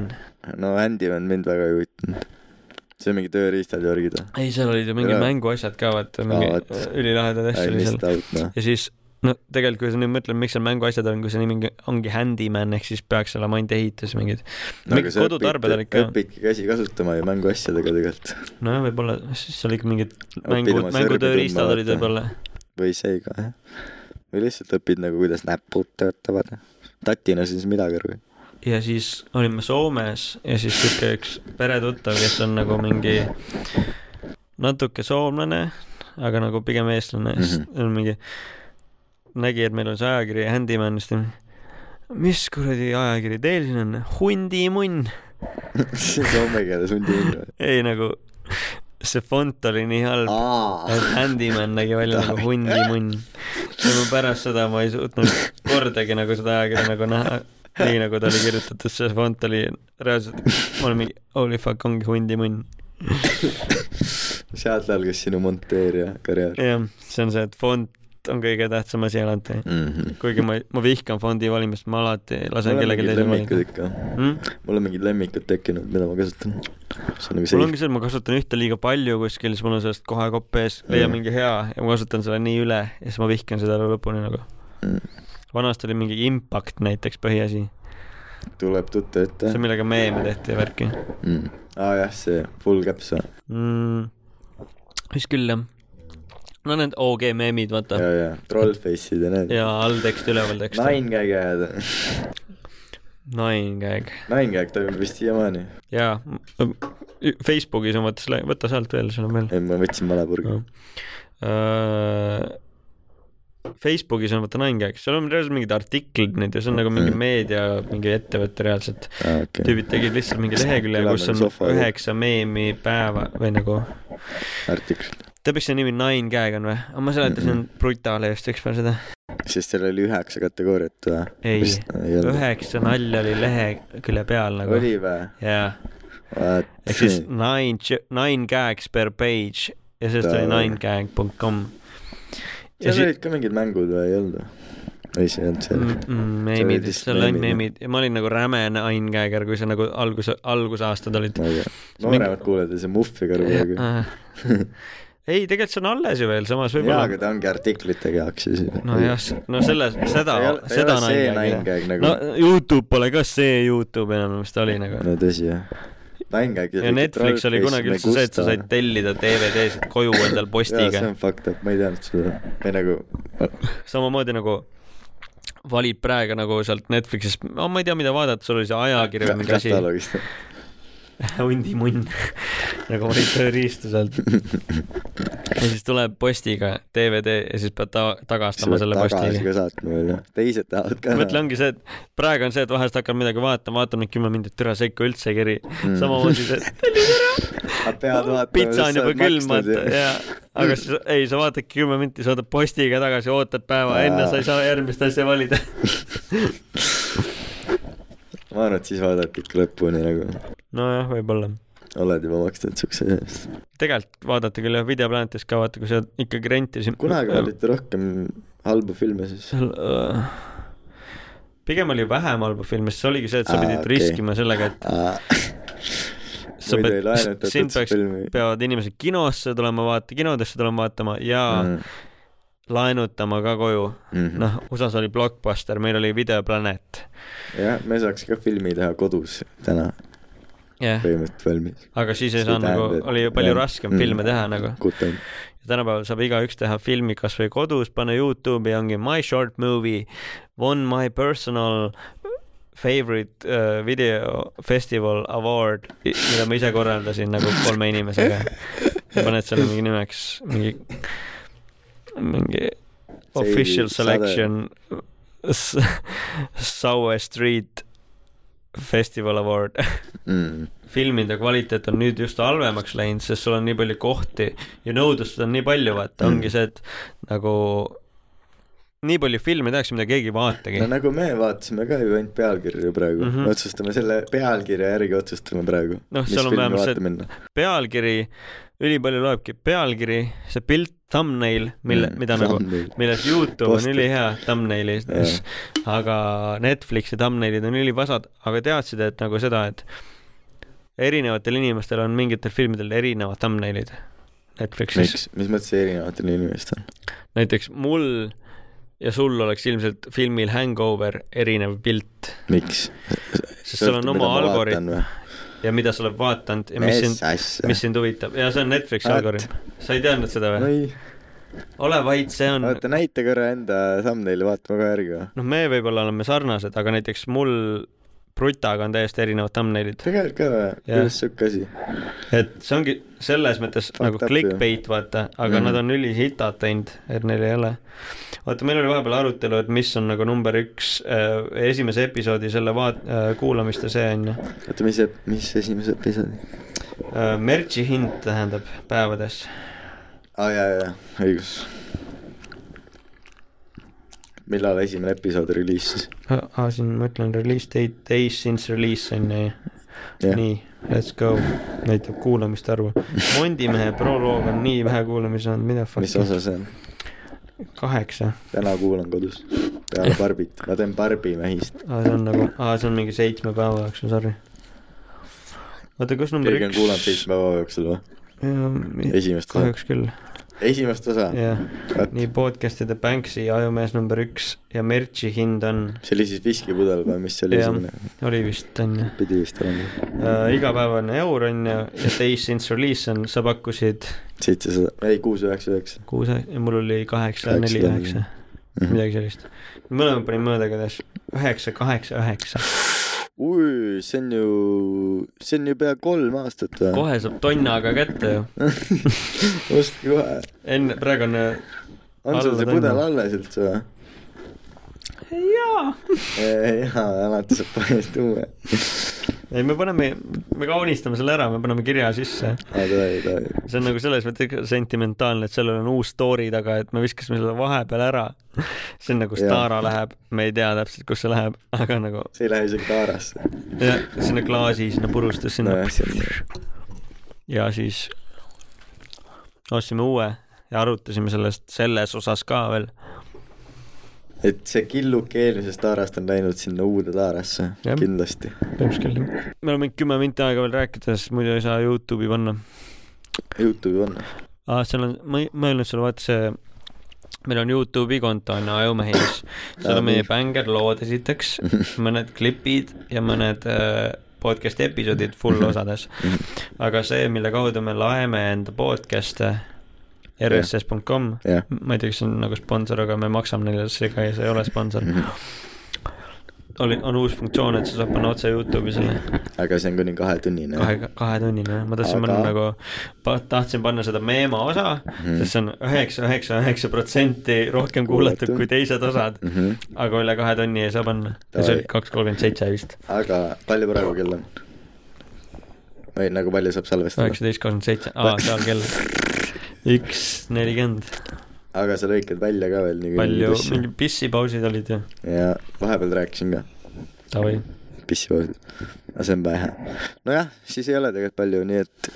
S3: no Andy on mind väga ei huvitanud . see on mingi tööriistad ja värgid või ?
S2: ei , seal olid ju mingid
S3: Jaa.
S2: mänguasjad ka , vaata , mingi
S3: Aa, vot.
S2: ülilahedad asjad
S3: I
S2: oli seal
S3: missed . out noh .
S2: ja siis , no tegelikult , kui sa nüüd mõtled , miks seal mänguasjad on , kui see nimi ongi Handyman , ehk siis peaks olema ainult ehitus mingid . mingid kodutarbed olid ka .
S3: õpidki käsi kasutama ju mänguasjadega tegelikult .
S2: nojah , võib-olla , siis oli ikka mingid
S3: Õpid
S2: mängu
S3: oma , sõrmi
S2: mängutööriistad
S3: tundma,
S2: olid
S3: vaata.
S2: võib-olla .
S3: või see ka jah . või lihtsalt õpid nagu , kuidas näpud töötavad . tatina siis midagi aru .
S2: ja siis olime Soomes ja siis sihuke üks peretuttav , kes on nagu mingi natuke soomlane , aga nagu pigem eestlane mm , -hmm. on mingi , nägi , et meil on see ajakiri Handyman , siis ta mis kuradi ajakiri teil siin on , hundimunn .
S3: Soome keeles on tiim .
S2: ei nagu , see fond oli nii halb ,
S3: Ah. aa ,
S2: et Handyman nägi välja nagu hundimunn . ja ma pärast seda ma ei suutnud kordagi nagu seda ajakirja nagu näha , nii nagu ta oli kirjutatud , see fond oli reaalselt , ma olin mingi holy fuck , ongi hundimunn .
S3: sealt algas sinu monteerija karjäär .
S2: jah , see on see , et fond vist on kõige tähtsam asi alati .
S3: mm .
S2: kuigi ma , ma vihkan fondi valimist , ma alati lasen
S3: mul on
S2: kellelgi teisel
S3: mingid lemmikud
S2: valida .
S3: ikka .
S2: Mm?
S3: mul on mingid lemmikud tekkinud , mida ma kasutan . see on nagu
S2: mul
S3: see
S2: ongi see , et ma kasutan ühte liiga palju kuskil , siis mul on sellest kohe kopp ees , leian
S3: Mm.
S2: mingi hea ja ma kasutan selle nii üle ja siis ma vihkan seda elu lõpuni nagu .
S3: mm.
S2: vanasti oli mingi impact näiteks põhiasi ,
S3: tuleb tuttav ette
S2: see . millega meeme tehti ja värki
S3: Mm. aa jah , see full caps või ?
S2: mm. . vist küll jah . no need OG meemid , vaata
S3: ja , ja trollface'id ja need .
S2: ja alltekst , ülevaltekst .
S3: Ninekäig ajad .
S2: Ninekäeg .
S3: Ninekäig toimib vist siiamaani .
S2: jaa , Facebookis on vaata selle , võta sealt veel , seal on veel .
S3: ei , ma võtsin malepurgi .
S2: Äh, Facebookis on vaata Ninekäeg , seal on reaalselt mingid artiklid nüüd ja see on nagu mingi
S3: Mm.
S2: meedia , mingi ettevõte reaalselt .
S3: aa , Ah, okei .
S2: tüübid tegid lihtsalt mingi lehekülje ,
S3: Elame
S2: kus on
S3: sofa-
S2: üheksa meemi päeva või nagu ,
S3: artikkel .
S2: tead , mis see nimi Ninekäeg on või ? ma seletasin Brutale just ükspäev seda .
S3: sest seal oli üheksa kategooriat või ?
S2: Ei.
S3: ei olnud .
S2: üheksa nalja oli lehekülje peal nagu .
S3: oli või ?
S2: jaa ,
S3: vaat .
S2: ehk siis nine , nine gags per page ja sellest oli
S3: Täiega.
S2: ninegag.com . ja
S3: seal
S2: siis
S3: olid ka mingid mängud või ei olnud või ? ei , see ei olnud seal
S2: mm, . mm, meemid ,
S3: lihtsalt
S2: seal on
S3: meemid, jah.
S2: meemid ja ma olin nagu räme ninegagger , kui see nagu algus , algusaastad olid .
S3: ma ei tea . Nagu
S2: Nagu
S3: nooremad kuulajad ei saa muffi ka kuidagi .
S2: äh, ei , tegelikult see on alles ju veel , samas
S3: jaa , aga
S2: võib-olla .
S3: ta ongi artiklitega jaoks siis .
S2: nojah , no selle , seda
S3: Ta ei ole- , ta ei
S2: seda
S3: ole see ninegag nagu.
S2: no Youtube pole ka see Youtube enam , mis ta oli nagu .
S3: no tõsi jah . Ninekäig .
S2: ja Netflix oli kunagi üldse see , et sa said tellida DVD-sid koju endal
S3: jaa , see
S2: postiga
S3: on . fucked up , ma ei teadnud seda . või nagu ,
S2: samamoodi nagu valid praegu nagu sealt Netflixist , no ma ei tea , mida vaadata , sul oli see ajakiri või mingi asi .
S3: kataloogist .
S2: hundimunn . nagu valid tööriistu sealt . ja siis tuleb postiga DVD ja siis pead ta tagastama selle
S3: tagasi
S2: postiga
S3: ka . saatma veel jah , teised tahavad ka .
S2: mõtle , ongi see , et praegu on see , et vahest hakkad midagi vaatama , vaatad mingi kümme minutit , türa see ikka üldse ei keri mm. . samamoodi see , et
S3: pead vaatama .
S2: pitsa on juba külm , vaata , jaa . aga siis , ei , sa vaatadki kümme minti , saadad postiga tagasi , ootad päeva enne , sa ei saa järgmist asja valida .
S3: ma arvan , et siis vaadati ikka lõpuni nagu ,
S2: nojah , võib-olla .
S3: oled juba maksnud siukse eest .
S2: tegelikult vaadata küll jah , Videoplanetis ka vaata , kui sa ikkagi rentisid .
S3: kunagi valiti rohkem halbu filme siis .
S2: seal
S3: äh,
S2: uh, , pigem oli vähem halba filmi , sest see oligi see , et sa
S3: Aa,
S2: pidid
S3: okei.
S2: riskima sellega , et sa
S3: muidu ei
S2: pead ,
S3: laenutatud
S2: sind peaks
S3: filmi. ,
S2: peavad inimesed kinosse tulema vaata , kinodesse tulema vaatama ja
S3: Äh,
S2: mm. laenutama ka koju .
S3: jah ,
S2: noh , USA-s oli Blockbuster , meil oli Videoplanet .
S3: me saaks ka filmi teha kodus täna
S2: jah yeah. ,
S3: põhimõtteliselt valmis .
S2: aga siis ei
S3: See
S2: saanud nagu
S3: tähendab, , et-
S2: oli ju palju
S3: jah.
S2: raskem
S3: Mm.
S2: filme teha nagu .
S3: kutem .
S2: ja tänapäeval saab igaüks teha filmi kasvõi kodus , panna Youtube'i , ongi My Short Movie , Won My Personal Favorite uh, Video Festival Award , mida ma ise korraldasin nagu kolme inimesega . ja paned selle mingi nimeks , mingi , mingi official
S3: See ei-
S2: selection S- Saue Street Festival Award .
S3: Mm.
S2: filmide kvaliteet on nüüd just halvemaks läinud , sest sul on nii palju kohti ja nõudlust on nii palju , vaata ,
S3: Mm.
S2: ongi see , et nagu nii palju filme tehakse , mida keegi ei vaatagi
S3: no . nagu me vaatasime ka ju ainult pealkirju praegu mm ,
S2: Mhm.
S3: -hmm. otsustame selle pealkirja järgi otsustame praegu .
S2: Noh, seal on vähemalt see- pealkiri , ülipalju loebki pealkiri , see pilt , thumbnail , mille ,
S3: Mm,
S2: mida nagu , milles Youtube on
S3: Posti-
S2: ülihea thumbnailis , aga Netflixi thumbnailid on ülivasad , aga teadsid , et nagu seda , et erinevatel inimestel on mingitel filmidel erinevad thumbnailid Netflixis .
S3: miks , mis mõttes see erinevatel inimestel on ?
S2: näiteks mul ja sul oleks ilmselt filmil Hangover erinev pilt ,
S3: miks ?
S2: sest sul on oma algoritm ja mida sa oled vaadanud ja mis sind ,
S3: asja
S2: mis sind huvitab ja see on Netflixi
S3: Vaat.
S2: algoritm . sa ei teadnud seda
S3: no
S2: või ?
S3: ei ,
S2: ole vait , see on ,
S3: oota näita korra enda thumbnaili , vaatame kohe järgi või ?
S2: noh , me võib-olla oleme sarnased , aga näiteks mul Brutaga on täiesti erinevad thumbnailid ,
S3: tegelikult ka või ?
S2: Jah.
S3: kuidas siuke asi ?
S2: et see ongi selles mõttes
S3: Fucked
S2: nagu
S3: up ju.
S2: clickbait , vaata , aga
S3: Mhm.
S2: nad on ülihitad teinud , et neil ei ole . vaata , meil oli vahepeal arutelu , et mis on nagu number üks äh, esimese episoodi selle vaat- äh, , kuulamiste see on ju
S3: oota , mis , mis esimese episoodi ?
S2: Äh, merch'i hind tähendab päevades ,
S3: aa Ah, jaa , jaa , õigus . millal esimene episood reliisis ?
S2: ah, siin ma ütlen release date , days since release on ju , nii , let's go , näitab kuulamiste arvu . Mondimehe proloog on nii vähe kuulamisi saanud , mida
S3: mis
S2: fuck ,
S3: osa see on ?
S2: kaheksa .
S3: täna kuulan kodus peale Barbit , ma teen Barbi mehist .
S2: aa , see on nagu , aa , see on mingi seitsme päeva jooksul , sorry . oota , kus number
S3: keegi on kuulanud
S2: üks ?
S3: seitsme päeva jooksul või ? esimest osa ,
S2: kahjuks küll ,
S3: esimest osa ?
S2: jah . nii podcast'ide Banksy , Ajumees number üks ja merch'i hind on ,
S3: see oli siis viskipudel või mis see oli
S2: Jah.
S3: esimene ?
S2: oli vist onju
S3: pidi vist olema .
S2: äh, , igapäevane eur onju ja Days since release on , sa pakkusid
S3: seitsesada , ei kuus üheksa üheksa .
S2: kuus ja mul oli kaheksa , neli , üheksa ,
S3: Mhm.
S2: midagi sellist . mõlemad panime mõõdakades üheksa , kaheksa , üheksa .
S3: ui , see on ju , see on ju pea kolm aastat või ?
S2: kohe saab tonnaga kätte ju .
S3: ostke kohe .
S2: enne , praegu on äh,
S3: on sul
S2: Alla
S3: see
S2: tonna.
S3: pudel alles üldse või ? jaa . jaa , alati saab panna tuua .
S2: ei , me paneme , me kaunistame selle ära , me paneme kirja sisse .
S3: aa , davai , davai .
S2: see on nagu selles mõttes ikka sentimentaalne , et sellel on uus story taga , et me viskasime selle vahepeal ära . see on nagu
S3: Jaa.
S2: Stara läheb , me ei tea täpselt , kus see läheb , aga nagu
S3: see ei lähe isegi taarasse .
S2: jah , sinna klaasi , sinna purustus , sinna
S3: nojah , see on
S2: ja siis ostsime uue ja arutasime sellest selles osas ka veel .
S3: et see killuke eelmisest taarast on läinud sinna uude taarasse ,
S2: Jah.
S3: kindlasti .
S2: peaks küll . me oleme kümme minti aega veel rääkida , sest muidu ei saa Youtube'i panna .
S3: Youtube'i on .
S2: aa , Ah, seal on , ma ei mõelnud sulle , vaata see , meil on Youtube'i konto on Ajumehis , seal
S3: Aa,
S2: on meie
S3: nii.
S2: bängerlood esiteks , mõned klipid ja mõned äh, podcast'i episoodid full osades . aga see , mille kaudu me laeme enda podcast'e , rss.com ,
S3: Jah.
S2: ma ei tea , kas see on nagu sponsor , aga me maksame neile seega ja see ei ole sponsor . oli , on uus funktsioon , et sa saad panna otse Youtube'i selle
S3: aga see on kuni kahetunnine .
S2: kahe , kahetunnine , ma tahtsin
S3: Aga- Mhm.
S2: panna nagu , tahtsin panna seda meema osa mm. , sest see on üheksa , üheksa , üheksa protsenti rohkem kuulatud
S3: Kuulatud.
S2: kui teised osad mm . -hmm. aga üle kahe tunni ei saa panna , see
S3: Mhm. Davai.
S2: oli kaks kolmkümmend seitse vist ,
S3: aga palju praegu kell on ? või nagu palju saab salvestada ?
S2: üheksateist kakskümmend seitse , aa seal kell üks nelikümmend ,
S3: aga sa lõikad välja ka veel nii
S2: palju , mingi pissipausid olid ju ,
S3: ja vahepeal rääkisin ka ,
S2: davai ,
S3: pissipausid . aga see on vähe . nojah , siis ei ole tegelikult palju , nii et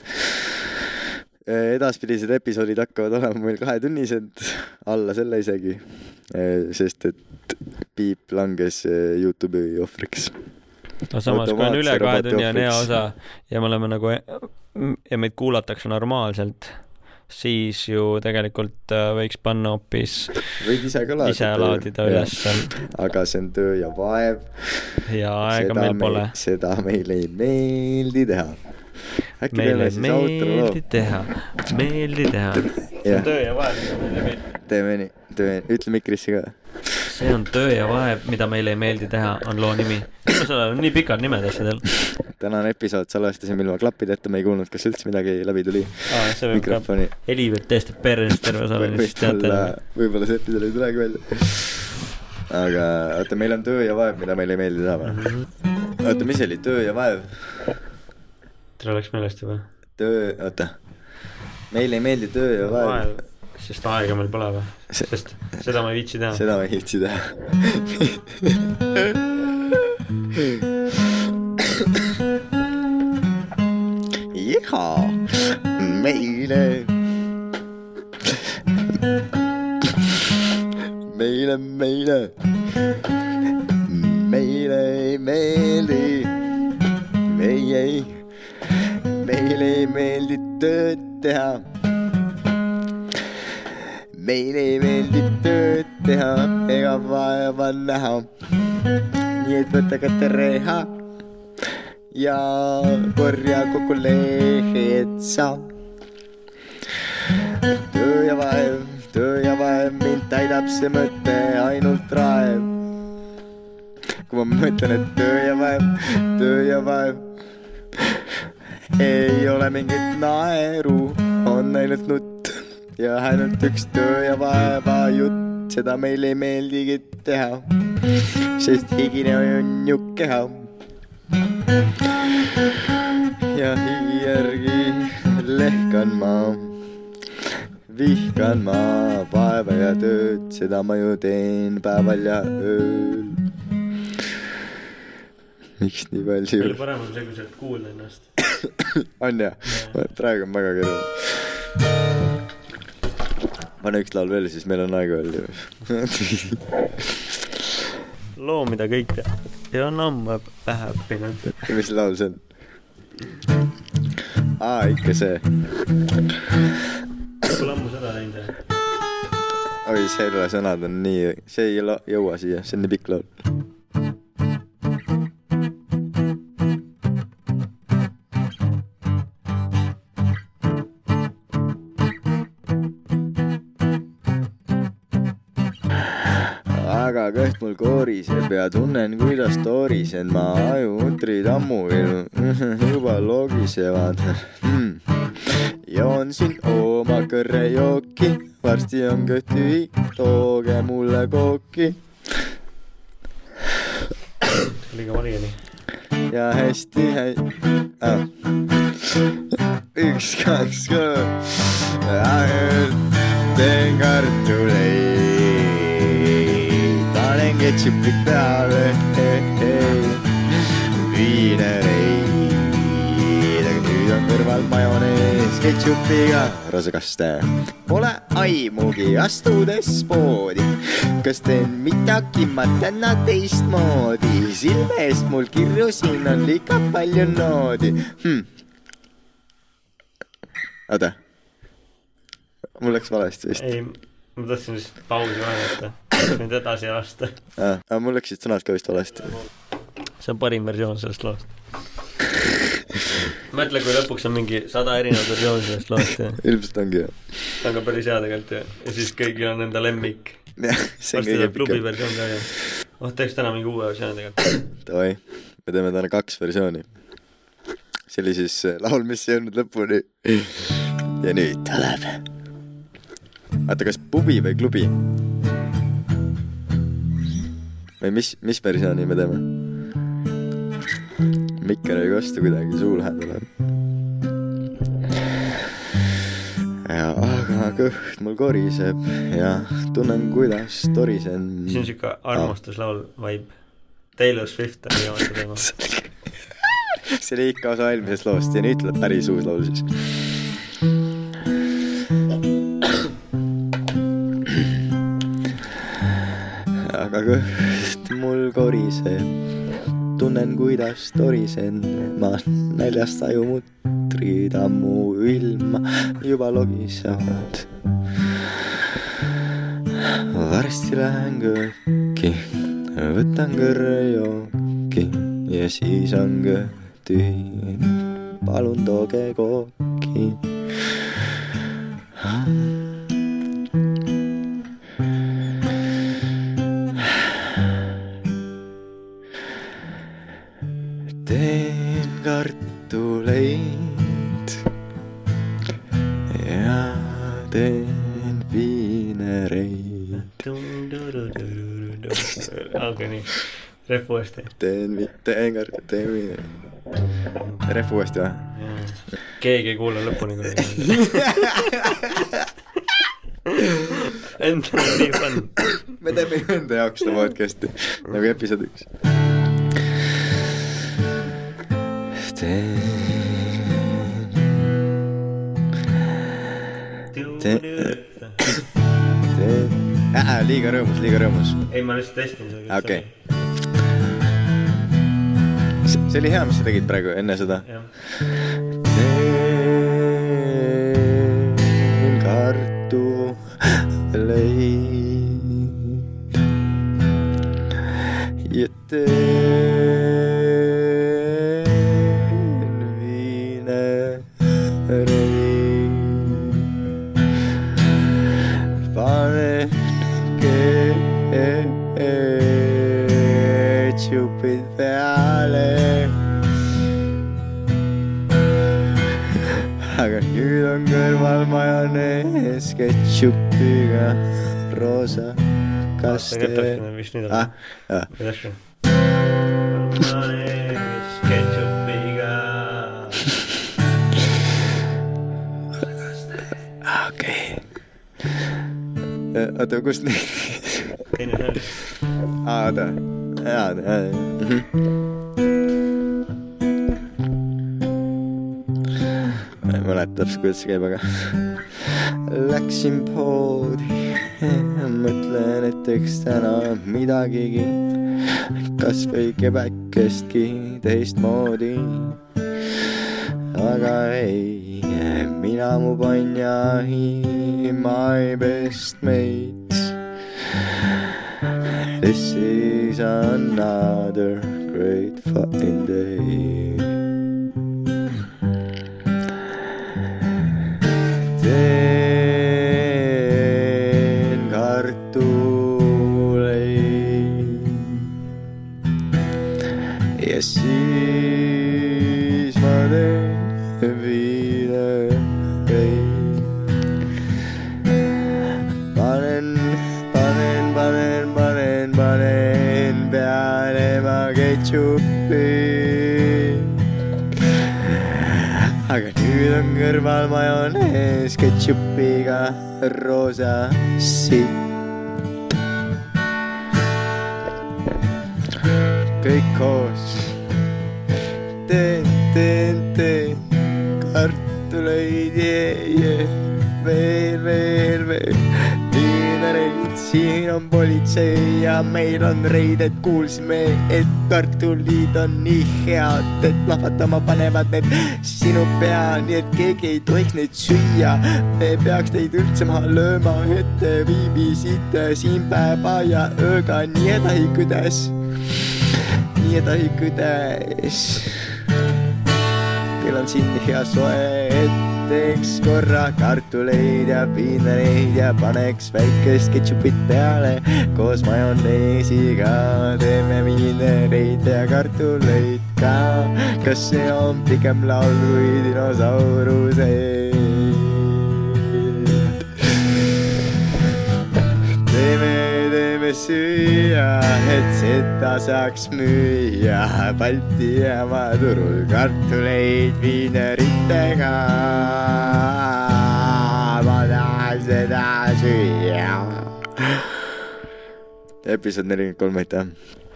S3: eh, edaspidised episoodid hakkavad olema meil kahetunnised , alla selle isegi , sest et piip langes eh, Youtube'i ohvriks
S2: no samas kui on üle
S3: Automaatse
S2: kahe
S3: roboti
S2: tunni on hea
S3: ohvriks.
S2: osa ja me oleme nagu ja meid kuulatakse normaalselt , siis ju tegelikult äh, võiks panna hoopis
S3: võid ise ka laadida .
S2: Ise laadida ülesse. .
S3: aga see on töö ja vaev .
S2: ja aega meil pole .
S3: seda meile ei meeldi teha . äkki
S2: meile
S3: teeme siis outro
S2: meeldi teha , meeldi teha .
S3: Jah.
S2: töö ja vaev , mida meile ei meeldi .
S3: loo ? teeme nii , teeme nii , ütle Mikrisse ka .
S2: see on töö ja vaev , mida meile ei meeldi teha , on loo nimi . sellel on nii pikad nimed asjadel .
S3: tänane episood salvestasime ilma klappideta , me ei kuulnud , kas üldse midagi läbi tuli . mikrofoni .
S2: heli võib tõesti perest terve osa , siis teate
S3: võib-olla ,. võib-olla see episood ei tulegi välja . aga oota , meil on töö ja vaev , mida meile ei meeldi teha või ? oota , mis see oli , töö ja vaev ?
S2: teil läks meelest juba ?
S3: töö , oota . meile ei meeldi töö ja vaev .
S2: vaev , sest aega meil pole või ?
S3: See-
S2: sest seda ma ei viitsi teha .
S3: seda ma ei viitsi teha . jaa ,嗯 meile .嗯 meile , meile ,嗯 meile ei meeldi , meie ei , meile ei meeldi tööd teha meile ei meeldi tööd teha ega vaeva näha . nii et võta katereha ja korja kokku lehed sa . töö ja vaev , töö ja vaev , mind täidab see mõte ainult raev . kui ma mõtlen , et töö ja vaev , töö ja vaev ei ole mingit naeru , on ainult nutt ja ainult üks töö ja vaeva jutt , seda meile ei meeldigi teha , sest higine on ju keha . ja higi järgi lehkan ma , vihkan ma vaeva ja tööd , seda ma ju teen päeval ja ööl . miks nii palju ?
S2: palju parem on see , kui sa oled kuulda ennast .
S3: on jah ? praegu on väga keeruline . pane üks laul veel , siis meil on aega veel ju .
S2: loo , mida kõik teavad ja on ammu pähe õppinud .
S3: ja mis laul see on ? aa , ikka see .
S2: pole ammu seda näinud jah ?
S3: oi , selle sõnad on nii , see ei la- jõua siia , see on nii pikk laul . aga kõht mul kooriseb ja tunnen , kuidas toorisen ma , ajutrid ammu il- juba logisevad mm. . joon siin oma kõrrejooki , varsti on kõht tühi , tooge mulle kooki
S2: liiga valijani .
S3: ja hästi hästi ah. . üks , kaks , kolm . teen kartuleid , panen ketšupi peale , viinereid , aga nüüd on kõrval majonees ketšupiga rasekaste . Pole aimugi astudes poodi , kas teen midagi ma täna teistmoodi , silme eest mul kirju , siin on liiga palju noodi hm. . oota , mul läks valesti vist .
S2: ei , ma tahtsin lihtsalt pausi vaadata , nüüd edasi ei lasta .
S3: Ah, aga mul läksid sõnad ka vist valesti .
S2: see on parim versioon sellest loost . mõtle , kui lõpuks on mingi sada erinevat versiooni sellest loost ja
S3: ilmselt ongi jah .
S2: see on ka päris hea tegelikult ju . ja siis kõigil on enda lemmik .
S3: jah , see
S2: varsti
S3: on kõige
S2: tuleb klubi
S3: pikem .
S2: versioon ka ju . oh , teeks täna mingi uue versiooni tegelikult .
S3: Davai , me teeme täna kaks versiooni . see oli siis äh, laul , mis ei olnud lõpuni . ja nüüd ta läheb . oota , kas pubi või klubi ? või mis , mis versiooni me teeme ? mikker ei kosta kuidagi suu lähedale . ja aga kõht mul koriseb ja tunnen , kuidas torisen .
S2: see on siuke armastuslaul , vibe . Taylor Swift on viimase teema .
S3: see oli ikka osa eelmisest loost ja nüüd tuleb päris uus laul siis . aga kõht mul koriseb , tunnen , kuidas torisen ma näljast aju mutrid ammu ilma juba logisevad . varsti lähen kööki , võtan kõrrejooki ja siis on kõht tühi . palun tooge kooki . teen kartuleid ja teen viinereid .
S2: olgu nii , rep uuesti .
S3: teen , teen kar- , teen viinereid . rehv uuesti või ?
S2: keegi ei kuule lõpuni kunagi . Endal on nii fun .
S3: me teeme ju enda jaoks seda podcast'i nagu episood üks . teen , teen , liiga rõõmus , liiga rõõmus ,
S2: ei , ma lihtsalt testin seda .
S3: okei . see oli hea , mis sa tegid praegu enne seda .
S2: jah ,
S3: teen kartuleid ja teen viinereid . panen ketšupid peale aga nüüd on kõrval majonees ketšupiga roosa
S2: see käib
S3: kaste .
S2: täpselt , mis nüüd
S3: Ah,
S2: on .
S3: ah.
S2: kuidas see ? Majonees ketšupiga .
S3: okei . oota , kus nii ?
S2: teine sõnum .
S3: aa , oota . jaa , oota . ma ei mäleta täpselt , kuidas see käib , aga Läksin poodi , mõtlen , et eks täna midagigi , kasvõi kebekestki teistmoodi . aga ei , mina mu panjahi , ma ei pest meid . This is another great fucking day teen kartuleid . ja siis ma teen viineid . panen , panen , panen , panen , panen peale ma ketšupi aga nüüd on kõrval majonees ketšupiga roosa sitt . kõik koos teen , teen , teen kartuleid yeah, , yeah. veel , veel , veel viinereid , siin on politsei ja meil on reided , kuulsime , et kartulid on nii head , et plahvatama panevad need sinu pea , nii et keegi ei tohiks neid süüa . me peaks neid üldse maha lööma , et te viibisite siin päeva ja ööga nii edasi , kuidas , nii edasi , kuidas teil on siin hea soe , et teeks korra kartuleid ja piinareid ja paneks väikest ketšupit peale koos majoneesiga . teeme viinereid ja kartuleid ka . kas see on pigem laul kui dinosauruse ? teeme , teeme süüa , et seda saaks müüa Balti jaama turul kartuleid viineritega . ma tahan seda süüa . episood nelikümmend kolm , aitäh .